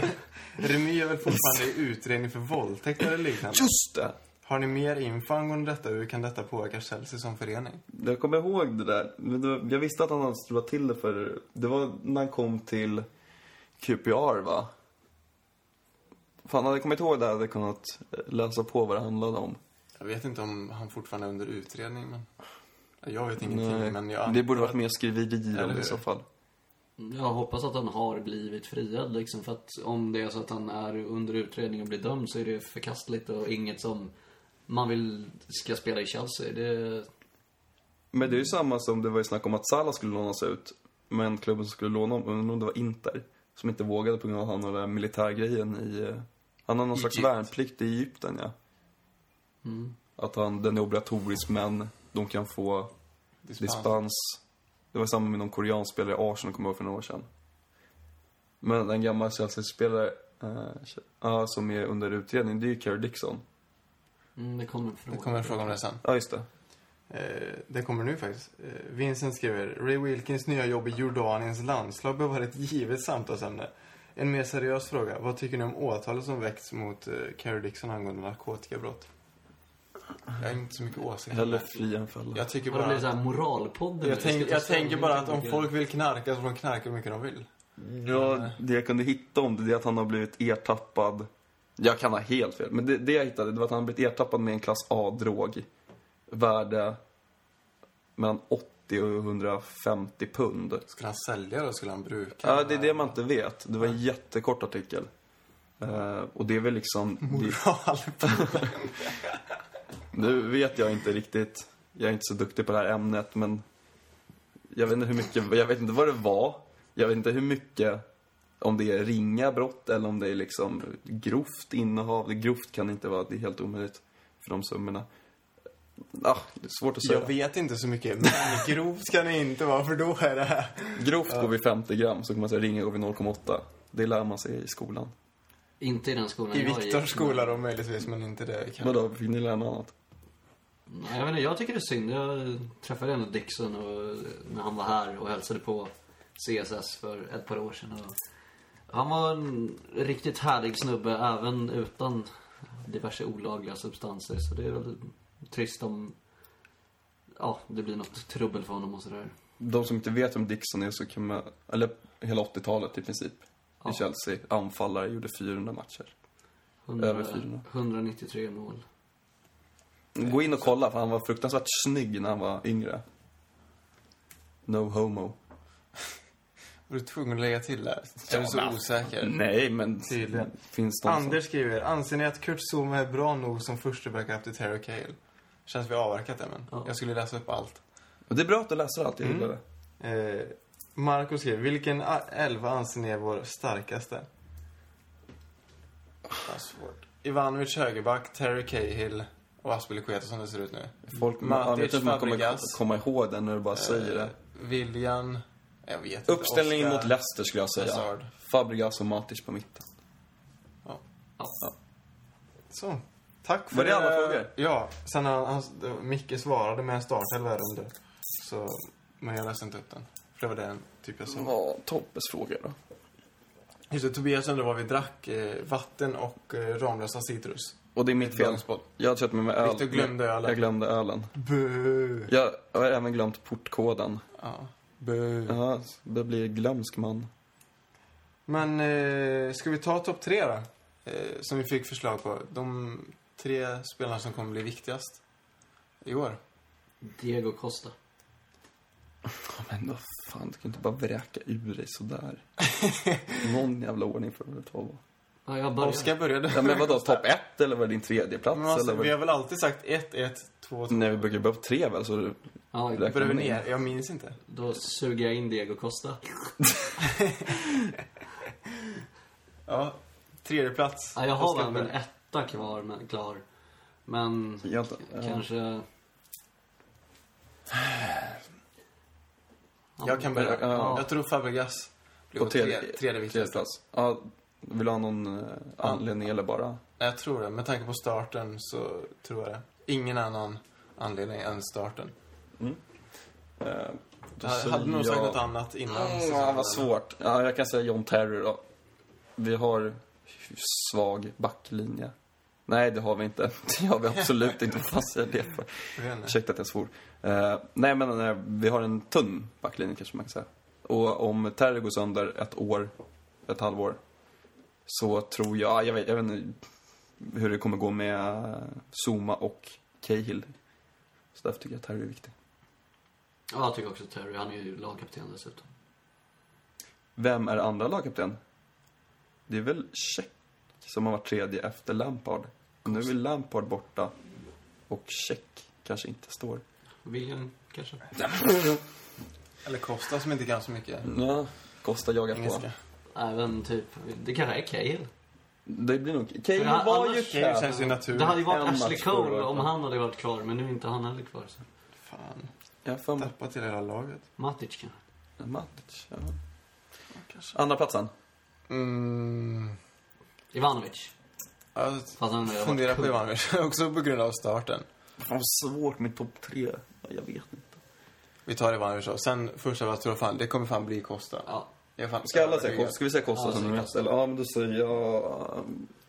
[SPEAKER 1] Remy är väl fortfarande i utredning för våldtäkt eller liknande?
[SPEAKER 3] Just det!
[SPEAKER 1] Har ni mer info angående detta? Hur kan detta påverka Chelsea som förening?
[SPEAKER 3] Jag kommer ihåg det där. Men det var- Jag visste att han hade strulat till det för... Det var när han kom till QPR, va? Fan, hade jag kommit ihåg det hade jag kunnat eh, läsa på vad det handlade om.
[SPEAKER 1] Jag vet inte om han fortfarande är under utredning, men... Jag vet ingenting, men jag...
[SPEAKER 3] det borde varit mer skriverier
[SPEAKER 1] Eller
[SPEAKER 3] om det
[SPEAKER 1] hur?
[SPEAKER 3] i så fall.
[SPEAKER 2] Jag hoppas att han har blivit friad liksom, för att om det är så att han är under utredning och blir dömd så är det förkastligt och inget som man vill ska spela i Chelsea. Det...
[SPEAKER 3] Men det är ju samma som det var ju snack om att Salah skulle lånas ut. Men klubben som skulle låna honom, undrar om det var Inter. Som inte vågade på grund av att han har den där militärgrejen i... eh, Han har någon slags
[SPEAKER 1] Egypt.
[SPEAKER 3] värnplikt i Egypten, ja.
[SPEAKER 2] mm,
[SPEAKER 3] Att han, den är obligatorisk, men de kan få
[SPEAKER 1] Dispens.
[SPEAKER 3] dispens. Det var samma med någon koreansk spelare i Arsenal, kommer jag ihåg, för några år sedan. Men en gammal Chelsea-spelare, eh, ja, som är under utredning, det är ju Carey Dixon.
[SPEAKER 2] Mm, det kommer en
[SPEAKER 1] Det
[SPEAKER 2] fråga.
[SPEAKER 1] kommer en fråga om det sen.
[SPEAKER 3] Ja, just det.
[SPEAKER 1] Eh, den kommer nu faktiskt. Eh, Vincent skriver, Ray Wilkins nya jobb i Jordaniens landslag bör vara ett givet samtalsämne. En mer seriös fråga. Vad tycker ni om åtalet som väckts mot eh, Carrie Dixon angående narkotikabrott? Jag har inte så mycket åsikter.
[SPEAKER 3] Hellre fri än fälla.
[SPEAKER 1] Jag tycker
[SPEAKER 2] Och det
[SPEAKER 1] bara...
[SPEAKER 2] blir så här moralpodden.
[SPEAKER 1] Jag, tänk, jag tänker bara att om folk
[SPEAKER 2] vill...
[SPEAKER 1] vill knarka så får de knarka hur mycket de vill.
[SPEAKER 3] Ja, det jag kunde hitta om det, det är att han har blivit ertappad. Jag kan ha helt fel, men det, det jag hittade det var att han har blivit ertappad med en klass A-drog. Värde mellan 80 och 150 pund.
[SPEAKER 1] Skulle han sälja då? Skulle han bruka?
[SPEAKER 3] Ja, det är det man inte vet. Det var en jättekort artikel. Eh, och det är väl liksom... Det,
[SPEAKER 1] Moral.
[SPEAKER 3] nu vet jag inte riktigt. Jag är inte så duktig på det här ämnet, men... Jag vet inte hur mycket... Jag vet inte vad det var. Jag vet inte hur mycket... Om det är ringa brott eller om det är liksom grovt innehav. Det grovt kan det inte vara. Det är helt omöjligt för de summorna. Ah, det är svårt att säga.
[SPEAKER 1] Jag vet inte så mycket, men grovt kan det inte vara för då är det här.
[SPEAKER 3] Grovt går vid 50 gram, så kan man säga ringa går vid 0,8. Det lär man sig i skolan.
[SPEAKER 2] Inte i den skolan
[SPEAKER 1] I
[SPEAKER 2] jag gick, men-
[SPEAKER 1] Viktors skola då möjligtvis, men inte det kanske.
[SPEAKER 3] Vadå, vill ni lära något annat?
[SPEAKER 2] Nej, jag, vet inte, jag tycker det är synd. Jag träffade ändå Dixon och, när han var här och hälsade på CSS för ett par år sedan. Och han var en riktigt härlig snubbe även utan diverse olagliga substanser. Så det är väl trist om ja, det blir något trubbel för honom och sådär.
[SPEAKER 3] De som inte vet vem Dixon är så kan man, eller hela 80-talet i princip,
[SPEAKER 2] Ja.
[SPEAKER 3] i Chelsea, anfallare, gjorde 400 matcher.
[SPEAKER 2] 100,
[SPEAKER 3] Över 400.
[SPEAKER 2] 193 mål.
[SPEAKER 3] Gå in och kolla, för han var fruktansvärt snygg när han var yngre. No homo.
[SPEAKER 1] Var du tvungen att lägga till där? Är du så
[SPEAKER 3] men-
[SPEAKER 1] osäker?
[SPEAKER 3] Nej, men
[SPEAKER 1] Tydligen.
[SPEAKER 3] finns de som...
[SPEAKER 1] Anders skriver, anser ni att Kurt Zuma är bra nog som första backup till Terry Cale? Känns vi har avverkat det, men
[SPEAKER 2] Ja.
[SPEAKER 1] jag skulle läsa upp allt.
[SPEAKER 3] Och Det är bra att du läser allt, jag
[SPEAKER 1] Mm.
[SPEAKER 3] gillar det.
[SPEAKER 1] Eh, Marco skriver, vilken a- elva anser ni är vår starkaste?
[SPEAKER 3] Ah.
[SPEAKER 1] Vad svårt. Ivanovic högerback, Terry Cahill och Aspelekueta som det ser ut nu.
[SPEAKER 3] Folk,
[SPEAKER 1] Matic,
[SPEAKER 3] jag vet inte om man
[SPEAKER 1] Fabregas.
[SPEAKER 3] kommer komma ihåg det när du bara säger det.
[SPEAKER 1] Eh, William, jag vet inte.
[SPEAKER 3] Uppställningen
[SPEAKER 1] Eh, Oscar. Alltså-
[SPEAKER 3] mot Leicester skulle jag säga.
[SPEAKER 1] Hazard.
[SPEAKER 3] Fabregas och Matic på mitten.
[SPEAKER 1] Så. Tack för
[SPEAKER 3] Var det alla frågor?
[SPEAKER 1] Ja. Sen han, han, Micke svarade med en start eller värre om det. Så, men jag läste inte upp den. För det var den typ jag såg.
[SPEAKER 3] Ja, Toppes fråga då.
[SPEAKER 1] Just det, Tobias undrar vad vi drack. Eh, vatten och eh, Ramlösa citrus.
[SPEAKER 3] Och det är mitt fel.
[SPEAKER 1] Dagenspott.
[SPEAKER 3] Jag hade köpt med mig öl.
[SPEAKER 1] Victor glömde ölen.
[SPEAKER 3] Jag glömde ölen.
[SPEAKER 1] Bö.
[SPEAKER 3] Jag har även glömt portkoden.
[SPEAKER 1] Ja. Bö.
[SPEAKER 3] Ja, det blir glömsk man.
[SPEAKER 1] Men eh, ska vi ta topp tre då? Eh, som vi fick förslag på. De tre spelarna som kommer bli viktigast i år.
[SPEAKER 2] Diego Costa.
[SPEAKER 3] Ja, men vad fan, du kan inte bara vräka ur dig sådär. Någon jävla ordning får du väl ta.
[SPEAKER 2] Ja, jag börjar.
[SPEAKER 1] Oskar började.
[SPEAKER 3] Ja, men vadå, topp ett eller var det din tredje plats
[SPEAKER 1] Men alltså,
[SPEAKER 3] eller var...
[SPEAKER 1] vi har väl alltid sagt 1, 1, 2, 2.
[SPEAKER 3] Nej, vi brukar bara på tre väl, så du
[SPEAKER 2] Ja,
[SPEAKER 3] räknar
[SPEAKER 1] Börjar vi
[SPEAKER 3] med.
[SPEAKER 1] ner? Jag minns inte.
[SPEAKER 2] då suger jag in Diego Costa.
[SPEAKER 1] Ja, tredje plats.
[SPEAKER 2] Ja, jag
[SPEAKER 1] Oskar
[SPEAKER 2] har väl min
[SPEAKER 1] började.
[SPEAKER 2] etta kvar, men, klar. Men
[SPEAKER 3] Jag har inte- ja.
[SPEAKER 2] kanske...
[SPEAKER 1] Jag kan börja.
[SPEAKER 3] Ja.
[SPEAKER 1] Jag tror Fabregas blir
[SPEAKER 3] På
[SPEAKER 1] vår
[SPEAKER 3] tredje,
[SPEAKER 1] tre, tredje viktigaste.
[SPEAKER 3] plats. Ja, vill du ha någon eh, anledning eller bara?
[SPEAKER 1] Nej, jag tror det. Med tanke på starten så tror jag det. Ingen annan anledning än starten.
[SPEAKER 3] Eh, då
[SPEAKER 1] Jag hade-
[SPEAKER 3] säger
[SPEAKER 1] hade nog sagt
[SPEAKER 3] jag-
[SPEAKER 1] något annat innan
[SPEAKER 3] Mm, Ja,
[SPEAKER 1] säsongen.
[SPEAKER 3] vad svårt. Ja, jag kan säga John Terry då. Vi har svag backlinje. Nej, det har vi inte. Det har vi absolut inte. Vad fan säger jag det för?
[SPEAKER 1] Jag vet inte.
[SPEAKER 3] Ursäkta att jag svor. Eh, nej, men eh, vi har en tunn backlinje kanske man kan säga. Och om Terry går sönder ett år, ett halvår, så tror jag, jag vet, jag vet inte hur det kommer gå med eh, Zuma och Cahill. Så därför tycker jag Terry är viktig.
[SPEAKER 2] Ja, jag tycker också Terry. Han är ju lagkapten dessutom.
[SPEAKER 3] Vem är andra lagkapten? Det är väl Check som har varit tredje efter Lampard. Nu är Lampard borta och Check kanske inte står.
[SPEAKER 2] William, kanske?
[SPEAKER 1] Eller Costa som inte kan så mycket
[SPEAKER 3] Ja, Costa jagar på.
[SPEAKER 1] engelska.
[SPEAKER 2] Även typ... Det kanske är Cahill.
[SPEAKER 3] Det blir nog... Kane
[SPEAKER 2] För han-
[SPEAKER 3] var ju
[SPEAKER 2] annars-
[SPEAKER 1] Okej, Det
[SPEAKER 3] kär.
[SPEAKER 1] känns ju naturligt.
[SPEAKER 2] Det hade ju varit
[SPEAKER 3] en match
[SPEAKER 2] Ashley
[SPEAKER 3] förra
[SPEAKER 2] Cole
[SPEAKER 3] året.
[SPEAKER 2] om han hade varit kvar, men nu är inte han heller kvar. Så.
[SPEAKER 1] Fan,
[SPEAKER 3] Jag har för mig
[SPEAKER 1] tappat till hela laget.
[SPEAKER 2] Matic kanske?
[SPEAKER 3] Matic. Ja.
[SPEAKER 1] kanske.
[SPEAKER 3] Andra platsen.
[SPEAKER 1] Mm.
[SPEAKER 2] Ivanovic.
[SPEAKER 1] Jag
[SPEAKER 2] Fast han har ju varit
[SPEAKER 1] funderar på
[SPEAKER 2] kung.
[SPEAKER 1] Ivanovic. Också på grund av starten.
[SPEAKER 3] Fan vad svårt med topp tre. Ja, Jag vet inte.
[SPEAKER 1] Vi tar Ivanovic då. Sen första plats tror jag fan, det kommer fan bli Costa.
[SPEAKER 2] Ja.
[SPEAKER 1] Jag fan,
[SPEAKER 3] Ska alla säga Costa? Ska vi säga Costa
[SPEAKER 2] Ja,
[SPEAKER 3] som
[SPEAKER 2] säg
[SPEAKER 3] nummer ett?
[SPEAKER 2] Costa.
[SPEAKER 3] Eller ja, men då säger jag...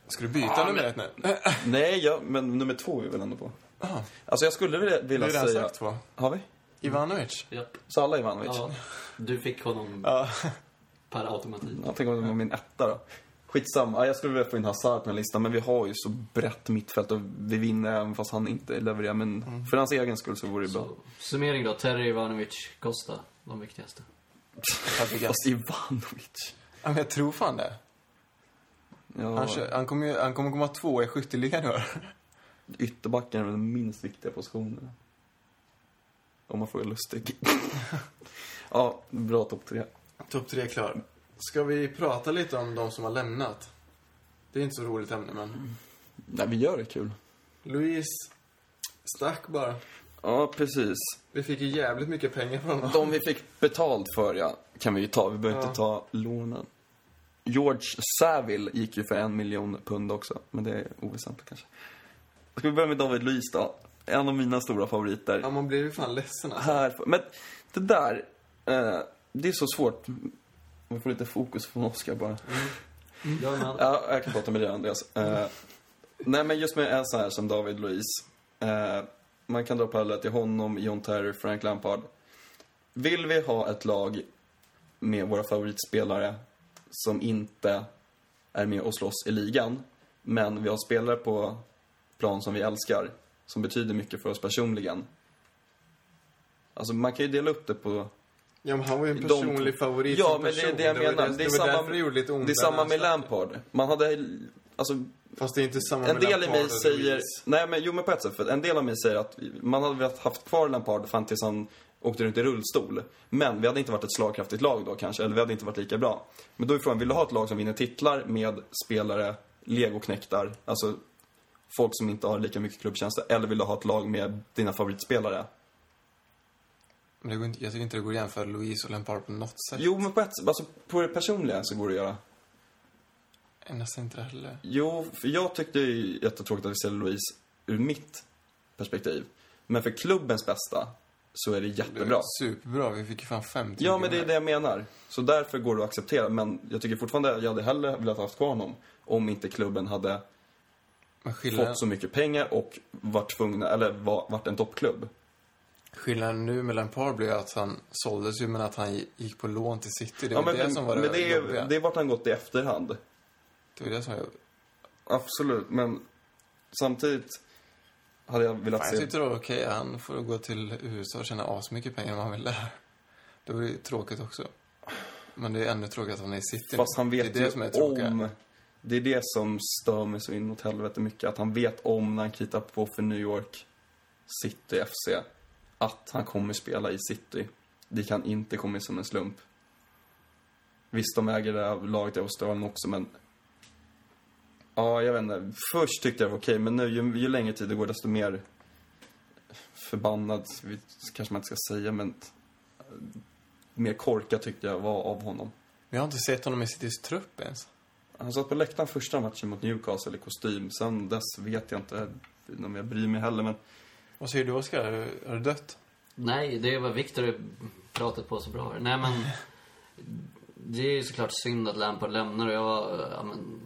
[SPEAKER 1] Ska du byta
[SPEAKER 3] Ja,
[SPEAKER 1] nummer ett nu?
[SPEAKER 3] Nej, ja, men nummer två är vi väl ändå på.
[SPEAKER 1] Ah,
[SPEAKER 3] Alltså jag skulle vilja,
[SPEAKER 1] du har
[SPEAKER 3] vilja
[SPEAKER 1] redan
[SPEAKER 3] säga...
[SPEAKER 1] sagt två.
[SPEAKER 3] Har vi?
[SPEAKER 1] Ivanovic?
[SPEAKER 2] Japp.
[SPEAKER 3] Så alla Ivanovic?
[SPEAKER 2] Ja, du fick honom
[SPEAKER 1] Ja.
[SPEAKER 2] per automatik.
[SPEAKER 3] Jag tänker om det var min etta då. Skitsamma. Ja, jag skulle vilja få in Hazard på den här listan, men vi har ju så brett mittfält och vi vinner även fast han inte levererar. Men för hans egen skull så vore det bra.
[SPEAKER 2] Så, summering då. Terry, Ivanovic, Costa. De viktigaste.
[SPEAKER 1] Fabregas.
[SPEAKER 3] Fast Ivanovic.
[SPEAKER 1] Ja, men jag tror fan det.
[SPEAKER 3] Ja,
[SPEAKER 1] Han, kör, han, kommer, ju- han kommer komma två i skytteligan i år.
[SPEAKER 3] ytterbacken är väl den minst viktiga positionen. Om man frågar Lustig. ja, bra topp tre.
[SPEAKER 1] Topp tre klar. Ska vi prata lite om de som har lämnat? Mm. Det är inte så roligt ämne, men...
[SPEAKER 3] Nej, vi gör det kul.
[SPEAKER 1] Louise Snack bara.
[SPEAKER 3] Ja, precis.
[SPEAKER 1] Vi fick ju jävligt mycket pengar från dem.
[SPEAKER 3] De vi fick betalt för, ja, kan vi ju ta. Vi behöver
[SPEAKER 1] Ja.
[SPEAKER 3] inte ta lånen. George Saville gick ju för en miljon pund också, men det är oväsentligt kanske. Ska vi börja med David Luiz då? En av mina stora favoriter.
[SPEAKER 1] Ja, man blev ju fan ledsen alltså.
[SPEAKER 3] Här, men det där, eh, det är så svårt. Vi får lite fokus från Oscar bara.
[SPEAKER 2] Gör man.
[SPEAKER 3] Ja, jag kan prata med dig Andreas. Eh, nej, men just med en sån här som David Luiz. Eh, man kan dra paralleller till honom, John Terry, Frank Lampard. Vill vi ha ett lag med våra favoritspelare som inte är med och slåss i ligan, men vi har spelare på plan som vi älskar, som betyder mycket för oss personligen. Alltså man kan ju dela upp det på
[SPEAKER 1] Ja, men han var ju en
[SPEAKER 3] De-
[SPEAKER 1] personlig favorit
[SPEAKER 3] Ja,
[SPEAKER 1] som
[SPEAKER 3] men det är
[SPEAKER 1] person.
[SPEAKER 3] det jag
[SPEAKER 1] var
[SPEAKER 3] menar.
[SPEAKER 1] Där,
[SPEAKER 3] Det
[SPEAKER 1] det
[SPEAKER 3] är
[SPEAKER 1] var
[SPEAKER 3] samma-
[SPEAKER 1] därför det gjorde lite ont.
[SPEAKER 3] Det är samma
[SPEAKER 1] när
[SPEAKER 3] med
[SPEAKER 1] han stack.
[SPEAKER 3] Lampard. Man hade, alltså
[SPEAKER 1] Fast det är inte samma
[SPEAKER 3] en
[SPEAKER 1] med
[SPEAKER 3] del i
[SPEAKER 1] Lampard
[SPEAKER 3] mig
[SPEAKER 1] och
[SPEAKER 3] säger...
[SPEAKER 1] Ruiz.
[SPEAKER 3] Nej, men jo, men på ett sätt. För en del av mig säger att man hade velat haft kvar Lampard fram tills han åkte runt i rullstol. Men vi hade inte varit ett slagkraftigt lag då kanske, eller vi hade inte varit lika bra. Men då är frågan, vill du ha ett lag som vinner titlar med spelare, legoknektar, alltså folk som inte har lika mycket klubbkänsla, eller vill du ha ett lag med dina favoritspelare?
[SPEAKER 1] Men det går inte, jag tycker inte det går att jämföra Louise och Lampard på något sätt.
[SPEAKER 3] Jo, men på ett sätt, alltså på det personliga så går det att göra.
[SPEAKER 1] Nästan inte det heller.
[SPEAKER 3] Jo, för jag tyckte det är jättetråkigt att vi säljer Louise ur mitt perspektiv. Men för klubbens bästa så är det
[SPEAKER 1] Det var
[SPEAKER 3] jättebra.
[SPEAKER 1] Superbra. Vi fick ju fan 50
[SPEAKER 3] Ja, men det är
[SPEAKER 1] miljoner.
[SPEAKER 3] det jag menar. Så därför går det att acceptera. Men jag tycker fortfarande jag hade hellre velat haft kvar honom om inte klubben hade
[SPEAKER 1] Men skillnaden,
[SPEAKER 3] fått så mycket pengar och varit tvungna, eller var, varit en toppklubb.
[SPEAKER 1] skillnaden nu med Lampard blev ju att han såldes ju, men att han gi- gick på lån till City. Det
[SPEAKER 3] Ja,
[SPEAKER 1] var
[SPEAKER 3] men
[SPEAKER 1] det som var det
[SPEAKER 3] men det är
[SPEAKER 1] jobbiga.
[SPEAKER 3] det är vart han gått i efterhand.
[SPEAKER 1] Det var det som var jobbigt.
[SPEAKER 3] Absolut, men samtidigt hade jag velat
[SPEAKER 1] Fan,
[SPEAKER 3] se...
[SPEAKER 1] jag tyckte det var okej. Han får gå till USA och tjäna asmycket pengar om han vill där. Det vore ju tråkigt också. Men det är ännu tråkigt att han är i city.
[SPEAKER 3] Fast han vet
[SPEAKER 1] det är det som är
[SPEAKER 3] ju
[SPEAKER 1] tråkigt.
[SPEAKER 3] om... Det är det som stör mig så inåt helvete mycket. Att han vet om när han kritar på för New York City FC att han kommer spela i City. Det kan inte komma som en slump. Visst, de äger det här laget i Australien också, men... Ja, jag vet inte. Först tyckte jag det var okej, men nu ju, ju längre tid det går desto mer förbannad, vi- kanske man inte ska säga, men... eh, Mer korkad tyckte jag var av honom.
[SPEAKER 1] Men jag har inte sett honom i Citys trupp ens.
[SPEAKER 3] Han satt på läktaren första matchen mot Newcastle i kostym. Sen dess vet jag inte om jag bryr mig heller, men...
[SPEAKER 1] Vad säger du, Oskar? Har du- Har du dött?
[SPEAKER 2] Nej, det var Victor pratat på så bra. här. Nej, men... Det är ju såklart synd att Lampard lämnar och jag var ja, men,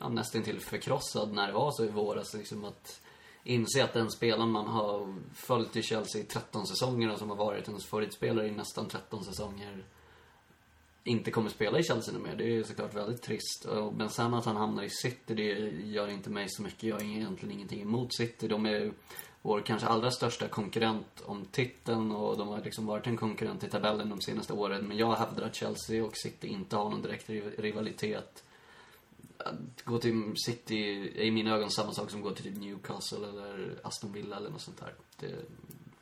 [SPEAKER 2] ja, nästintill förkrossad när det var så i våras. Liksom att inse att den spelaren man har följt i Chelsea i 13 säsonger och som har varit ens favoritspelare i nästan 13 säsonger inte kommer spela i Chelsea nu mer. Det är såklart väldigt trist. Och- Men sen att han hamnar i City, det gör inte mig så mycket. Jag har egentligen ingenting emot City. De är ju vår kanske allra största konkurrent om titeln och de har liksom varit en konkurrent i tabellen de senaste åren. Men jag hävdar att Chelsea och City inte har någon direkt riv- rivalitet. Att gå till City är i mina ögon samma sak som att gå till typ Newcastle eller Aston Villa eller något sånt där. Det,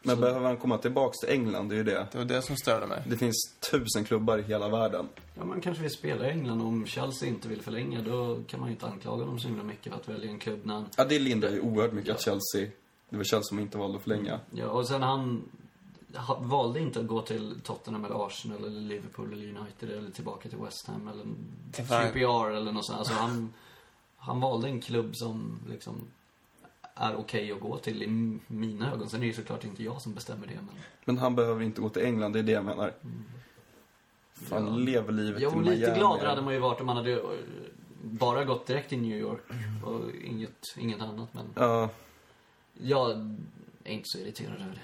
[SPEAKER 3] Men
[SPEAKER 2] så-
[SPEAKER 3] behöver han komma tillbaks till England, det är ju det.
[SPEAKER 1] Det var det som störde mig.
[SPEAKER 3] Det finns tusen klubbar i hela världen.
[SPEAKER 2] Ja, man kanske vill spela i England. Om Chelsea inte vill förlänga, då kan man ju inte anklaga dem så himla mycket för att välja en klubb när han...
[SPEAKER 3] Ja, det lindrar ju oerhört mycket att Chelsea... Det var Chelsea som inte valde att förlänga.
[SPEAKER 2] Mm. Ja, och sen han ha, valde inte att gå till Tottenham eller Arsenal eller Liverpool eller United eller tillbaka till West Ham eller
[SPEAKER 1] Till
[SPEAKER 2] QPR eller något sånt. Alltså han, han valde en klubb som liksom är okej att gå till i m- mina ögon. Sen är det ju såklart inte jag som bestämmer det, men... mm.
[SPEAKER 3] Men han behöver inte gå till England, det är det jag menar. Fan,
[SPEAKER 2] Ja.
[SPEAKER 3] lev livet
[SPEAKER 2] Jo,
[SPEAKER 3] i Miami.
[SPEAKER 2] lite gladare hade man ju varit om man hade eh, bara gått direkt till New York och inget, inget annat, men...
[SPEAKER 3] Ja,
[SPEAKER 2] Jag är inte så irriterad över det.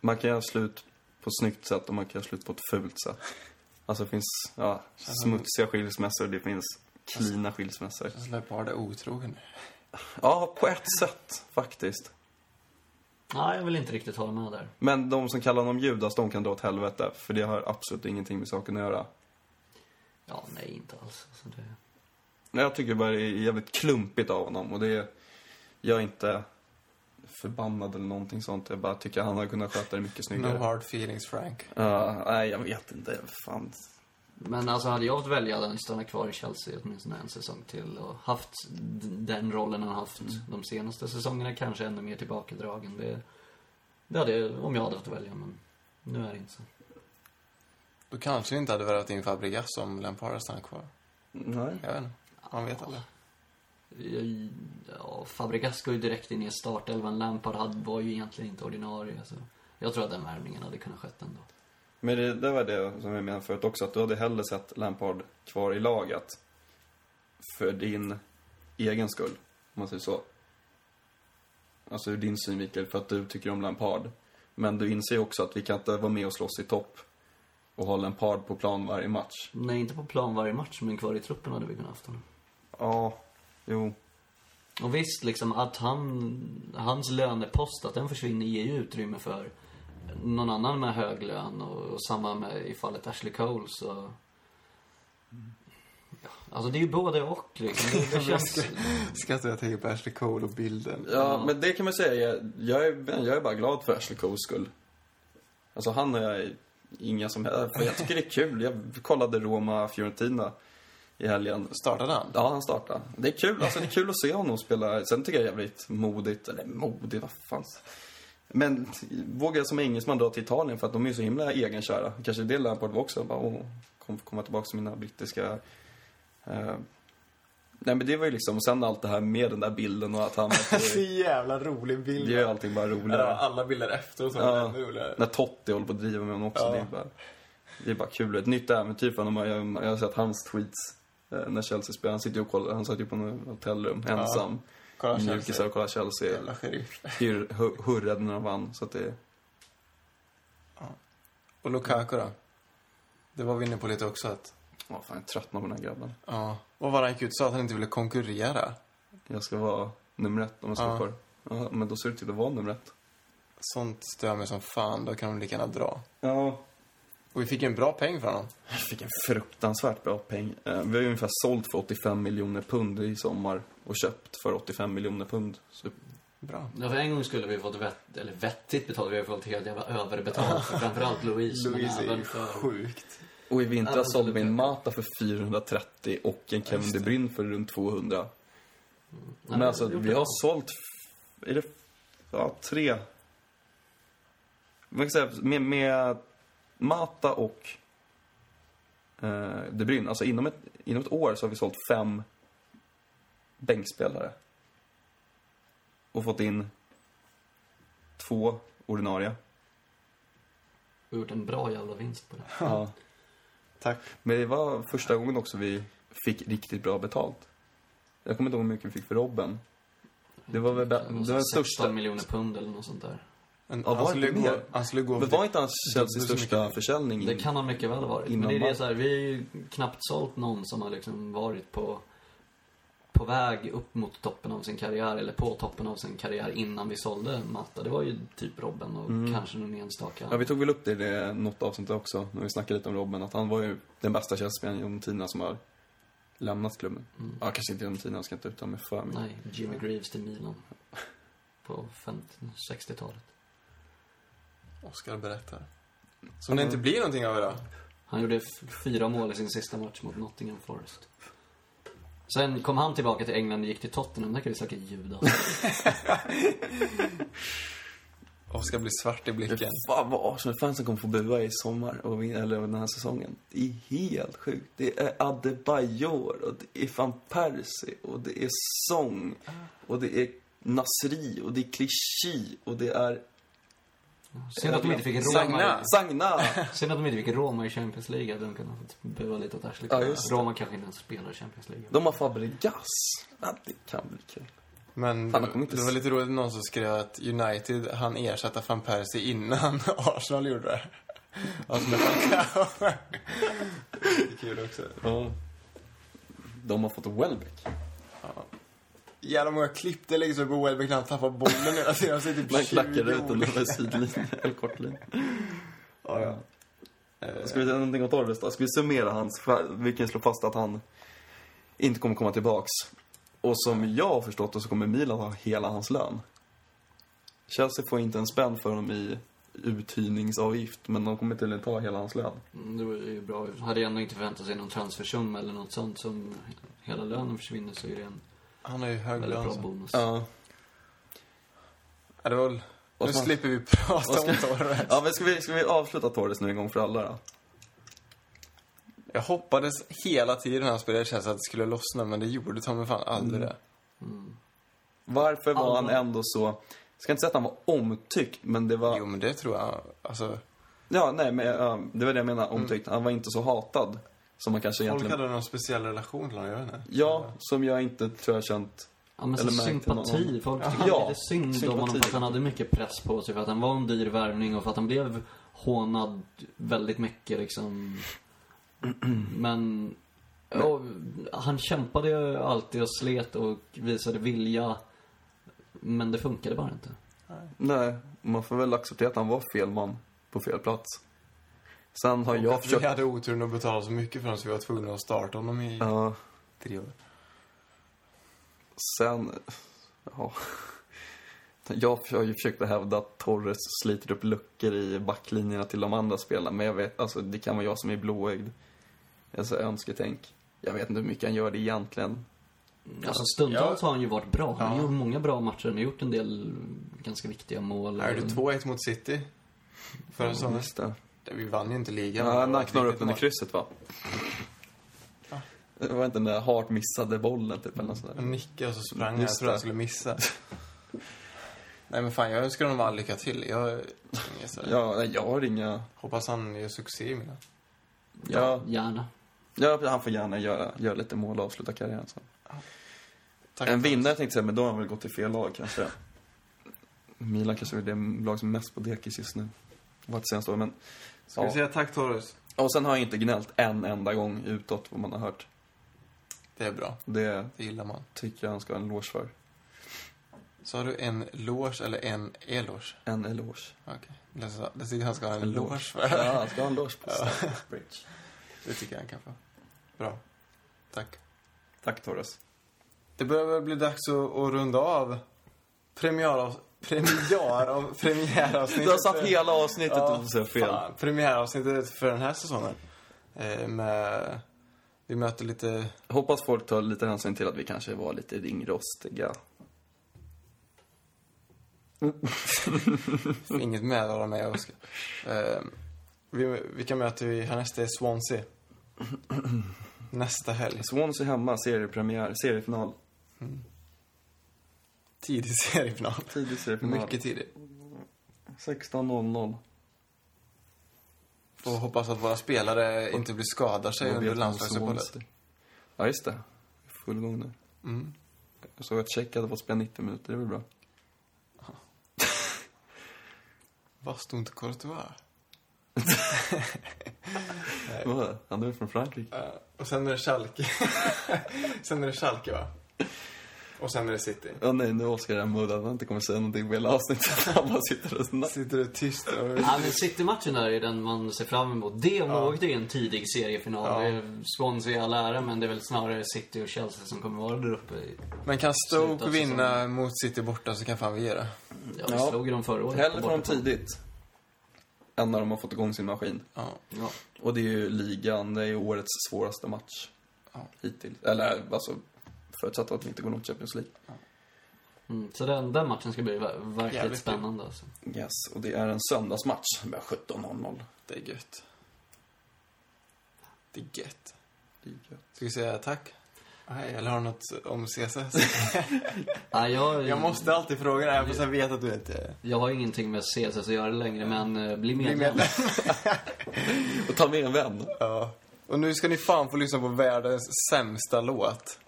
[SPEAKER 3] man kan göra slut på ett snyggt sätt och man kan göra slut på ett fult sätt. Alltså, det finns ja, smutsiga skilsmässor, det finns klina skilsmässor.
[SPEAKER 1] Jag släpper bara det otrogen.
[SPEAKER 3] Ja, på ett sätt faktiskt.
[SPEAKER 2] Nej, jag vill inte riktigt hålla med där.
[SPEAKER 3] Men de som kallar honom Judas, de kan dra åt helvete. För det har absolut ingenting med saken att göra.
[SPEAKER 2] Ja, nej, inte alls. Alltså, det...
[SPEAKER 3] Men Jag tycker bara det är jävligt klumpigt av honom. Och det är, jag är inte förbannad eller någonting sånt. Jag bara tycker han hade kunnat sköta det mycket
[SPEAKER 1] No
[SPEAKER 3] snyggare.
[SPEAKER 1] hard feelings, Frank.
[SPEAKER 3] Ja, nej, jag vet inte. Fan.
[SPEAKER 2] Men alltså hade jag fått välja hade han stannat kvar i Chelsea åtminstone en säsong till och haft d- den rollen han haft de senaste säsongerna. Kanske ännu mer tillbakadragen. Det, det hade jag, om jag hade fått välja, men nu är det inte så.
[SPEAKER 1] Då kanske vi inte hade värvat in Fabregas om Lampard hade stannat kvar.
[SPEAKER 3] Nej.
[SPEAKER 1] Jag vet inte. Man vet aldrig.
[SPEAKER 2] Jag- Ja, Fabregas går ju direkt in i startelvan. Lampard hade- var ju egentligen inte ordinarie. Så jag tror att den värvningen hade kunnat skett ändå.
[SPEAKER 3] Men det, det var det som jag menade förut också, att du hade hellre sett Lampard kvar i laget. För din egen skull, om man säger så. Alltså ur din synvinkel, för att du tycker om Lampard. Men du inser ju också att vi kan inte vara med och slåss i topp och ha Lampard på plan varje match.
[SPEAKER 2] Nej, inte på plan varje match, men kvar i truppen hade vi kunnat haft honom.
[SPEAKER 3] Ja, jo.
[SPEAKER 2] Och visst, liksom att han, hans lönepost, att den försvinner ger ju utrymme för någon annan med hög lön och, och samma med i fallet Ashley Cole så... Mm. Ja, alltså det är ju både och liksom. Det, det känns...
[SPEAKER 1] Skrattar jag tänker på Ashley Cole och bilden.
[SPEAKER 3] Ja, men det kan man säga. Jag- Jag är, jag är bara glad för Ashley Coles skull. Alltså han och jag är inga som helst... för Jag tycker det är kul. Jag kollade Roma-Fiorentina i helgen.
[SPEAKER 1] Startade han?
[SPEAKER 3] Ja, han startade. Det är kul. Alltså det är kul att se honom spela. Sen tycker jag det är jävligt modigt. Eller modigt, vad fan. Men vågar jag som engelsman dra till Italien för att de är så himla egenkära. Kanske det Lampard var också. Bara, åh, kom, komma tillbaka till mina brittiska... Eh. Nej men det var ju liksom, och sen allt det här med den där bilden och att han...
[SPEAKER 1] Så jävla rolig bild.
[SPEAKER 3] Det gör ju allting bara
[SPEAKER 1] Eller
[SPEAKER 3] roligare.
[SPEAKER 1] alla bilder efteråt som var
[SPEAKER 3] Ja,
[SPEAKER 1] ännu roligare.
[SPEAKER 3] när Totti håller på att driva med honom också.
[SPEAKER 1] Ja.
[SPEAKER 3] Det, är bara, det är bara kul. Ett nytt äventyr för honom. Jag, jag har sett hans tweets eh, när Chelsea spelar. Han sitter ju och kollar, han satt ju på något hotellrum ensam.
[SPEAKER 1] Kolla
[SPEAKER 3] Mjukisar
[SPEAKER 1] Chelsea.
[SPEAKER 3] och kollar Chelsea.
[SPEAKER 1] Jävla sheriff.
[SPEAKER 3] Hur, hur, hurrade när de vann. Så att det,
[SPEAKER 1] Och Lukaku då? Det var vi inne på lite också att...
[SPEAKER 3] åh, fan, jag tröttnar på den här grabben.
[SPEAKER 1] Ja. Och vad han gick ut och sa att han inte ville konkurrera.
[SPEAKER 3] Jag ska vara nummer ett om jag ska
[SPEAKER 1] Ja.
[SPEAKER 3] vara kvar. Ja, men då ser det till att vara nummer ett.
[SPEAKER 1] Sånt stör mig som fan. Då kan de lika gärna dra.
[SPEAKER 3] Ja.
[SPEAKER 1] Och vi fick ju en bra peng från honom.
[SPEAKER 3] Jag fick en fruktansvärt bra peng. Eh, Vi har ju ungefär sålt för 85 miljoner pund i sommar och köpt för 85 miljoner pund. Så
[SPEAKER 1] Bra.
[SPEAKER 2] Ja, för en gång skulle vi fått vett, eller vettigt betalt, vi har fått helt jävla överbetalt för framförallt Louise. men
[SPEAKER 1] Louise är
[SPEAKER 2] även
[SPEAKER 1] ju
[SPEAKER 2] för-
[SPEAKER 1] sjukt.
[SPEAKER 3] Och i vintras
[SPEAKER 2] Absolut.
[SPEAKER 3] sålde vi en Mata för 430 och en Kevin De Bruyne för runt 200.
[SPEAKER 2] Nej,
[SPEAKER 3] Men alltså,
[SPEAKER 2] gjort
[SPEAKER 3] vi
[SPEAKER 2] det
[SPEAKER 3] har
[SPEAKER 2] bra.
[SPEAKER 3] sålt... f- Är det... f- Ja, tre... Man kan säga, med, med Mata och eh, De Bruyne, alltså inom ett, inom ett år så har vi sålt fem bänkspelare. Och fått in två ordinarie.
[SPEAKER 2] Vi har gjort en bra jävla vinst på det.
[SPEAKER 3] Ja.
[SPEAKER 1] Tack.
[SPEAKER 3] Men det var första gången också vi fick riktigt bra betalt. Jag kommer inte ihåg hur mycket vi fick för Robben. Det var väl det var den
[SPEAKER 2] 16
[SPEAKER 3] största...
[SPEAKER 2] miljoner pund eller något sånt där.
[SPEAKER 1] En,
[SPEAKER 3] Ja,
[SPEAKER 1] han,
[SPEAKER 3] var det
[SPEAKER 1] skulle
[SPEAKER 3] inte
[SPEAKER 1] gå,
[SPEAKER 3] mer?
[SPEAKER 1] han skulle gå...
[SPEAKER 3] Men var inte hans Chelseas
[SPEAKER 1] Dubbelt så
[SPEAKER 3] största
[SPEAKER 1] mycket.
[SPEAKER 3] försäljning?
[SPEAKER 2] Det kan han mycket väl ha varit. Men
[SPEAKER 3] Innan
[SPEAKER 2] det är det
[SPEAKER 3] match.
[SPEAKER 2] så här, vi har ju knappt sålt någon som har liksom varit på, på väg upp mot toppen av sin karriär, eller på toppen av sin karriär innan vi sålde Matta. Det var ju typ Robben och kanske någon enstaka.
[SPEAKER 3] Mm. Ja, vi tog väl upp det i det- något avsnitt också, när vi snackade lite om Robben, att han var ju den bästa Chelsea-spelaren genom tiderna som har lämnat klubben. Ja, kanske inte genom tiderna, jag ska inte uttala mig för mycket.
[SPEAKER 2] Mm. Nej, Jimmy Greaves till Milan. På 50 60-talet.
[SPEAKER 1] Oskar berättar. Som det inte blir någonting av idag.
[SPEAKER 2] Han gjorde f- fyra mål i sin sista match mot Nottingham Forest. Sen kom han tillbaka till England och gick till Tottenham. Där kan vi söka ljud alltså.
[SPEAKER 1] Oskar blir svart i
[SPEAKER 3] Det
[SPEAKER 1] blicken.
[SPEAKER 3] är fan vad Arsenal-fansen kommer få bua i sommar, och vin- eller den här säsongen. Det är helt sjukt. Det är Adebayor och det är van Persie och det är Song och det är Nasri och det är Clichy och det är
[SPEAKER 2] Synd att de inte fick Roma. i-
[SPEAKER 1] Sagna.
[SPEAKER 3] Sagna.
[SPEAKER 2] Synd att de inte fick Roma i Champions League. Hade de kunnat få bua lite åt Ashley
[SPEAKER 3] Ja,
[SPEAKER 2] Cole.
[SPEAKER 3] just det.
[SPEAKER 2] Roma kanske inte ens spelar i Champions League.
[SPEAKER 3] De har Fabregas. Ja, det kan bli kul.
[SPEAKER 1] Men
[SPEAKER 3] Fan,
[SPEAKER 1] det,
[SPEAKER 3] jag kommer inte
[SPEAKER 1] det var
[SPEAKER 3] s-
[SPEAKER 1] lite roligt någon som skrev att United han ersätta van Persie innan Arsenal gjorde Alltså, det. Arsenal Det är kul också.
[SPEAKER 3] Ja. De har fått Welbeck.
[SPEAKER 1] Jävla många klipp det läggs upp på Welbeck när han tappar bollen hela tiden. Han ser typ
[SPEAKER 3] Man klackar
[SPEAKER 1] 20
[SPEAKER 3] ut den
[SPEAKER 1] olika-
[SPEAKER 3] över sidlinjen, eller Eh. kortlinjen.
[SPEAKER 1] Ja, ja.
[SPEAKER 3] Ska vi säga någonting åt Torres då? Ska vi summera hans, vi kan slå fast att han inte kommer komma tillbaks. Och som jag har förstått det så kommer Milan ha hela hans lön. Chelsea får inte en spänn för honom i uthyrningsavgift, men de kommer tydligen ta hela hans lön.
[SPEAKER 2] Mm, Det var ju bra. Hade jag ändå inte väntat sig någon transfersumma eller något sånt som hela lönen försvinner så är det en
[SPEAKER 1] Han har ju hög
[SPEAKER 2] väldigt
[SPEAKER 1] lön.
[SPEAKER 2] bra
[SPEAKER 1] så.
[SPEAKER 2] bonus.
[SPEAKER 3] Ja.
[SPEAKER 1] Ja, det var väl...
[SPEAKER 3] Vad
[SPEAKER 1] Nu
[SPEAKER 3] fan-
[SPEAKER 1] slipper vi prata om Torres.
[SPEAKER 3] Ja, men ska vi, ska vi avsluta Torres nu en gång för alla då?
[SPEAKER 1] Jag hoppades hela tiden när han spelade Chelsea att det skulle lossna, men det gjorde ta mig fan aldrig det.
[SPEAKER 3] Varför var han
[SPEAKER 2] Alla.
[SPEAKER 3] ändå så... Jag ska inte säga att han var omtyckt, men det var...
[SPEAKER 1] Jo, men det tror jag. Alltså,
[SPEAKER 3] Ja, nej, men ja, det var det jag menade, omtyckt. Han var inte så hatad som man kanske
[SPEAKER 1] folk
[SPEAKER 3] egentligen...
[SPEAKER 1] hade någon speciell relation till honom, jag vet inte.
[SPEAKER 3] Ja, som jag inte tror jag känt.
[SPEAKER 2] Ja, men så
[SPEAKER 3] Eller märkte
[SPEAKER 2] sympati.
[SPEAKER 3] någon.
[SPEAKER 2] Folk
[SPEAKER 3] Ja.
[SPEAKER 2] tycker
[SPEAKER 3] Ja,
[SPEAKER 2] lite synd om honom
[SPEAKER 3] sympati.
[SPEAKER 2] för att han hade mycket press på sig. För att han var en dyr värvning och för att han blev hånad väldigt mycket liksom. Men ja, han kämpade ju alltid och slet och visade vilja. Men det funkade bara inte.
[SPEAKER 3] Nej, man får väl acceptera att han var fel man på fel plats. Sen har
[SPEAKER 1] Och
[SPEAKER 3] jag
[SPEAKER 1] att Vi
[SPEAKER 3] försökt...
[SPEAKER 1] hade oturen att betala så mycket för honom så vi var tvungna att starta honom i
[SPEAKER 3] Ja,
[SPEAKER 1] tre år.
[SPEAKER 3] sen... Ja. Jag har ju försökt att hävda att Torres sliter upp luckor i backlinjerna till de andra spelarna, men jag vet, alltså det kan vara jag som är blåögd. Alltså önsketänk. Jag vet inte hur mycket han gör det egentligen.
[SPEAKER 2] Alltså stundtals
[SPEAKER 1] Ja.
[SPEAKER 2] har han ju varit bra. Han
[SPEAKER 1] Ja.
[SPEAKER 2] har gjort många bra matcher. Han har gjort en del ganska viktiga mål.
[SPEAKER 1] Här är det 2-1 mot City förra säsongen.
[SPEAKER 3] Just det.
[SPEAKER 1] Vi vann ju inte ligan. men
[SPEAKER 3] Mm. Ja,
[SPEAKER 1] det
[SPEAKER 3] när
[SPEAKER 1] var
[SPEAKER 3] han
[SPEAKER 1] ett
[SPEAKER 3] knorrar upp
[SPEAKER 1] riktigt
[SPEAKER 3] under
[SPEAKER 1] mål.
[SPEAKER 3] krysset va?
[SPEAKER 1] Ja.
[SPEAKER 3] Det var inte när Hart missade bollen typ eller något sånt där.
[SPEAKER 1] Han nickade och så sprang han. Jag
[SPEAKER 3] Just
[SPEAKER 1] trodde
[SPEAKER 3] det.
[SPEAKER 1] han skulle missa. Nej, men fan, jag önskar honom all lycka till. Jag, jag så-
[SPEAKER 3] Ja, nej, jag har inga...
[SPEAKER 1] hoppas han gör succé i Milan.
[SPEAKER 3] Ja,
[SPEAKER 2] Gärna.
[SPEAKER 3] ja, han får gärna göra, göra lite mål och avsluta karriären sen.
[SPEAKER 1] Tack.
[SPEAKER 3] En vinnare tänkte jag säga, men då har han väl gått till fel lag kanske. Milan kanske är det lag som är mest på dekis just nu. Var inte senast då, men...
[SPEAKER 1] Ska vi
[SPEAKER 3] Ja.
[SPEAKER 1] säga tack, Torres?
[SPEAKER 3] Och sen har jag inte gnällt en enda gång utåt vad man har hört.
[SPEAKER 1] Det är bra.
[SPEAKER 3] Det
[SPEAKER 1] Det gillar man.
[SPEAKER 3] tycker jag han ska ha en eloge för.
[SPEAKER 1] Så har du en loge eller en eloge?
[SPEAKER 3] En eloge.
[SPEAKER 1] Okej. Det så- Det tycker jag han ska ha en
[SPEAKER 3] En
[SPEAKER 1] loge
[SPEAKER 3] loge.
[SPEAKER 1] för.
[SPEAKER 3] Ja, han ska ha en eloge på
[SPEAKER 1] Ja.
[SPEAKER 3] Stamford Bridge.
[SPEAKER 1] Det tycker jag han kan få. Bra. Tack.
[SPEAKER 3] Tack Torres.
[SPEAKER 1] Det börjar väl bli dags att, att runda av premiärav, premiär, av, premiäravsnittet.
[SPEAKER 3] Du har satt hela avsnittet
[SPEAKER 1] Ja,
[SPEAKER 3] och säger fel.
[SPEAKER 1] Fan, premiäravsnittet för den här säsongen. Eh, med, vi möter lite...
[SPEAKER 3] Hoppas folk tar lite hänsyn till att vi kanske var lite ringrostiga.
[SPEAKER 1] Inget med av mig och Oskar. Eh, vi, vilka möter vi härnäst? Det är Swansea. Nästa helg.
[SPEAKER 3] Swansea hemma, seriepremiär, seriefinal.
[SPEAKER 1] Tidig seriefinal.
[SPEAKER 3] Tidig seriefinal.
[SPEAKER 1] Mycket tidig.
[SPEAKER 3] 16.00.
[SPEAKER 1] Får hoppas att våra spelare inte blir skadade sig
[SPEAKER 3] Vad vet
[SPEAKER 1] under
[SPEAKER 3] man om
[SPEAKER 1] landslagsuppehållet.
[SPEAKER 3] Swansea? Ja, just det. Full gång nu.
[SPEAKER 1] Mm.
[SPEAKER 3] Jag såg att Tjeck hade fått spela 90 minuter, det var bra.
[SPEAKER 1] Vad stod inte Courtois?
[SPEAKER 3] Vad? Han är väl från Frankrike?
[SPEAKER 1] Eh, och sen är det Schalke. sen är det Schalke, va? Och sen är det City.
[SPEAKER 3] Ja, nej, nu är Oskar den muddad. Han inte kommer säga någonting på hela avsnittet. Han bara sitter och snackar.
[SPEAKER 1] Sitter du tyst och...
[SPEAKER 2] Ja, men City-matchen där är den man ser fram emot. Det om något är en tidig seriefinal.
[SPEAKER 1] Ja.
[SPEAKER 2] Det är Swansea i all ära, men det är väl snarare City och Chelsea som kommer vara där uppe. i-
[SPEAKER 1] Men kan Stoke
[SPEAKER 2] Sluta
[SPEAKER 1] vinna mot City borta så kan fan vi göra.
[SPEAKER 2] Ja, vi
[SPEAKER 3] Ja.
[SPEAKER 2] slog ju dem förra året.
[SPEAKER 3] Hellre
[SPEAKER 2] på
[SPEAKER 3] från
[SPEAKER 2] bortaplan.
[SPEAKER 3] tidigt. Än när de har fått igång sin maskin.
[SPEAKER 1] Ja.
[SPEAKER 2] Ja.
[SPEAKER 3] Och det är ju ligan, det är ju årets svåraste match.
[SPEAKER 1] Ja.
[SPEAKER 3] Hittills. Eller alltså, förutsatt att vi inte går mot Champions League.
[SPEAKER 2] Mm, så den, den matchen ska bli ver- verkligt
[SPEAKER 1] Jävligt kul.
[SPEAKER 2] spännande alltså.
[SPEAKER 3] Yes, och det är en söndagsmatch. Den börjar 17.00.
[SPEAKER 1] Det är gött. Det är gött.
[SPEAKER 3] Det är gött.
[SPEAKER 1] Ska vi säga tack? Nej, eller har du något om CSS?
[SPEAKER 2] Ja, jag,
[SPEAKER 1] jag måste alltid fråga det här fast jag vet att du inte...
[SPEAKER 2] jag har ingenting med CSS att göra längre, men eh, bli
[SPEAKER 1] Bli
[SPEAKER 2] medlem.
[SPEAKER 1] medlem.
[SPEAKER 3] Och ta med en vän.
[SPEAKER 1] Ja. Och nu ska ni fan få lyssna på världens sämsta låt.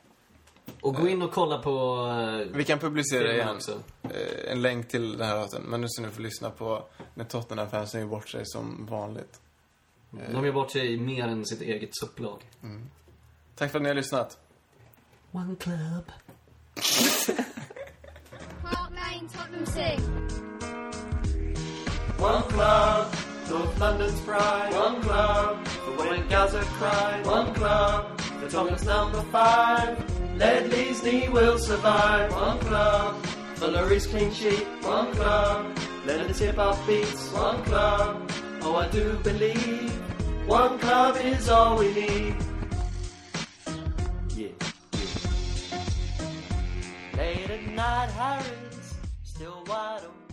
[SPEAKER 2] Och gå in och kolla på... eh,
[SPEAKER 1] Vi kan publicera
[SPEAKER 2] filmen
[SPEAKER 1] igen
[SPEAKER 2] också.
[SPEAKER 1] eh, en länk till den här låten. Men nu ska ni få lyssna på när Tottenham-fansen gör bort sig som vanligt. Eh.
[SPEAKER 2] De gör bort sig mer än sitt eget supplag.
[SPEAKER 1] Tack för att ni har lyssnat.
[SPEAKER 2] One club.
[SPEAKER 4] Park Lane, Tottenham Six.
[SPEAKER 5] One club, North London's pride. One club, for when in Gaza cried. One club, for Thomas number five. Ledley's knee will survive. One club, for Lurie's clean sheet. One club, Learning to hip hop beats. One club, oh I do believe. One club is all we need. Yeah, yeah. Late at night, Harry's still wide open.